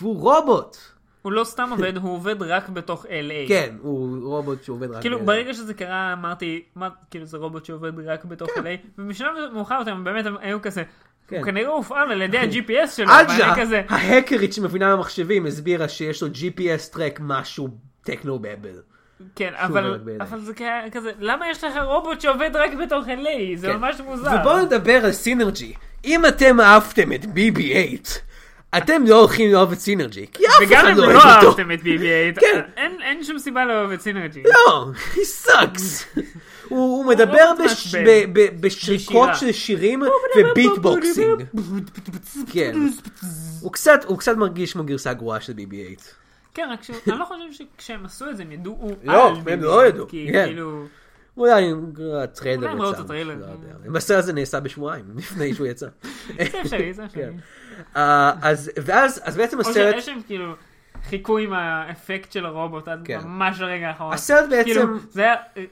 Speaker 1: והוא רובוט.
Speaker 2: הוא לא סתם עובד, הוא עובד רק בתוך LA.
Speaker 1: כן, הוא רובוט שעובד רק...
Speaker 2: כאילו
Speaker 1: ב-
Speaker 2: ברגע שזה קרה אמרתי מה כאילו זה רובוט שעובד רק בתוך LA ובשלב מאוחר יותר הם באמת הם היו כזה
Speaker 1: כן.
Speaker 2: הוא כנראה הופעל על ידי ה-GPS שלו
Speaker 1: עג'ה,
Speaker 2: ואני כזה
Speaker 1: ההקרית שמבינה במחשבים, הסבירה שיש לו GPS טרק משהו טכנו בבל.
Speaker 2: כן,
Speaker 1: שוב
Speaker 2: אבל,
Speaker 1: רק בידיים.
Speaker 2: אבל זה כ- כזה, למה יש לך רובוט שעובד רק בתוך LA? זה
Speaker 1: כן.
Speaker 2: ממש מוזר.
Speaker 1: ובואו נדבר על סינרג'י. אם אתם אהבתם את BB8, אתם לא הולכים לאהוב את סינרג'י, כי אף
Speaker 2: וגם
Speaker 1: אחד
Speaker 2: אם
Speaker 1: לא
Speaker 2: לא
Speaker 1: אוהב אותו.
Speaker 2: אהבתם את BB-8,
Speaker 1: כן.
Speaker 2: אין- אין שום סיבה לאהוב את סינרג'י.
Speaker 1: לא, he sucks. הוא הוא מדבר
Speaker 2: מאוד
Speaker 1: בש-
Speaker 2: מעצבן.
Speaker 1: ב- ב- בשריקות
Speaker 2: לא בשירה.
Speaker 1: של שירים וביטבוקסינג. כן. הוא קצת- הוא קצת מרגיש כמו גרסה גרועה של BB8.
Speaker 2: כן, רק שאני לא חושב שכשהם עשו את זה הם ידעו
Speaker 1: לא,
Speaker 2: על
Speaker 1: הם
Speaker 2: BB-8,
Speaker 1: לא ידעו,
Speaker 2: כי
Speaker 1: כן.
Speaker 2: כאילו,
Speaker 1: אולי הטריילר
Speaker 2: אולי הם
Speaker 1: יצא.
Speaker 2: ראו את הטריילר. כן.
Speaker 1: לא יודע. למעשה זה נעשה בשבועיים לפני שהוא יצא.
Speaker 2: זה אפשרי, זה אפשרי.
Speaker 1: כן. אה, אז ואז אז בעצם
Speaker 2: או
Speaker 1: הסרט...
Speaker 2: שיש שהם כאילו חיכו עם האפקט של הרובוט עד
Speaker 1: כן.
Speaker 2: ממש לרגע האחרון.
Speaker 1: הסרט בעצם-
Speaker 2: כאילו, זה היה אה,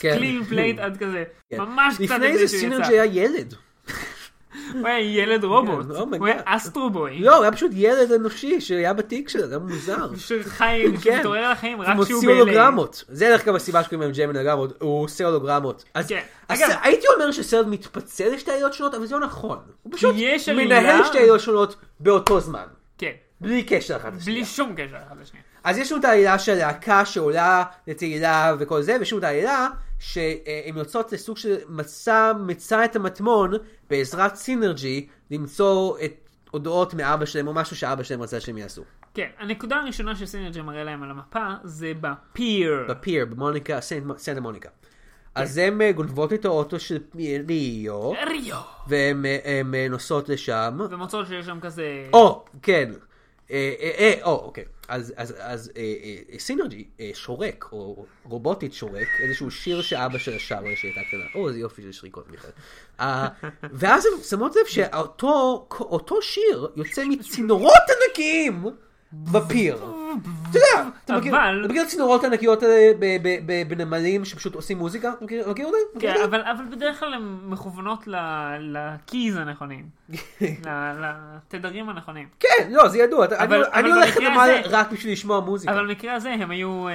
Speaker 1: כן.
Speaker 2: קלין פלייט עד כזה,
Speaker 1: כן.
Speaker 2: ממש קצת
Speaker 1: לפני זה
Speaker 2: לפני שהוא
Speaker 1: סינרג'י
Speaker 2: יצא.
Speaker 1: היה ילד.
Speaker 2: הוא היה ילד רובוט,
Speaker 1: כן, אומייגאד.
Speaker 2: הוא היה אסטרובוי.
Speaker 1: לא, הוא היה פשוט ילד אנושי שהיה בתיק שלו, זה היה מוזר.
Speaker 2: שחי,
Speaker 1: כן.
Speaker 2: שמתעורר לחיים רק
Speaker 1: הוא
Speaker 2: כשהוא
Speaker 1: מוציא הולוגרמות. זה דרך אגב הסיבה שקוראים להם ג'יימן הולוגרמות, הוא עושה הולוגרמות. אז
Speaker 2: כן.
Speaker 1: אז
Speaker 2: אגב-
Speaker 1: הייתי אומר שהסרט מתפצל לשתי עליות שונות, אבל זה לא נכון. הוא פשוט
Speaker 2: יש
Speaker 1: מנהל
Speaker 2: עלילה-
Speaker 1: שתי עליות שונות באותו זמן.
Speaker 2: כן,
Speaker 1: בלי קשר אחת
Speaker 2: בלי
Speaker 1: לשנייה.
Speaker 2: שום קשר אחד לשני.
Speaker 1: אז יש לנו את העלילה של להקה שעולה לתהילה וכל זה, ויש לנו את העלילה שהן יוצאות לסוג של מצא, מצא את המטמון בעזרת סינרג'י למצוא את הודעות מאבא שלהם או משהו שאבא שלהם רצה שהם יעשו.
Speaker 2: כן, הנקודה הראשונה שסינרג'י מראה להם על המפה זה בפיר.
Speaker 1: בפיר, במוניקה, סנט- סנטה מוניקה. אז הן אה, גונבות את האוטו של ליאו,
Speaker 2: ריו.
Speaker 1: והן אה, הן, אה, נוסעות לשם.
Speaker 2: ומוצאות שיש שם כזה...
Speaker 1: או, כן. אה, אה, אה, או, אוקיי. אז, אז, אז אה, אה, סינרג'י אה, שורק, או רובוטית שורק, איזשהו שיר שאבא שלה שר שהייתה קטנה. או, איזה יופי של שריקות בכלל. אה, ואז הן שמות לב שאותו אותו שיר יוצא מצינורות ענקיים בפיר. אתה יודע, אתה מכיר,
Speaker 2: אבל-
Speaker 1: אתה מכיר צינורות ענקיות האלה אה, ב- ב- ב- בנמלים שפשוט עושים מוזיקה? אתה מכיר מכיר אותם? מכיר
Speaker 2: כן,
Speaker 1: אותם?
Speaker 2: אבל, אבל בדרך כלל הן מכוונות ל- לקיז הנכונים. ל- לתדרים הנכונים.
Speaker 1: כן, לא, זה ידוע. אתה- אני-
Speaker 2: אבל-
Speaker 1: אני
Speaker 2: אבל
Speaker 1: הולך
Speaker 2: במקרה
Speaker 1: לנמל
Speaker 2: הזה-
Speaker 1: רק בשביל לשמוע מוזיקה.
Speaker 2: אבל במקרה הזה הם היו אה,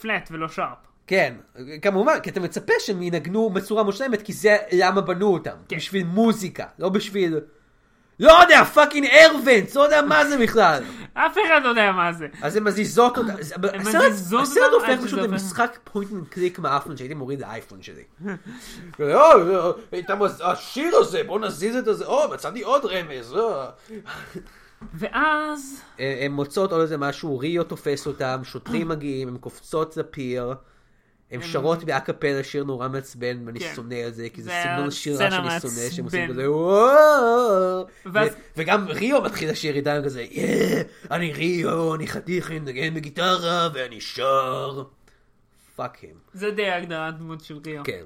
Speaker 2: פלט ולא שרפ.
Speaker 1: כן, כמובן, כי אתה מצפה שהם ינגנו בצורה מושלמת, כי זה למה בנו אותם. כן.
Speaker 2: כן.
Speaker 1: בשביל מוזיקה, לא בשביל... לא יודע, פאקינג ארוונס, לא יודע מה זה בכלל.
Speaker 2: אף אחד לא יודע מה זה.
Speaker 1: אז הם מזיזות אותם.
Speaker 2: מזיזות
Speaker 1: הסרט
Speaker 2: אותם
Speaker 1: הופך
Speaker 2: עד
Speaker 1: פשוט
Speaker 2: שזה הופך.
Speaker 1: למשחק פוינט אנד קליק מהאייפון שהייתי מוריד לאייפון שלי. לא, לא, הייתה מז- השיר הזה, בוא נזיז את הזה, או, מצאתי עוד רמז. לא. או.
Speaker 2: ואז...
Speaker 1: אה, הן מוצאות עוד איזה משהו, ריו תופס אותם, שוטרים מגיעים, הן קופצות לפיר, הן שרות באקפלה שיר נורא מעצבן, ואני
Speaker 2: כן.
Speaker 1: שונא על זה, כי זה
Speaker 2: זה
Speaker 1: סגנון שירה
Speaker 2: הסצנה
Speaker 1: שאני שונא, שהם עושים
Speaker 2: מעצבן.
Speaker 1: כזה וואו,
Speaker 2: ואז-
Speaker 1: ו- וגם ריו מתחיל לשיר איתם כזה, "יא, אני ריו, אני חתיך, אני מנגן בגיטרה, ואני שר. פאק הם.
Speaker 2: זה די הגדרת דמות של ריו.
Speaker 1: כן.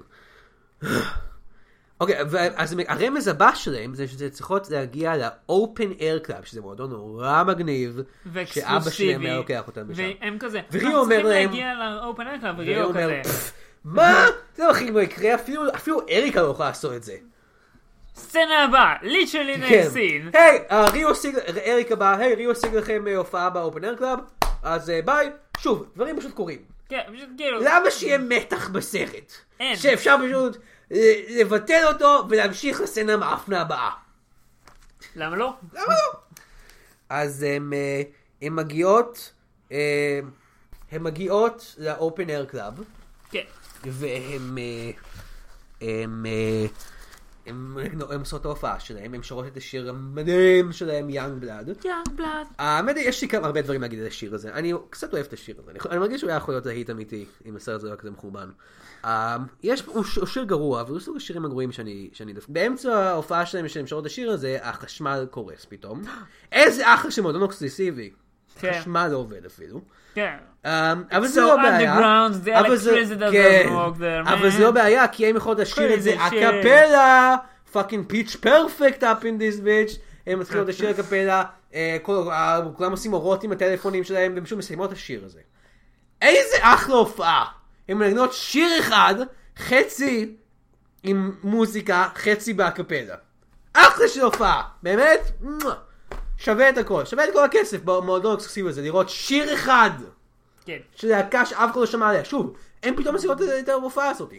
Speaker 1: אוקיי, ו- אז הרמז הבא שלהם זה שזה צריכות להגיע ל-open air club, שזה מועדון נורא מגניב, שאבא שלהם היה לוקח אותם משם.
Speaker 2: והם כזה,
Speaker 1: וריו
Speaker 2: "אנחנו
Speaker 1: אומר
Speaker 2: צריכים
Speaker 1: להם-
Speaker 2: להגיע לאופן אקלה,
Speaker 1: והוא
Speaker 2: וריו
Speaker 1: אומר,
Speaker 2: כזה,
Speaker 1: "פפ, מה? זה לא הכי לא יקרה, אפילו- אפילו אריקה לא יכולה לעשות את זה.
Speaker 2: סצנה הבאה, ליטרלי
Speaker 1: כן.
Speaker 2: נעשין.
Speaker 1: היי, אה, ריו השיג, אריקה באה, היי, ריו השיג לכם אה, הופעה באופן air club, אז אה, ביי. שוב, דברים פשוט קורים.
Speaker 2: כן, פשוט כאילו,
Speaker 1: למה שיהיה מתח בסרט?
Speaker 2: אין.
Speaker 1: שאפשר פשוט אה, לבטל אותו ולהמשיך לסצנה המאפנה הבאה.
Speaker 2: למה לא?
Speaker 1: למה לא? אז הם, אה, הם מגיעות, אה, הם מגיעות לאופן אייר קלאב,
Speaker 2: כן.
Speaker 1: והם, אה, הם, אה, הם, הם עושות את ההופעה שלהם, הם שרות את השיר המדהים שלהם, יאנג בלאד.
Speaker 2: יאנג בלאד.
Speaker 1: האמת היא, יש לי כמה הרבה דברים להגיד על השיר הזה. אני קצת אוהב את השיר הזה. אני, אני מרגיש שהוא היה יכול להיות להיט אמיתי, אם הסרט הזה לא היה כזה מחורבן. Um, יש, הוא, ש, הוא שיר גרוע, והוא סוג השירים הגרועים שאני, שאני דווקא... באמצע ההופעה שלהם, שהם שרות את השיר הזה, החשמל קורס פתאום. איזה אחלה של מועדון אוקסיסיבי.
Speaker 2: כן.
Speaker 1: חשמל לא עובד אפילו.
Speaker 2: כן.
Speaker 1: Um, אבל
Speaker 2: so
Speaker 1: זה לא בעיה.
Speaker 2: underground, the
Speaker 1: אבל זה-
Speaker 2: electricity doesn't
Speaker 1: כן.
Speaker 2: work there,
Speaker 1: אבל
Speaker 2: man.
Speaker 1: זה לא בעיה, כי הם יכולות לשיר את זה
Speaker 2: Crazy shit.
Speaker 1: אקפלה, פאקינג פיץ' פרפקט אפ אין דיס ביץ', הם מתחילות לשיר אקפלה, אה, כל- אה, כולם עושים אורות עם הטלפונים שלהם, והם פשוט מסיימות את השיר הזה. איזה אחלה הופעה! הם מנגנות שיר אחד, חצי עם מוזיקה, חצי באקפלה. אחלה של הופעה, באמת, מואה. שווה את הכל, שווה את כל הכסף במועדון האקסקסיבי הזה, לראות שיר אחד.
Speaker 2: כן.
Speaker 1: של להקה שאף אחד לא שמע עליה. שוב, הם פתאום מסיבות את ההופעה הזאת.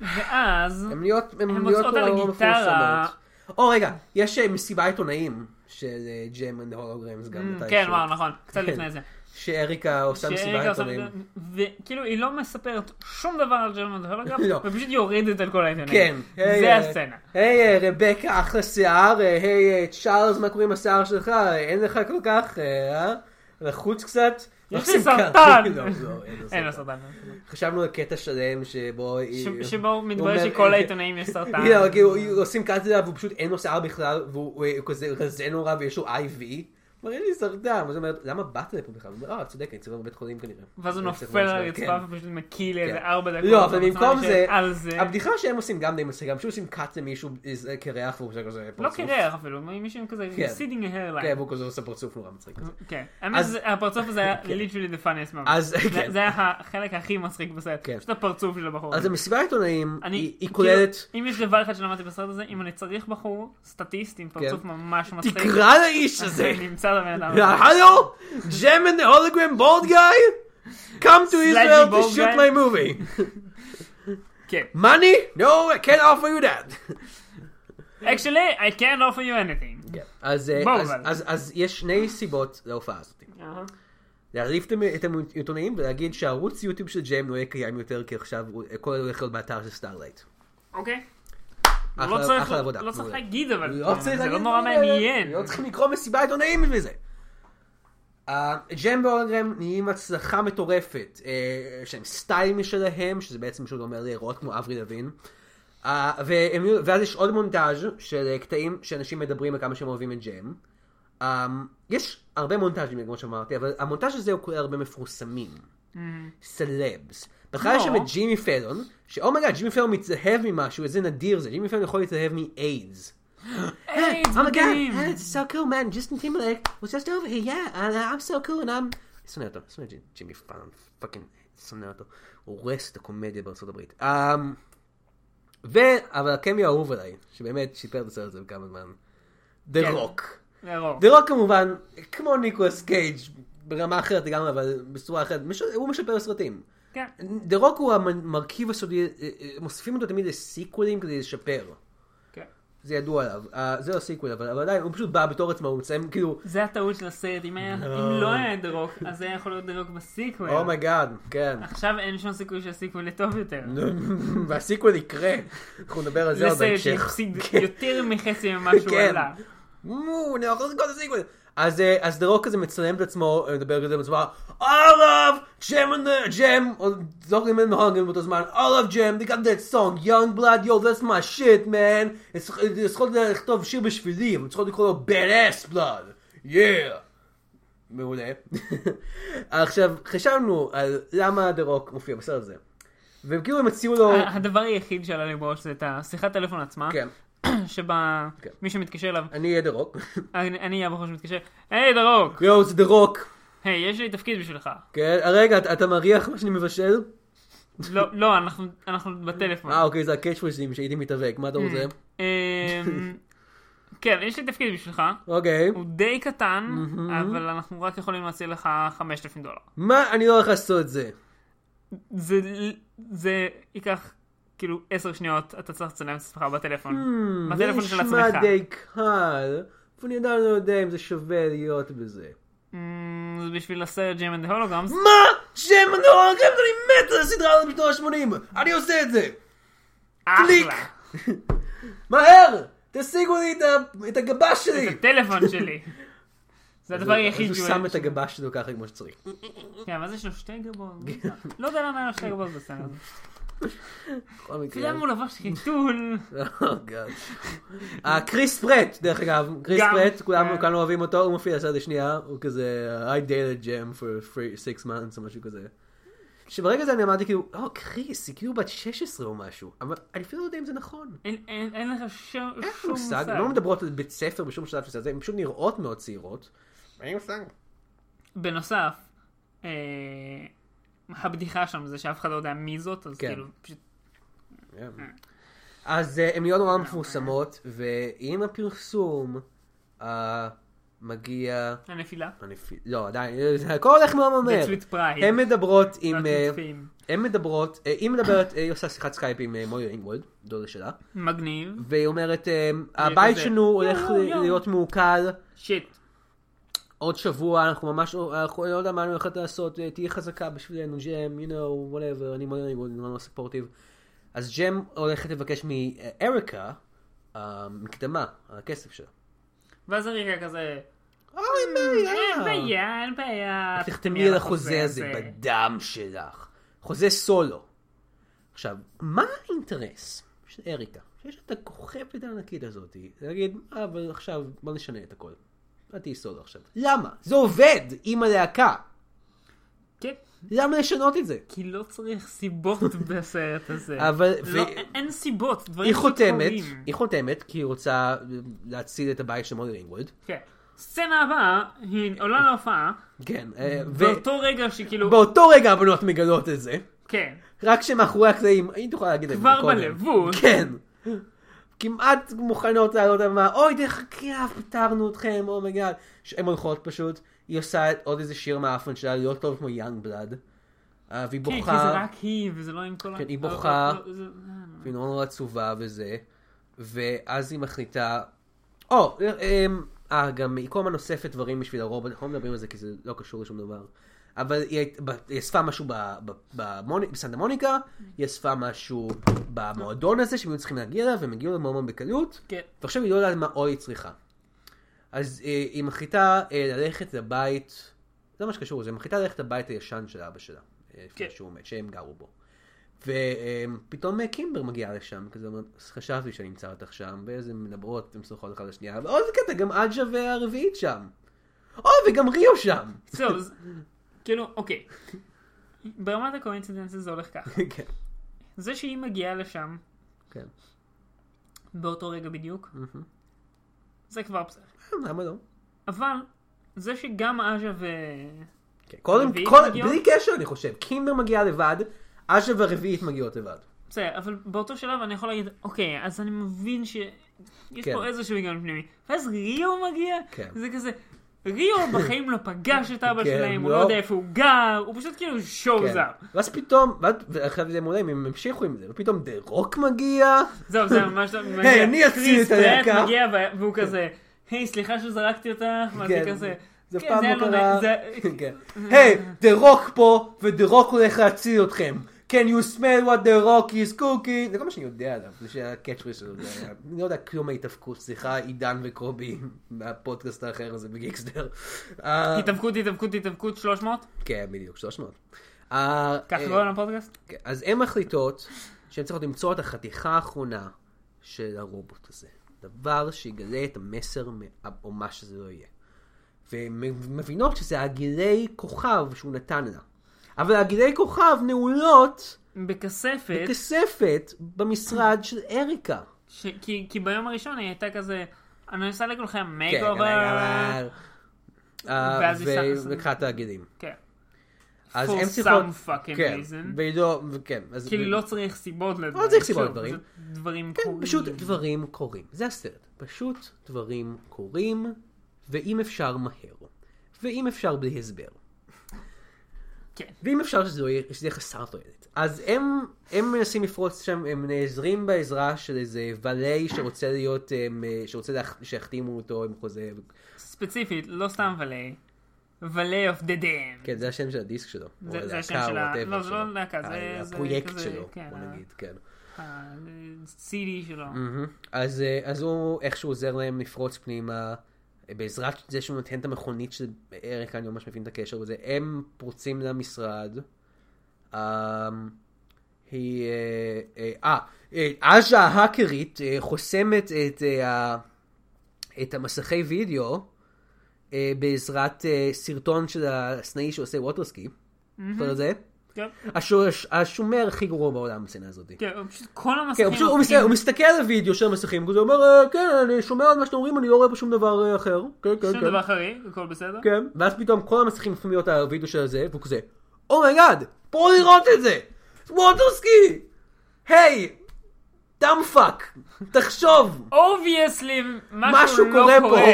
Speaker 2: ואז,
Speaker 1: הם להיות, הם להיות
Speaker 2: הן כן. מוצאות על
Speaker 1: נורא לא
Speaker 2: הגיטרה.
Speaker 1: מפורסמות. או רגע, יש אה, מסיבה עיתונאים של ג'ם אנד הולוגרמס גם מתי
Speaker 2: כן,
Speaker 1: שהוא-
Speaker 2: וואו, נכון, קצת
Speaker 1: כן.
Speaker 2: לפני זה.
Speaker 1: שאריקה עושה מסיבה
Speaker 2: שאריקה עושה
Speaker 1: עיתונאים.
Speaker 2: מסיבה- וכאילו, היא לא מספרת שום דבר על ג'רמן הולוגרף,
Speaker 1: לא.
Speaker 2: ופשוט יורדת על כל העיתונאים.
Speaker 1: כן. היי,
Speaker 2: זה
Speaker 1: אה,
Speaker 2: הסצנה.
Speaker 1: היי אה, רבקה, אחלה שיער, אה, היי אה, צ'ארלס, מה קורה עם השיער שלך? אה, אין לך כל כך, אה, אה? לחוץ קצת?
Speaker 2: יש לי
Speaker 1: עושים ככה.
Speaker 2: סרטן!
Speaker 1: לא, לא, אין לו
Speaker 2: אין
Speaker 1: סרטן.
Speaker 2: לו סרטן.
Speaker 1: חשבנו על קטע שלם שבו... היא-
Speaker 2: ש- שבו מתברר
Speaker 1: אה, אומר-
Speaker 2: שכל העיתונאים יש סרטן.
Speaker 1: לא, כאילו, עושים קאט אליו, והוא פשוט אין לו שיער בכלל, והוא אה, הוא- הוא כזה רזה נורא ויש לו IV. מראה לי סרטן, אז אומרת, למה באת לפה בכלל? הוא אומר, אה, צודק, אני צריך בבית חולים כנראה.
Speaker 2: ואז הוא
Speaker 1: אני צריך
Speaker 2: נופל על
Speaker 1: משהו,
Speaker 2: הרצפה
Speaker 1: כן.
Speaker 2: ופשוט מקיא לאיזה
Speaker 1: כן.
Speaker 2: ארבע דקות.
Speaker 1: לא, אבל
Speaker 2: במצב
Speaker 1: במקום זה,
Speaker 2: על זה.
Speaker 1: כן. הבדיחה שהם עושים גם די מצחיקה, הם פשוט עושים קאט למישהו איזה קרח והוא עושה כזה
Speaker 2: לא
Speaker 1: פרצוף.
Speaker 2: קירח אפילו, מישהו עם כזה,
Speaker 1: כן.
Speaker 2: סידינג
Speaker 1: כן,
Speaker 2: ההרליין.
Speaker 1: והוא כזה עושה פרצוף נורא מצחיק. כזה.
Speaker 2: כן. האמת
Speaker 1: אז- כן.
Speaker 2: שהפרצוף הזה היה literally the funniest moment.
Speaker 1: אז-
Speaker 2: זה-
Speaker 1: כן.
Speaker 2: זה היה החלק הכי מצחיק בסרט.
Speaker 1: כן.
Speaker 2: פשוט הפרצוף של הבחור.
Speaker 1: אז
Speaker 2: הזה.
Speaker 1: המסיבת העיתונאים,
Speaker 2: אני-
Speaker 1: היא היא
Speaker 2: כאילו,
Speaker 1: כוללת,
Speaker 2: אם יש דבר אחד שלמדתי בסרט הזה, אם אני צריך בחור סטטיסט עם פרצוף
Speaker 1: כן.
Speaker 2: ממש מצחיק.
Speaker 1: תקרא לאיש הזה!
Speaker 2: אני אמצא את הבן אדם. הזה.
Speaker 1: הלו? ג'ם and the hologram bald guy? Come to
Speaker 2: Slightly
Speaker 1: Israel to
Speaker 2: bald
Speaker 1: shoot
Speaker 2: guy.
Speaker 1: my movie.
Speaker 2: כן.
Speaker 1: Money? No, I can't offer you that.
Speaker 2: Actually, I can't offer you anything.
Speaker 1: אז, אה,
Speaker 2: בואו,
Speaker 1: אז-
Speaker 2: אבל.
Speaker 1: אז- אז יש שני סיבות להופעה הזאת. להעליב את המ- את העיתונאים ולהגיד שהערוץ יוטיוב של ג'ם לא יהיה קיים יותר כי עכשיו הוא- הכל הולך להיות באתר של סטארלייט.
Speaker 2: אוקיי.
Speaker 1: אחלה-
Speaker 2: לא צריך-
Speaker 1: אחלה עבודה.
Speaker 2: לא צריך
Speaker 1: מעולה.
Speaker 2: להגיד אבל.
Speaker 1: לא צריך
Speaker 2: זה
Speaker 1: להגיד
Speaker 2: לא
Speaker 1: את
Speaker 2: נורא
Speaker 1: הדברים האלה.
Speaker 2: מעניין.
Speaker 1: לא צריכים לקרוא מסיבה עיתונאים בשביל זה. אה, ג'ם והולגרם נהיים הצלחה מטורפת. אה, יש להם סטייל משלהם, שזה בעצם פשוט אומר להיראות כמו אברי לוין. אה, והם- ואז יש עוד מונטאז' של אה, קטעים שאנשים מדברים על כמה שהם אוהבים את ג'ם. אה, יש הרבה מונטאז'ים, כמו שאמרתי, אבל המונטאז' הזה הוא כולל הרבה מפורסמים. סלבס. בכלל יש שם
Speaker 2: Mm. לא.
Speaker 1: את ג'ימי פלון, שאומייגאד, ג'ימי פלון מתלהב ממשהו, איזה נדיר זה, ג'ימי פלון יכול להתלהב מאיידס.
Speaker 2: היי,
Speaker 1: Oh my god,
Speaker 2: מדהים.
Speaker 1: hey, it's so cool, man. Justin Timberlake was just over here. Yeah, and, uh, I'm so cool, and I'm... שונא אותו, שונא את ג'ימי פאן, פאקינג, שונא אותו. הוא הורס את הקומדיה בארצות הברית. Um, ו... אבל הקמי האהוב עליי, שבאמת שיפר את הסרט הזה בכמה זמן. דה
Speaker 2: כן.
Speaker 1: רוק.
Speaker 2: זה רוב.
Speaker 1: דה רוק כמובן, כמו ניקולס קייג' ברמה אחרת לגמרי, אבל בצורה אחרת, מש... הוא משפר סרטים.
Speaker 2: כן.
Speaker 1: דה רוק הוא המרכיב הסודי, אה, אה, מוסיפים אותו תמיד לסיקוולים כדי לשפר.
Speaker 2: כן.
Speaker 1: זה ידוע עליו, אה, זה לא סיקוול, אבל אבל עדיין הוא פשוט בא בתור עצמו, הוא מציין כאילו,
Speaker 2: זה הטעות של הסרט, אם היה- אם לא היה דה רוק, אז זה היה יכול להיות דה רוק בסיקוול.
Speaker 1: Oh אומייגאד, כן.
Speaker 2: עכשיו אין שום סיכוי שהסיקוול יהיה טוב יותר.
Speaker 1: והסיקוול יקרה, אנחנו נדבר על זה
Speaker 2: זה
Speaker 1: עוד
Speaker 2: סרט
Speaker 1: בהמשך.
Speaker 2: שהפסיד
Speaker 1: כן.
Speaker 2: יותר מחצי ממה שהוא
Speaker 1: כן.
Speaker 2: עלה.
Speaker 1: מו, אנחנו עושים כל הסיקוול. אז אה, אז דה רוק כזה מצלם את עצמו, אה, מדבר כזה בצורה, All of Jam and the Jam, או זוכרים אין הונגים באותו זמן, All of Jam, they got that song, young blood, yo, that's my shit, man. הם צריכות- הם צריכות אה, לכתוב שיר בשבילי, הם צריכות לקרוא לו bad ass blood, yeah. מעולה. עכשיו, חשבנו על למה דה רוק מופיע בסרט הזה. והם כאילו הם הציעו לו...
Speaker 2: ה- הדבר היחיד שעלה לי בראש זה את השיחת טלפון עצמה,
Speaker 1: כן,
Speaker 2: שבה
Speaker 1: כן.
Speaker 2: מישהו מתקשר אליו,
Speaker 1: אני אהיה דה רוק.
Speaker 2: אני אני אהיה הבחור שמתקשר, היי דה רוק,
Speaker 1: יואו, זה דה רוק.
Speaker 2: היי, יש לי תפקיד בשבילך.
Speaker 1: כן, רגע, אתה- אתה מריח מה שאני מבשל?
Speaker 2: לא, לא, אנחנו- אנחנו בטלפון.
Speaker 1: אה, אוקיי, זה הקאצ'פריזים שהייתי מתאבק, מה אתה
Speaker 2: אה.
Speaker 1: רוצה?
Speaker 2: אמ, כן, יש לי תפקיד בשבילך.
Speaker 1: אוקיי.
Speaker 2: הוא די קטן, אבל אנחנו רק יכולים להציע לך 5,000 דולר.
Speaker 1: מה, אני לא הולך לעשות את זה.
Speaker 2: זה, זה ייקח כאילו 10 שניות, אתה צריך לצלם את עצמך בטלפון. בטלפון של
Speaker 1: Hmm, זה
Speaker 2: עצמך.
Speaker 1: נשמע די קל, ואני עדיין לא יודע אם זה שווה להיות בזה.
Speaker 2: אמ, זה בשביל הסרט ג'ים אנד הולוגרמס.
Speaker 1: מה? שם נורא רגע, אני מת על הסדרה הזאת בתור ה-80! אני עושה את זה! קליק!
Speaker 2: אחלה.
Speaker 1: מהר! תשיגו לי את ה- את הגבש שלי!
Speaker 2: טלפון שלי. זה הדבר היחיד
Speaker 1: אז הוא שם את הגבש שלו ככה כמו שצריך.
Speaker 2: כן, אבל יש לו שתי גבות.
Speaker 1: כן.
Speaker 2: לא יודע למה היה לו שתי גבות בסרט.
Speaker 1: בכל
Speaker 2: אתה
Speaker 1: מקרה.
Speaker 2: יודע למה הוא לבש חיתול?
Speaker 1: Oh God. אה, קריס פרט, דרך אגב, קריס
Speaker 2: גם,
Speaker 1: פרט, כולם
Speaker 2: כן.
Speaker 1: כולם אוהבים אותו, הוא מופיע לסרט השנייה, הוא כזה, I dated Jam for three- six months או משהו כזה. שברגע זה אני אמרתי כאילו, או קריס, היא כאילו בת 16 או משהו, אבל אני אפילו לא יודע אם זה נכון.
Speaker 2: אין- אין אין לך שום
Speaker 1: אין
Speaker 2: שום
Speaker 1: לי מושג, הן לא מדברות על בית ספר בשום שלב של זה, הן פשוט נראות מאוד צעירות. אין לי מושג.
Speaker 2: בנוסף, אה, הבדיחה שם זה שאף אחד לא יודע מי זאת, אז
Speaker 1: כן.
Speaker 2: כאילו, פשוט Mm.
Speaker 1: כן.
Speaker 2: אוקיי.
Speaker 1: אז אה, הן נהיות נורא מפורסמות, ועם הפרסום, אה, מגיע...
Speaker 2: הנפילה.
Speaker 1: הנפיל- לא, עדיין, זה הכל הולך מאוד מהר.
Speaker 2: That's with pride.
Speaker 1: הן מדברות
Speaker 2: Not
Speaker 1: עם...
Speaker 2: with
Speaker 1: אה,
Speaker 2: fame.
Speaker 1: הן מדברות, אה, היא מדברת, אה, היא עושה שיחת סקייפ עם אה, מויר אינגוולד, דודה שלה,
Speaker 2: מגניב.
Speaker 1: והיא אומרת, אה, הבית
Speaker 2: כזה,
Speaker 1: שלנו הולך
Speaker 2: יואו, יואו.
Speaker 1: להיות מעוקל,
Speaker 2: שיט.
Speaker 1: עוד שבוע, אנחנו ממש, אנחנו לא יודע מה אני הולכת לעשות, אה, תהיי חזקה בשבילנו, ג'ם, you know, whatever, אני מויר אינגוולד, אני מאוד ספורטיב. אז ג'ם הולכת לבקש מאריקה, המקדמה, הכסף שלה.
Speaker 2: ואז אריקה כזה, "אה,
Speaker 1: אוי, בעיה.
Speaker 2: אין בעיה, אין בעיה.
Speaker 1: אה." את תחתמי על החוזה הזה בדם שלך. חוזה סולו. עכשיו, מה האינטרס של אריקה? שיש את הכוכבת הענקית הזאת, להגיד, "אה, אבל עכשיו בוא נשנה את הכל. אל תהיי סולו עכשיו. למה? זה עובד עם הלהקה.
Speaker 2: כן,
Speaker 1: למה לשנות את זה?
Speaker 2: כי לא צריך סיבות בסרט הזה.
Speaker 1: אבל-
Speaker 2: לא,
Speaker 1: ו-
Speaker 2: אין- אין סיבות, דברים
Speaker 1: היא חותמת,
Speaker 2: שקורים.
Speaker 1: היא חותמת כי היא רוצה אה, להציל את הבית של מולי רינגוולד.
Speaker 2: כן. סצנה הבאה, היא עולה להופעה,
Speaker 1: כן, אה, ו-
Speaker 2: באותו רגע שכאילו,
Speaker 1: באותו רגע הבנות מגלות את זה.
Speaker 2: כן,
Speaker 1: רק שמאחורי הקלעים, אם תוכל להגיד את זה
Speaker 2: כבר
Speaker 1: קודם.
Speaker 2: בלבוש.
Speaker 1: כן. כמעט מוכנות לעלות על מה, אוי, דרך אגב, פתרנו אתכם, oh אומייגאד. הן הולכות פשוט, היא עושה את- עוד איזה שיר מהאפן שלה, לא טוב כמו יאנג בלאד. אה, והיא
Speaker 2: כן, כי זה
Speaker 1: בוכה,
Speaker 2: רק היא, וזה לא עם כל ה...
Speaker 1: כן, היא
Speaker 2: לא,
Speaker 1: בוכה.
Speaker 2: לא, לא, זה-
Speaker 1: והיא נורא נורא עצובה וזה, ואז היא מחליטה, או, אה, אה, אה, גם היא כל הזמן אוספת דברים בשביל הרובוט, אנחנו לא מדברים על זה כי זה לא קשור לשום דבר. אבל היא היית- ב- היא אספה משהו ב- ב- במוני- בסנטה מוניקה, היא אספה משהו במועדון הזה שהם היו צריכים להגיע אליו, והם הגיעו למועדון בקלות,
Speaker 2: כן.
Speaker 1: ועכשיו היא לא יודעת מה עוד היא צריכה. אז אה, היא מחליטה אה, ללכת לבית, זה מה שקשור לזה, היא מחליטה ללכת לבית הישן של אבא שלה, אה, לפני
Speaker 2: כן.
Speaker 1: שהוא מת, שהם גרו בו. ופתאום אה, קימבר מגיעה לשם, כזה אומרת, חשבתי שאני אמצא אותך שם, ואיזה הן מדברות, הן סוחרות אחת לשנייה, ועוד קטע, גם עג'ה והרביעית שם. או, וגם ריו שם.
Speaker 2: זהו, זה- כאילו, אוקיי. ברמת הקואינצידנציה זה הולך ככה.
Speaker 1: כן,
Speaker 2: זה שהיא מגיעה לשם,
Speaker 1: כן.
Speaker 2: באותו רגע בדיוק, זה כבר בסדר.
Speaker 1: למה לא?
Speaker 2: אבל, זה שגם עז'ה ו...
Speaker 1: כן, קודם,
Speaker 2: הרביעית
Speaker 1: קודם-
Speaker 2: מגיעות?
Speaker 1: בלי קשר אני חושב, קימבר מגיעה לבד, עג'ה והרביעית מגיעות לבד.
Speaker 2: בסדר, אבל באותו שלב אני יכול להגיד, אוקיי, אז אני מבין ש... יש
Speaker 1: כן.
Speaker 2: פה איזשהו היגיון פנימי. ואז ריו מגיע,
Speaker 1: כן.
Speaker 2: זה כזה... ריו בחיים לא פגש את אבא
Speaker 1: כן,
Speaker 2: שלהם, הוא
Speaker 1: לא.
Speaker 2: לא יודע איפה הוא גר, הוא פשוט כאילו שואו
Speaker 1: כן.
Speaker 2: זאפ.
Speaker 1: ואז פתאום, ואז- ועכשיו זה מעולה, אם הם המשיכו עם זה, ופתאום דה רוק מגיע,
Speaker 2: זהו, זה ממש...
Speaker 1: היי, אני אציל
Speaker 2: קריס
Speaker 1: את הלהקה.
Speaker 2: פרט מגיע וה- והוא כזה, היי, סליחה שזרקתי אותך, ואז
Speaker 1: כן.
Speaker 2: היא כזה...
Speaker 1: זה
Speaker 2: "כן,
Speaker 1: פעם
Speaker 2: היה
Speaker 1: לא
Speaker 2: לא
Speaker 1: קרה,
Speaker 2: נעים, זה-
Speaker 1: כן. היי, דה רוק פה, ודה רוק הולך להציל אתכם. Can you smell what the rock is cooking? זה כל מה שאני יודע עליו, זה שהקטשרי שלו. זה היה- אני לא יודע כלום מההתאבקות, סליחה, עידן וקובי, מהפודקאסט האחר הזה בגיקסטר. אה,
Speaker 2: התאבקות, התאבקות, התאבקות 300?
Speaker 1: כן, בדיוק, 300. אה,
Speaker 2: ככה לא
Speaker 1: אה,
Speaker 2: קוראים לפודקאסט?
Speaker 1: כן, אז הן מחליטות שהן צריכות למצוא את החתיכה האחרונה של הרובוט הזה. דבר שיגלה את המסר, מה- או מה שזה לא יהיה. והן מבינות שזה הגילי כוכב שהוא נתן לה. אבל הגילי כוכב נעולות
Speaker 2: בכספת,
Speaker 1: כספת במשרד של אריקה.
Speaker 2: ש- כי- כי ביום הראשון היא הייתה כזה, אני עושה לכולכם מייק
Speaker 1: כן,
Speaker 2: אובר.
Speaker 1: אבל- אה,
Speaker 2: ואז היא
Speaker 1: ו-
Speaker 2: שמה-
Speaker 1: ולקחה את הגילים.
Speaker 2: כן.
Speaker 1: אז
Speaker 2: For
Speaker 1: הן צריכות...
Speaker 2: some fucking
Speaker 1: כן,
Speaker 2: reason.
Speaker 1: והיא לא... וכן, אז-
Speaker 2: כאילו לא צריך סיבות לדברים.
Speaker 1: לא צריך סיבות
Speaker 2: שוב,
Speaker 1: לדברים.
Speaker 2: פשוט דברים
Speaker 1: כן,
Speaker 2: קורים.
Speaker 1: פשוט דברים קורים. זה הסרט. פשוט דברים קורים, ואם אפשר מהר. ואם אפשר בלי הסבר.
Speaker 2: כן.
Speaker 1: ואם אפשר שזה לא יהיה, שזה יהיה חסר תועלת. אז הם, הם מנסים לפרוץ שם, הם נעזרים בעזרה של איזה ולי שרוצה להיות, אמ, אה, שרוצה להח- שיחתימו אותו עם חוזה.
Speaker 2: ספציפית, לא סתם ולי. ולי אוף דה דאם.
Speaker 1: כן, זה השם של הדיסק שלו. או
Speaker 2: זה- זה השם
Speaker 1: הלהקה,
Speaker 2: של
Speaker 1: או
Speaker 2: ה-
Speaker 1: whatever
Speaker 2: לא, זה
Speaker 1: שלו.
Speaker 2: לא להקה, זה-
Speaker 1: ה-
Speaker 2: זה
Speaker 1: הפרויקט
Speaker 2: כזה,
Speaker 1: שלו,
Speaker 2: כן,
Speaker 1: בוא
Speaker 2: ה-
Speaker 1: נגיד, כן.
Speaker 2: ה-CD שלו.
Speaker 1: מהמם. אז, אה, אז הוא איכשהו עוזר להם לפרוץ פנימה, אה, בעזרת זה שהוא נותן את המכונית של אריקה, אני לא ממש מבין את הקשר בזה, הם פורצים למשרד. אה, היא... אה, אה, אה, אה, עז'ה ההאקרית אה, חוסמת את, אה, ה- את המסכי וידאו אה, בעזרת אה, סרטון של הסנאי שעושה ווטרסקי. זוכר את זה?
Speaker 2: כן.
Speaker 1: השו- השומר הכי גרוע בעולם בסצנה הזאת.
Speaker 2: כן, הוא פשוט כל
Speaker 1: כן,
Speaker 2: המסכים...
Speaker 1: הוא פשוט, הוא, מסתכל, הוא מסתכל על הוידאו של המסכים, הוא אומר, "אה, כן, אני שומע על מה שאתם אומרים, אני לא רואה פה שום דבר אה, אחר. כן, כן,
Speaker 2: שום
Speaker 1: כן.
Speaker 2: דבר חריג, הכל בסדר.
Speaker 1: כן, ואז פתאום כל המסכים הופכים להיות הוידאו של הזה, והוא כזה, "Oh אומייגאד, פה לראות את זה! ווטרסקי! היי! דאם פאק! תחשוב!
Speaker 2: אובייסלי
Speaker 1: משהו
Speaker 2: משהו לא
Speaker 1: קורה פה.
Speaker 2: קורה,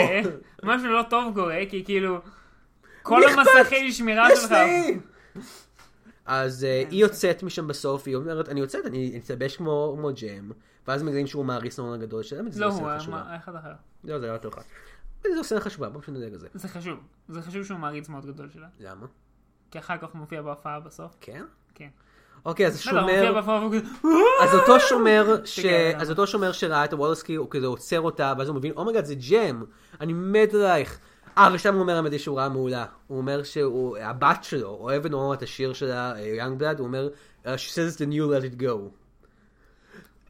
Speaker 2: משהו לא טוב קורה, כי כאילו... כל
Speaker 1: מי אכפת?
Speaker 2: המסכי שמירה
Speaker 1: יש
Speaker 2: שלך.
Speaker 1: לי! אז אה, היא יוצאת משם בסוף, היא אומרת, אני יוצאת, אני אתלבש כמו כמו ג'ם, ואז מגלים שהוא töm האריסון הגדול שלה, האמת, זה
Speaker 2: לא
Speaker 1: לא סצנה
Speaker 2: הוא,
Speaker 1: חשובה.
Speaker 2: אמר- אחד אחר.
Speaker 1: לא, זה היה יותר חד. אבל זו סצנה חשובה, בואו נדאג לזה.
Speaker 2: זה חשוב. זה חשוב שהוא מעריץ מאוד גדול שלה.
Speaker 1: למה?
Speaker 2: כי אחר כך הוא מופיע בהופעה בסוף.
Speaker 1: כן?
Speaker 2: כן.
Speaker 1: אוקיי, אז
Speaker 2: בסדר, הוא לא, מופיע
Speaker 1: השומר,
Speaker 2: בהופעה והוא כזה... "אה,
Speaker 1: אז אותו שומר, ש-
Speaker 2: תגלה לנו.
Speaker 1: אז אותו שומר שראה את הוולסקי, הוא כזה עוצר אותה, ואז הוא מבין, אומייגאד, זה ג'ם, אני מת עלייך. אה, ושם הוא אומר האמת היא שהוא רע מעולה. הוא אומר שהבת שלו אוהבת נורא את השיר שלה, יאנג בלאד, הוא אומר, "Uh, She says it's the new let it go.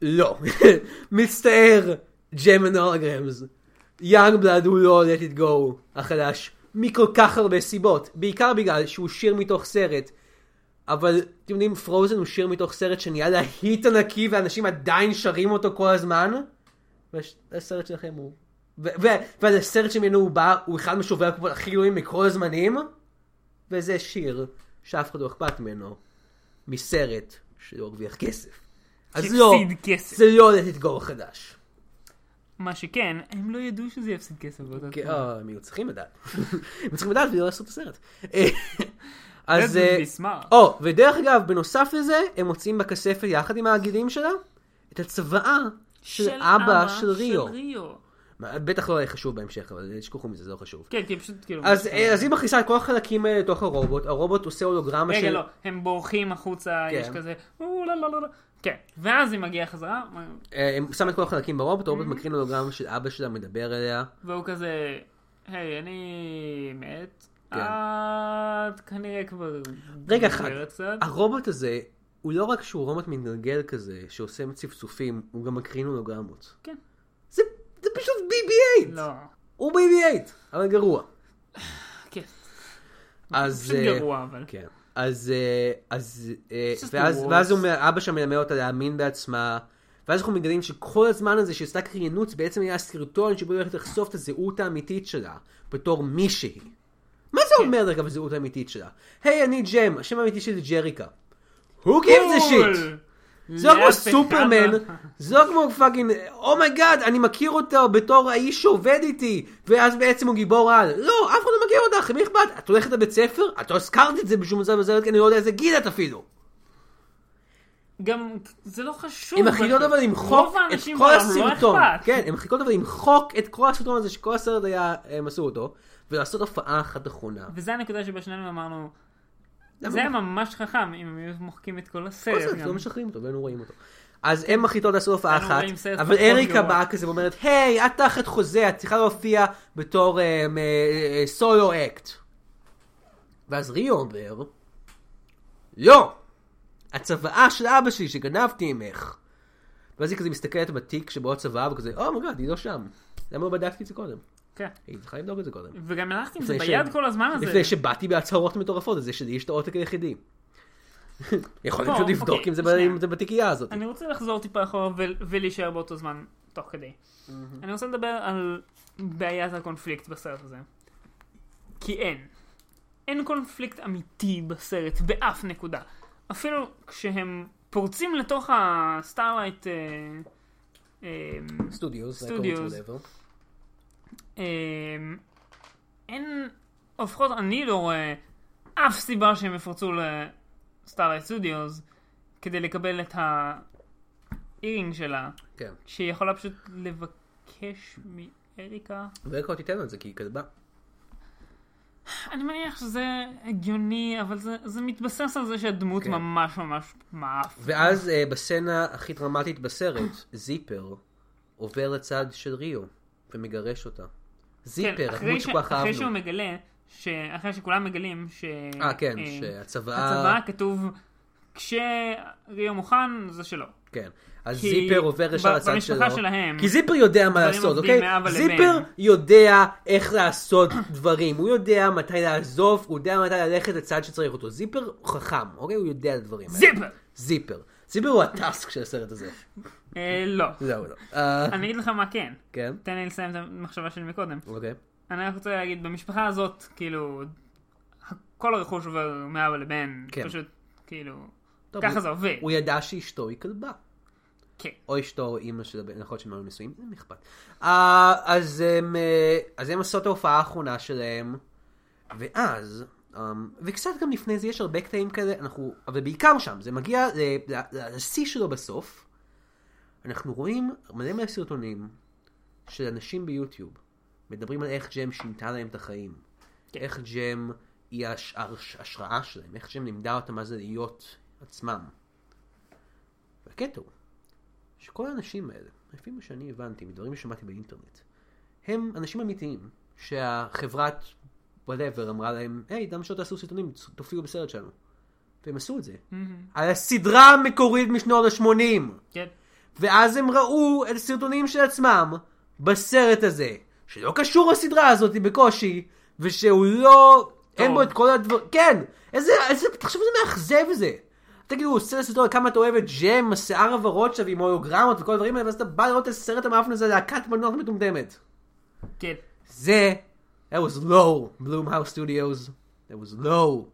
Speaker 1: לא. מצטער, ג'ם ונורגרמס. יאנג בלאד הוא לא let it go החדש, מכל כך הרבה סיבות. בעיקר בגלל שהוא שיר מתוך סרט. אבל אתם יודעים, פרוזן הוא שיר מתוך סרט שנהיה להיט ענקי ואנשים עדיין שרים אותו כל הזמן. והסרט שלכם הוא... ו- ו- והסרט שממנו הוא בא, הוא אחד משובר הקופות הכי גדולים מכל הזמנים. וזה שיר שאף אחד לא אכפת ממנו, מסרט שלא הרוויח כסף. אז לא,
Speaker 2: שהפסיד כסף.
Speaker 1: זה לא let it go החדש.
Speaker 2: מה שכן, הם לא ידעו שזה יפסיד כסף באותה
Speaker 1: כן,
Speaker 2: תקופה.
Speaker 1: אה, הם היו צריכים לדעת. הם צריכים לדעת ולא לעשות את הסרט. לא אה, אז...
Speaker 2: זה
Speaker 1: אה,
Speaker 2: ביסמר.
Speaker 1: או, ודרך אגב, בנוסף לזה, הם מוצאים בכספת יחד עם הגילים שלה את הצוואה של אבא של ריו. מה, בטח לא היה חשוב בהמשך, אבל תשכחו מזה, זה לא חשוב.
Speaker 2: כן, כי פשוט כאילו...
Speaker 1: אז אה, אז היא מכניסה את כל החלקים האלה לתוך הרובוט, הרובוט עושה הולוגרמה של...
Speaker 2: רגע, לא, הם בורחים החוצה,
Speaker 1: כן.
Speaker 2: יש כזה... "או, לא, לא, לא, לא. כן. ואז היא מגיעה חזרה,
Speaker 1: אה, הם שם את כל החלקים ברובוט, הרובוט
Speaker 2: Mm-hmm.
Speaker 1: מקרין הולוגרמה של אבא שלה, מדבר אליה.
Speaker 2: והוא כזה... היי, אני מת.
Speaker 1: כן.
Speaker 2: את כנראה כבר...
Speaker 1: רגע אחד,
Speaker 2: מדברת קצת."
Speaker 1: הרובוט הזה, הוא לא רק שהוא רובוט מתגלגל כזה, שעושה צפצופים, הוא גם מקרין הולוגרמות.
Speaker 2: כן.
Speaker 1: זה זה פשוט BB-8!
Speaker 2: לא.
Speaker 1: הוא BB-8, אבל גרוע.
Speaker 2: כן.
Speaker 1: אז...
Speaker 2: פשוט
Speaker 1: אה,
Speaker 2: גרוע, אבל.
Speaker 1: כן. אז... אה, אז... אה,
Speaker 2: It's just the
Speaker 1: ואז-
Speaker 2: worst.
Speaker 1: ואז הוא אומר, אבא שם מלמד אותה להאמין בעצמה. ואז אנחנו מגלים שכל הזמן הזה שהיא עשתה קריינות בעצם היה סרטון שבו היא הולכת לחשוף את הזהות האמיתית שלה בתור מישהי. מה
Speaker 2: כן.
Speaker 1: זה אומר לגבי הזהות האמיתית שלה? היי, אני ג'ם, השם האמיתי שלי זה ג'ריקה. Who gives a
Speaker 2: קול!
Speaker 1: shit? זה לא כמו
Speaker 2: לאף אחד
Speaker 1: סופרמן,
Speaker 2: לא-
Speaker 1: זה לא כמו פאקינג, אומייגאד, אני מכיר אותו בתור האיש שעובד איתי, ואז בעצם הוא גיבור על. לא, אף אחד לא מכיר אותך, למי אכפת? את הולכת לבית ספר? את לא הזכרת את זה בשום מצב בזרת, כי אני לא יודע איזה גיל את אפילו.
Speaker 2: לא, גם זה לא חשוב.
Speaker 1: הם מחליטות
Speaker 2: פשוט.
Speaker 1: אבל למחוק
Speaker 2: רוב
Speaker 1: את
Speaker 2: האנשים
Speaker 1: כל
Speaker 2: בעולם לא
Speaker 1: הסרטון.
Speaker 2: אכפת.
Speaker 1: כן, הם מחליטות אבל למחוק את כל הסרטון הזה שכל הסרט היה, הם עשו אותו, ולעשות הופעה אחת אחרונה.
Speaker 2: וזה הנקודה שבה שנינו אמרנו,
Speaker 1: למה
Speaker 2: זה היה
Speaker 1: הם-
Speaker 2: ממש חכם אם הם היו מוחקים את כל
Speaker 1: כל
Speaker 2: הסרט.
Speaker 1: הסרט,
Speaker 2: כן, גם.
Speaker 1: לא משחררים אותו, ואנו רואים אותו. אז הן מחליטות לעשות הופעה
Speaker 2: אנו
Speaker 1: אחת,
Speaker 2: רואים סרט
Speaker 1: אבל
Speaker 2: פחות
Speaker 1: אריקה
Speaker 2: גרוע.
Speaker 1: באה כזה ואומרת, היי, את תחת חוזה, את צריכה להופיע בתור אמ, אה, אה, סולו אקט. ואז ריו אומר, לא, הצוואה של אבא שלי שגנבתי ממך. ואז היא כזה מסתכלת בתיק שבו הצוואה וכזה, או מגד, היא לא שם. למה לא בדקתי את זה קודם?
Speaker 2: כן.
Speaker 1: היא צריכה לבדוק את זה קודם.
Speaker 2: וגם הלכתי עם זה
Speaker 1: לפני
Speaker 2: ביד
Speaker 1: ש-
Speaker 2: כל הזמן הזה.
Speaker 1: לפני שבאתי בהצהרות מטורפות על זה שלי יש את העותק היחידי. יכולים
Speaker 2: טוב,
Speaker 1: פשוט לבדוק
Speaker 2: אוקיי,
Speaker 1: אם זה ב-
Speaker 2: שנייה.
Speaker 1: אם זה בתיקייה הזאת.
Speaker 2: אני רוצה לחזור טיפה אחורה ול- ולהישאר באותו זמן תוך כדי. אני רוצה לדבר על בעיית הקונפליקט בסרט הזה. כי אין. אין קונפליקט אמיתי בסרט באף נקודה. אפילו כשהם פורצים לתוך הסטארלייט אה, אה,
Speaker 1: סטודיוס,
Speaker 2: Studios. אמ, אין, או לפחות אני לא רואה אף סיבה שהם יפרצו לסטארלייט סודיוס כדי לקבל את האירינג שלה,
Speaker 1: כן.
Speaker 2: שהיא יכולה פשוט לבקש מאריקה.
Speaker 1: ואיך תיתן לא לו את זה כי היא כלבה.
Speaker 2: אני מניח שזה הגיוני, אבל זה, זה מתבסס על זה שהדמות
Speaker 1: כן.
Speaker 2: ממש ממש מעף.
Speaker 1: ואז אה, בסצנה הכי דרמטית בסרט, זיפר עובר לצד של ריו ומגרש אותה. זיפר, הדמות
Speaker 2: כן, אחרי, ש...
Speaker 1: שכל כך
Speaker 2: אחרי שהוא
Speaker 1: אהבנו.
Speaker 2: מגלה, ש... אחרי שכולם מגלים ש...
Speaker 1: אה, כן,
Speaker 2: אה,
Speaker 1: שהצוואה...
Speaker 2: הצבא כתוב, כשריו מוכן זה שלו.
Speaker 1: כן. אז
Speaker 2: כי
Speaker 1: זיפר עובר ישר
Speaker 2: ב-
Speaker 1: לצד שלו.
Speaker 2: במשפחה שלהם,
Speaker 1: כי זיפר יודע מה
Speaker 2: דברים
Speaker 1: לעשות,
Speaker 2: עובדים
Speaker 1: אוקיי?
Speaker 2: מאב לבן.
Speaker 1: זיפר יודע איך לעשות דברים. הוא יודע מתי לעזוב, הוא יודע מתי ללכת לצד שצריך אותו. זיפר הוא חכם, אוקיי? הוא יודע את הדברים האלה.
Speaker 2: זיפר!
Speaker 1: זיפר. זיפר הוא הטאסק של הסרט הזה.
Speaker 2: אה, לא.
Speaker 1: זהו, לא. אה,
Speaker 2: אני אגיד לך מה כן.
Speaker 1: כן,
Speaker 2: תן לי לסיים את המחשבה שלי מקודם.
Speaker 1: אוקיי.
Speaker 2: אני רק רוצה להגיד, במשפחה הזאת, כאילו, כל הרכוש עובר מאבא לבן.
Speaker 1: כן.
Speaker 2: פשוט, כאילו,
Speaker 1: טוב,
Speaker 2: ככה
Speaker 1: הוא-
Speaker 2: זה עובד.
Speaker 1: הוא ידע שאשתו היא כלבה.
Speaker 2: כן.
Speaker 1: או אשתו או אימא של הבן, נכון שהם היו נשואים, זה אכפת. אה, אז הם, אה, אז הם עשו את ההופעה האחרונה שלהם, ואז, אה, וקצת גם לפני זה יש הרבה קטעים כאלה, אנחנו, אבל בעיקר שם, זה מגיע ל- ל- ל- לשיא שלו בסוף, אנחנו רואים מלא מלא סרטונים של אנשים ביוטיוב, מדברים על איך ג'ם שינתה להם את החיים, איך ג'ם היא ההש- ההש- ההשראה שלהם, איך ג'ם לימדה אותם מה זה להיות עצמם. והקטע הוא, שכל האנשים האלה, לפי מה שאני הבנתי, מדברים ששמעתי באינטרנט, הם אנשים אמיתיים, שהחברת וואטאבר אמרה להם, היי, למה שלא תעשו סרטונים, תופיעו בסרט שלנו. והם עשו את זה. על הסדרה המקורית משנות ה-80!
Speaker 2: כן.
Speaker 1: ואז הם ראו את הסרטונים של עצמם בסרט הזה, שלא קשור לסדרה הזאת בקושי, ושהוא לא... אין בו את כל הדברים... כן! איזה... איזה... תחשוב איזה מאכזב זה! תגידו, הוא עושה סרטון על כמה אתה אוהב את ג'ם, השיער הוורוד שלו עם הולוגרמות וכל הדברים האלה, ואז אתה בא לראות את הסרט המאפן הזה, להקת מנוח מטומטמת.
Speaker 2: כן.
Speaker 1: זה... That was low, Bloomhouse Studios. That was low.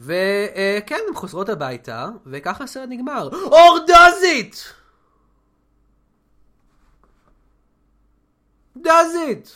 Speaker 1: וכן, הן חוזרות הביתה, וככה הסרט נגמר. אור does it! does it!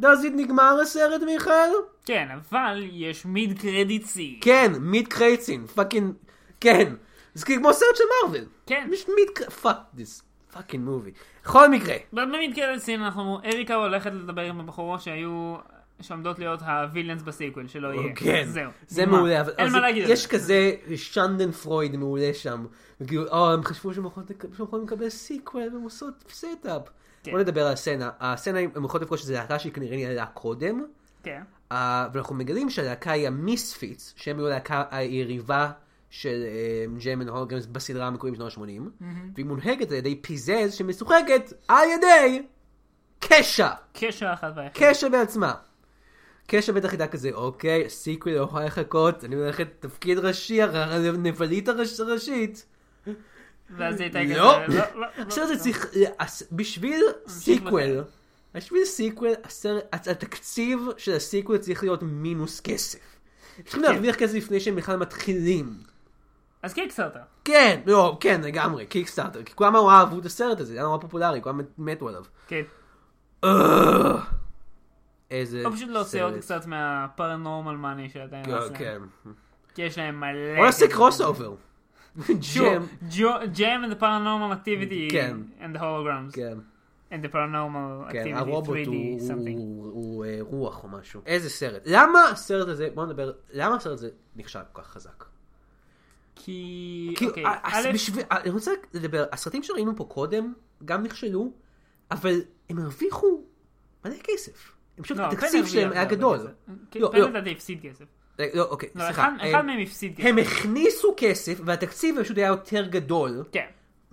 Speaker 1: does it נגמר הסרט, מיכאל?
Speaker 2: כן, אבל יש מיד קרדיט סי.
Speaker 1: כן, מיד קרייצין, פאקינג, כן. זה כאילו כמו סרט של מארוול.
Speaker 2: כן.
Speaker 1: יש מיד פאק, this fucking movie. בכל מקרה.
Speaker 2: במיד קרדיט סי אנחנו, erika הולכת לדבר עם הבחורות שהיו, שעומדות להיות הווילנס בסיקוול, שלא יהיה.
Speaker 1: כן,
Speaker 2: זהו.
Speaker 1: זה
Speaker 2: נגמר.
Speaker 1: מעולה, אבל
Speaker 2: אין
Speaker 1: אבל
Speaker 2: מה
Speaker 1: זה-
Speaker 2: להגיד. על
Speaker 1: יש
Speaker 2: זה.
Speaker 1: כזה שנדן פרויד מעולה שם, וכאילו, או, הם חשבו שהם יכולים לק- שהם יכולים לקבל סיקוול, והם עושות סטאפ.
Speaker 2: כן.
Speaker 1: בוא נדבר על הסצנה, הסצנה, היא- הם יכולים לפגוש איזו להקה שכנראה נהייתה קודם,
Speaker 2: כן.
Speaker 1: אה, ואנחנו מגלים שהלהקה היא המיספיץ, שהם היו הלהקה היריבה של אה, ג'יימן הולגרמס בסדרה המקורית בשנות ה-80, והיא מונהגת על ידי פיזז שמשוחקת על ידי קשע.
Speaker 2: קשר אחת ואחת.
Speaker 1: קשע בעצמה. קשע בטח ידע כזה, אוקיי, סיקווי לא יכולה לחכות, אני הולכת לתפקיד ראשי, הנבלית הראש- הראשית.
Speaker 2: ואז היא הייתה כזה.
Speaker 1: לא.
Speaker 2: לא, לא,
Speaker 1: עכשיו
Speaker 2: לא,
Speaker 1: זה
Speaker 2: לא.
Speaker 1: צריך, לעש- בשביל סיקוול, בשביל סיקוול, הסרט- התקציב של הסיקוול צריך להיות מינוס כסף. צריכים
Speaker 2: כן.
Speaker 1: להרוויח כסף לפני שהם בכלל מתחילים.
Speaker 2: אז קיקסטארטר.
Speaker 1: כן, לא, כן, לגמרי, קיקסטארטר, כי כולם נורא אהבו את הסרט הזה, זה היה נורא פופולרי, כולם מתו עליו.
Speaker 2: כן.
Speaker 1: אה, איזה
Speaker 2: או לא, פשוט להוציא עוד
Speaker 1: סרט.
Speaker 2: קצת מהפרנורמל מאני שעדיין עושה.
Speaker 1: כן.
Speaker 2: כי יש להם מלא...
Speaker 1: בוא נעשה קרוס אובר.
Speaker 2: ג'ם. ג'ם and the paranormal activity.
Speaker 1: כן.
Speaker 2: And the holograms.
Speaker 1: כן,
Speaker 2: And the paranormal
Speaker 1: כן,
Speaker 2: activity
Speaker 1: הרובוט
Speaker 2: 3D
Speaker 1: הוא-
Speaker 2: something.
Speaker 1: הוא- הוא אה, רוח או משהו. איזה סרט. למה הסרט הזה, בוא נדבר, למה הסרט הזה נכשל כל כך חזק?
Speaker 2: כי...
Speaker 1: כאילו,
Speaker 2: אוקיי,
Speaker 1: ה- הס-
Speaker 2: א',
Speaker 1: בשביל- אני רוצה לדבר, הסרטים שראינו פה קודם גם נכשלו, אבל הם הרוויחו מלא כסף. הם פשוט,
Speaker 2: לא,
Speaker 1: התקציב
Speaker 2: פן
Speaker 1: שלהם
Speaker 2: הרוויח
Speaker 1: היה
Speaker 2: הרבה
Speaker 1: גדול.
Speaker 2: כסף. כן,
Speaker 1: לא,
Speaker 2: פן
Speaker 1: לא.
Speaker 2: לדעתי הפסיד כסף.
Speaker 1: אה, לא, אוקיי,
Speaker 2: לא,
Speaker 1: סליחה.
Speaker 2: אחד-
Speaker 1: אה,
Speaker 2: אחד מהם הפסיד כסף.
Speaker 1: הם הכניסו כסף והתקציב פשוט היה יותר גדול,
Speaker 2: כן,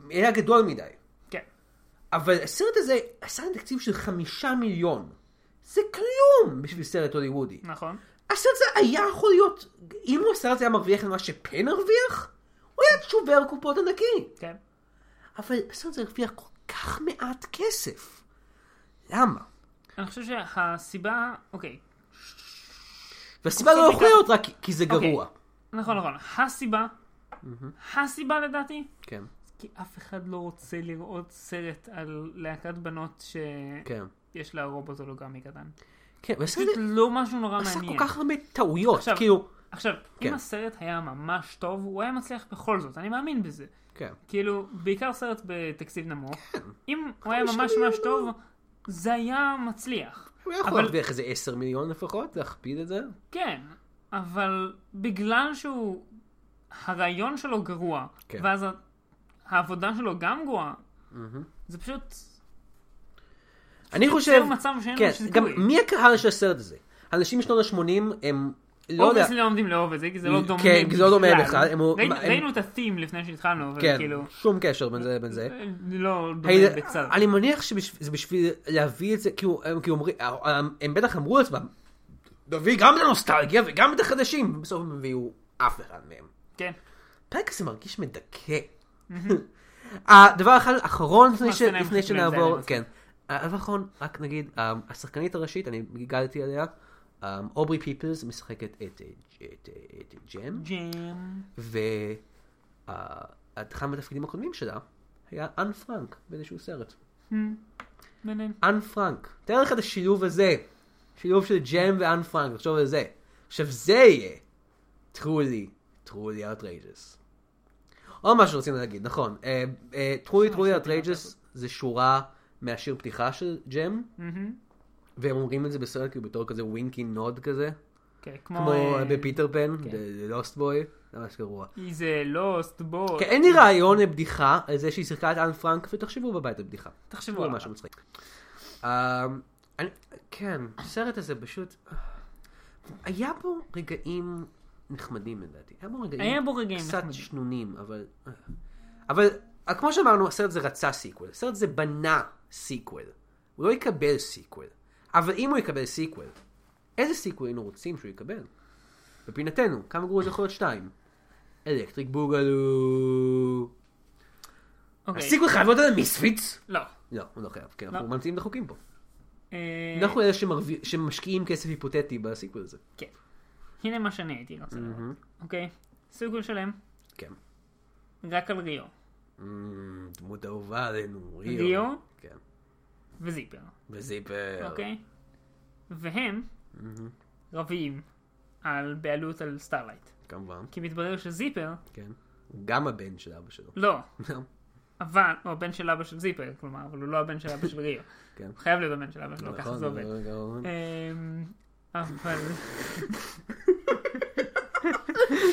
Speaker 1: היה גדול מדי.
Speaker 2: כן.
Speaker 1: אבל הסרט הזה עשה תקציב של חמישה מיליון. זה כלום בשביל סרט הוליוודי.
Speaker 2: נכון.
Speaker 1: הסרט הזה היה יכול להיות, אם הוא הסרט הזה היה מרוויח את מה שפן הרוויח, הוא היה שובר קופות ענקי.
Speaker 2: כן.
Speaker 1: אבל הסרט הזה הרוויח כל כך מעט כסף. למה?
Speaker 2: אני חושב שהסיבה... אוקיי.
Speaker 1: והסיבה לא
Speaker 2: בסוף
Speaker 1: יכולה
Speaker 2: בעיקר-
Speaker 1: להיות רק כי זה גרוע.
Speaker 2: נכון, נכון. הסיבה... הסיבה לדעתי
Speaker 1: כן,
Speaker 2: כי אף אחד לא רוצה לראות סרט על להקת בנות
Speaker 1: כן.
Speaker 2: שיש לה רובוט הולוגרמי קטן.
Speaker 1: כן, והסרט
Speaker 2: פשוט
Speaker 1: הזה
Speaker 2: לא משהו נורא
Speaker 1: עשה
Speaker 2: מעניין.
Speaker 1: כל כך הרבה טעויות,
Speaker 2: עכשיו-
Speaker 1: כאילו...
Speaker 2: עכשיו,
Speaker 1: כן.
Speaker 2: אם הסרט היה ממש טוב, הוא היה מצליח בכל זאת, אני מאמין בזה.
Speaker 1: כן.
Speaker 2: כאילו, בעיקר סרט בתקציב נמוך. אם הוא היה
Speaker 1: חמישה
Speaker 2: ממש
Speaker 1: מיליון
Speaker 2: ממש טוב, זה היה מצליח.
Speaker 1: הוא היה יכול
Speaker 2: אבל-
Speaker 1: להרוויח איזה 10 מיליון לפחות, להכפיל את זה.
Speaker 2: כן, אבל בגלל שהוא... הרעיון שלו גרוע,
Speaker 1: כן.
Speaker 2: ואז ה- העבודה שלו גם גרועה, זה פשוט...
Speaker 1: אני חושב...
Speaker 2: מצב שאין
Speaker 1: כן,
Speaker 2: לו סיכוי.
Speaker 1: גם מי הקהל של הסרט הזה? אנשים משנות ה-80 הם... לא יודע.
Speaker 2: אובייסלי לא עומדים לאהוב את זה, כי זה לא
Speaker 1: כן,
Speaker 2: דומה
Speaker 1: כי זה לא דומה בכלל, הם-
Speaker 2: ראינו-
Speaker 1: הם-
Speaker 2: ראינו את ה-theme לפני שהתחלנו,
Speaker 1: כן,
Speaker 2: וכאילו...
Speaker 1: שום קשר בין זה לבין זה.
Speaker 2: לא דומה
Speaker 1: הילד-
Speaker 2: בקצת.
Speaker 1: אני מניח שזה בשביל להביא את זה, כאילו, הם כאילו אומרים, הם- הם בטח אמרו לעצמם, נביא גם את הנוסטלגיה וגם את החדשים, ובסוף הם הביאו אף אחד מהם.
Speaker 2: כן.
Speaker 1: הפרק הזה מרגיש מדכא. הדבר האחד, האחרון לפני
Speaker 2: מה,
Speaker 1: ש-
Speaker 2: סצנה עם
Speaker 1: לפני
Speaker 2: חתולים, זה היה
Speaker 1: שנעבור,
Speaker 2: מצחיק.
Speaker 1: כן. הדבר האחרון, רק נגיד, אה, השחקנית הראשית, אני גיגלתי עליה, אה, אוברי פיפלס משחקת את אה, את, אה, את ג'ם,
Speaker 2: ג'ם.
Speaker 1: והיא אחד מהתפקידים הקודמים שלה היה אן פרנק באיזשהו סרט.
Speaker 2: מעניין.
Speaker 1: אן פרנק. תאר לך את השילוב הזה. שילוב של ג'ם ואן פרנק, תחשוב על זה. עכשיו זה יהיה. truly, truly outrageous. עוד משהו שרצינו להגיד, נכון. אה, אה, truly, truly outrageous זה שורה מהשיר פתיחה של ג'ם. והם אומרים את זה בסרט כאילו בתור כזה ווינקי נוד כזה.
Speaker 2: כן, כמו...
Speaker 1: כמו
Speaker 2: אה,
Speaker 1: בפיטר פן, בלוסט בוי. זה ממש גרוע.
Speaker 2: He's a lost boy.
Speaker 1: כן, אין לי רעיון לבדיחה על זה שהיא שיחקה את אן פרנק, ותחשבו בבית על בדיחה.
Speaker 2: תחשבו
Speaker 1: תחשבו על
Speaker 2: עליו.
Speaker 1: לא משהו מצחיק. אמ, אני- כן, הסרט הזה פשוט... היה בו רגעים נחמדים לדעתי. היה בו רגעים...
Speaker 2: היה בו רגעים
Speaker 1: קצת
Speaker 2: נחמדים.
Speaker 1: שנונים, אבל... אבל אה, כמו שאמרנו, הסרט הזה רצה סיקוול. הסרט הזה בנה סיקוול. הוא לא יקבל סיקוול. אבל אם הוא יקבל סיקוול, איזה סיקוול היינו רוצים שהוא יקבל? בפינתנו, כמה גרוע זה יכול להיות שתיים? אלקטריק בוגלו.
Speaker 2: אוקיי.
Speaker 1: הסיקוול חייב להיות על המיספיץ?
Speaker 2: לא.
Speaker 1: לא, הוא לא חייב, כי
Speaker 2: לא.
Speaker 1: אנחנו ממציאים את החוקים פה.
Speaker 2: אה,
Speaker 1: אנחנו אלה שמרוויח- שמשקיעים כסף היפותטי בסיקוול הזה.
Speaker 2: כן. הנה מה שאני הייתי רוצה לראות. אוקיי? סיגול שלם,
Speaker 1: כן.
Speaker 2: רק על ריו. Mm,
Speaker 1: אמ, דמות אהובה עלינו, ריו. אה.
Speaker 2: ריו?
Speaker 1: כן.
Speaker 2: וזיפר.
Speaker 1: וזיפר.
Speaker 2: אוקיי? והם רבים על בעלות על סטארלייט.
Speaker 1: כמובן,
Speaker 2: כי מתברר שזיפר,
Speaker 1: כן. הוא גם הבן של אבא שלו.
Speaker 2: לא, אבל, הוא הבן של אבא של זיפר, כלומר, אבל הוא לא הבן של אבא של ריו.
Speaker 1: כן.
Speaker 2: הוא חייב להיות הבן של אבא שלו, ככה
Speaker 1: נכון,
Speaker 2: זה עובד.
Speaker 1: נכון.
Speaker 2: אמ, אבל,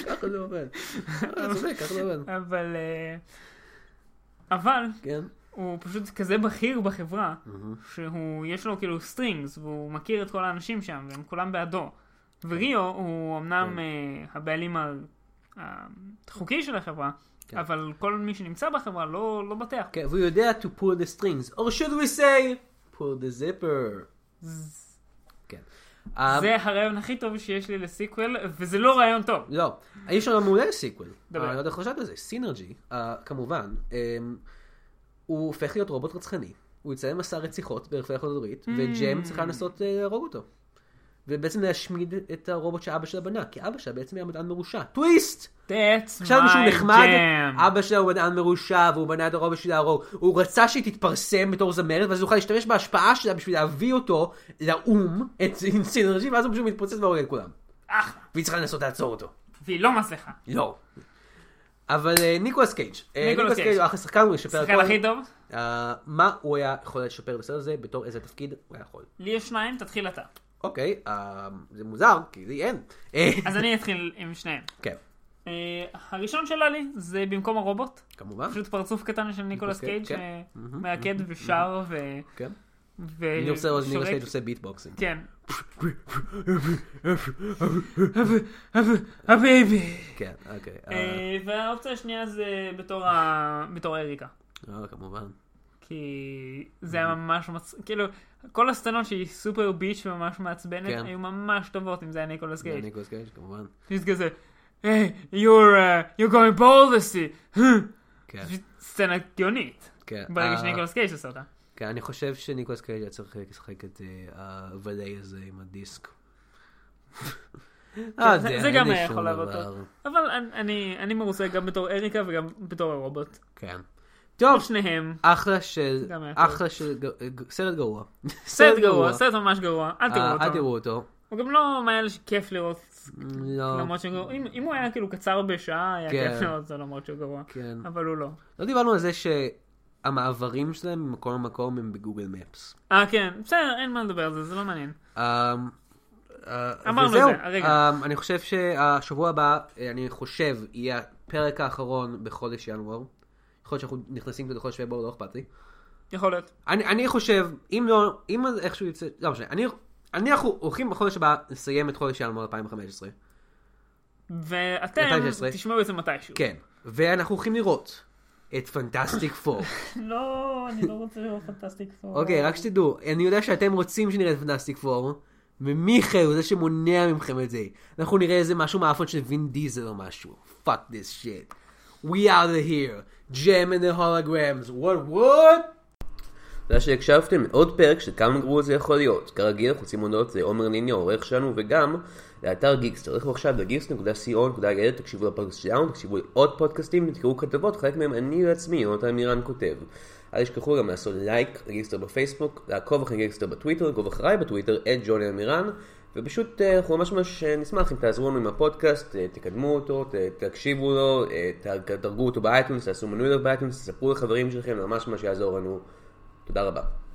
Speaker 1: ככה זה עובד. אה, צודק, ככה זה עובד.
Speaker 2: אבל, אה, אבל,
Speaker 1: כן.
Speaker 2: הוא פשוט כזה בכיר בחברה, שהוא, יש לו כאילו סטרינגס, והוא מכיר את כל האנשים שם, והם כולם בעדו. וריו
Speaker 1: כן.
Speaker 2: הוא אמנם אה, הבעלים ה- החוקי של החברה,
Speaker 1: כן.
Speaker 2: אבל כל מי שנמצא בחברה לא לא בטח.
Speaker 1: כן, והוא יודע to pull the strings, or should we say, pull the zipper. כן. אמ,
Speaker 2: זה הרעיון הכי טוב שיש לי לסיקוול, וזה לא רעיון טוב.
Speaker 1: לא, יש לנו מעולה לסיקוול.
Speaker 2: דבר.
Speaker 1: אני לא יודע איך חשבת על זה, סינרג'י, אה, כמובן. אמ, הוא הופך להיות רובוט רצחני, הוא יצא למסע רציחות ברחבי החוד הדורית,
Speaker 2: Mm.
Speaker 1: וג'ם צריכה לנסות אה, להרוג אותו. ובעצם להשמיד את הרובוט שאבא שלה בנה, כי אבא שלה בעצם היה מדען מרושע. טוויסט!
Speaker 2: That's my
Speaker 1: חשבנו שהוא נחמד, אה.
Speaker 2: jam.
Speaker 1: אבא שלה הוא מדען מרושע, והוא בנה את הרובוט בשביל להרוג. הוא רצה שהיא תתפרסם בתור זמרת, ואז הוא יוכל להשתמש בהשפעה שלה בשביל להביא אותו לאו"ם, את סינרג'י, ואז הוא פשוט מתפוצץ והורג את כולם.
Speaker 2: אחלה.
Speaker 1: והיא צריכה לנסות לעצור אותו.
Speaker 2: והיא לא מצליחה.
Speaker 1: לא. אבל אה, ניקולס קייג'. אה,
Speaker 2: ניקולס
Speaker 1: ניקולס
Speaker 2: קייג'.
Speaker 1: קייג' הוא אחלה שחקן, הוא ישפר
Speaker 2: השחקן הכי טוב.
Speaker 1: אה, מה הוא היה יכול לשפר בסרט הזה, בתור איזה תפקיד הוא היה יכול.
Speaker 2: לי יש שניים, תתחיל אתה.
Speaker 1: אוקיי, אה, זה מוזר, כי לי אין. אה,
Speaker 2: אז אני אתחיל עם שניהם.
Speaker 1: כן,
Speaker 2: אה, הראשון שלה לי זה במקום הרובוט.
Speaker 1: כמובן.
Speaker 2: פשוט פרצוף קטן של ניקולס
Speaker 1: אוקיי,
Speaker 2: קייג'
Speaker 1: כן.
Speaker 2: שמאגד ושר ו...
Speaker 1: כן.
Speaker 2: ו-
Speaker 1: אני רוצה לראות את ניקולס
Speaker 2: אה, שורק-
Speaker 1: קייג' עושה ביטבוקסינג.
Speaker 2: כן. הבייבי.
Speaker 1: כן, אוקיי. אה,
Speaker 2: והאופציה השנייה זה בתור ה- בתור האריקה.
Speaker 1: אה, כמובן.
Speaker 2: כי זה היה ממש מצ... כאילו, כל הסצנות שהיא סופר ביץ' וממש מעצבנת,
Speaker 1: כן.
Speaker 2: היו ממש טובות אם זה היה ניקולס
Speaker 1: זה
Speaker 2: קייג'.
Speaker 1: ניקולס קייג', כמובן.
Speaker 2: פשוט כזה, היי, you're uh, you're going boldly.
Speaker 1: כן,
Speaker 2: פשוט סצנה גאונית.
Speaker 1: כן.
Speaker 2: ברגע
Speaker 1: אה,
Speaker 2: שניקולס קייג' עשה אותה.
Speaker 1: כן, אני חושב שניקולס קייג' היה צריך לשחק את אה, הוודאי הזה עם הדיסק. אה,
Speaker 2: כן, זה-
Speaker 1: אין
Speaker 2: זה
Speaker 1: לי
Speaker 2: גם היה
Speaker 1: שום
Speaker 2: יכול לעבוד
Speaker 1: דבר.
Speaker 2: טוב. אבל אני- אני אני מרוצה גם בתור הריקה וגם בתור הרובוט.
Speaker 1: כן.
Speaker 2: כל
Speaker 1: טוב,
Speaker 2: שניהם.
Speaker 1: אחלה של,
Speaker 2: גם היה טוב.
Speaker 1: אחלה של, ג- ג- סרט גרוע.
Speaker 2: סרט גרוע, סרט ממש גרוע, אל
Speaker 1: אה, אל
Speaker 2: תראו אותו.
Speaker 1: תראו אותו.
Speaker 2: הוא גם לא מאלה שכיף לראות,
Speaker 1: לא,
Speaker 2: למרות שהוא גרוע. אם אם הוא היה כאילו קצר בשעה, היה
Speaker 1: כן.
Speaker 2: כיף לראות אותו למרות שהוא גרוע.
Speaker 1: כן.
Speaker 2: אבל הוא לא.
Speaker 1: לא דיברנו על זה שהמעברים שלהם ממקום למקום הם בגוגל מפס. אמ,
Speaker 2: אה כן, בסדר, אין מה לדבר על זה, זה לא מעניין. אמרנו
Speaker 1: אה, וזהו.
Speaker 2: את זה, הרגע.
Speaker 1: אמ, אני חושב שהשבוע הבא, אה, אני חושב, יהיה הפרק האחרון בחודש ינואר. יכול להיות שאנחנו נכנסים קצת לחודש פברואר, לא אכפת לי.
Speaker 2: יכול להיות.
Speaker 1: אני, אני חושב, אם לא, אם אז איכשהו יוצא, לא משנה, אני, אני אנחנו הולכים בחודש הבא לסיים את חודש ינואר 2015.
Speaker 2: ואתם
Speaker 1: 2016.
Speaker 2: תשמעו את זה מתישהו.
Speaker 1: כן, ואנחנו הולכים לראות את פנטסטיק פור.
Speaker 2: לא, אני לא רוצה לראות פנטסטיק פור.
Speaker 1: אוקיי, רק שתדעו, אני יודע שאתם רוצים שנראה את פנטסטיק פור, ומיכאל הוא זה שמונע מכם את זה. אנחנו נראה איזה משהו מהאפון של וין דיזל או משהו. fuck this shit. We out of here. Jam and the holograms. What what? תודה שהקשבתם לעוד פרק של כמה גרוע זה יכול להיות. כרגיל אנחנו רוצים להודות לעומר ליני העורך שלנו וגם לאתר גיקס. תלכו עכשיו לגיקס.co.il, תקשיבו לפודקאסט שלנו, תקשיבו לעוד פודקאסטים, תקראו כתבות, חלק מהם אני בעצמי, יונתן מירן כותב. אל תשכחו גם לעשות לייק לגיקסטר בפייסבוק, לעקוב אחרי גיקסטר בטוויטר, לעקוב אחריי בטוויטר, את ג'וני אמירן. ופשוט אה, אנחנו ממש ממש אה, נשמח אם תעזרו לנו עם הפודקאסט, אה, תקדמו אותו, ת- תקשיבו לו, אה, ת- תדרגו אותו באייטונס, תעשו מנוי לו באייטונס, תספרו לחברים שלכם, זה ממש ממש יעזור לנו. תודה רבה.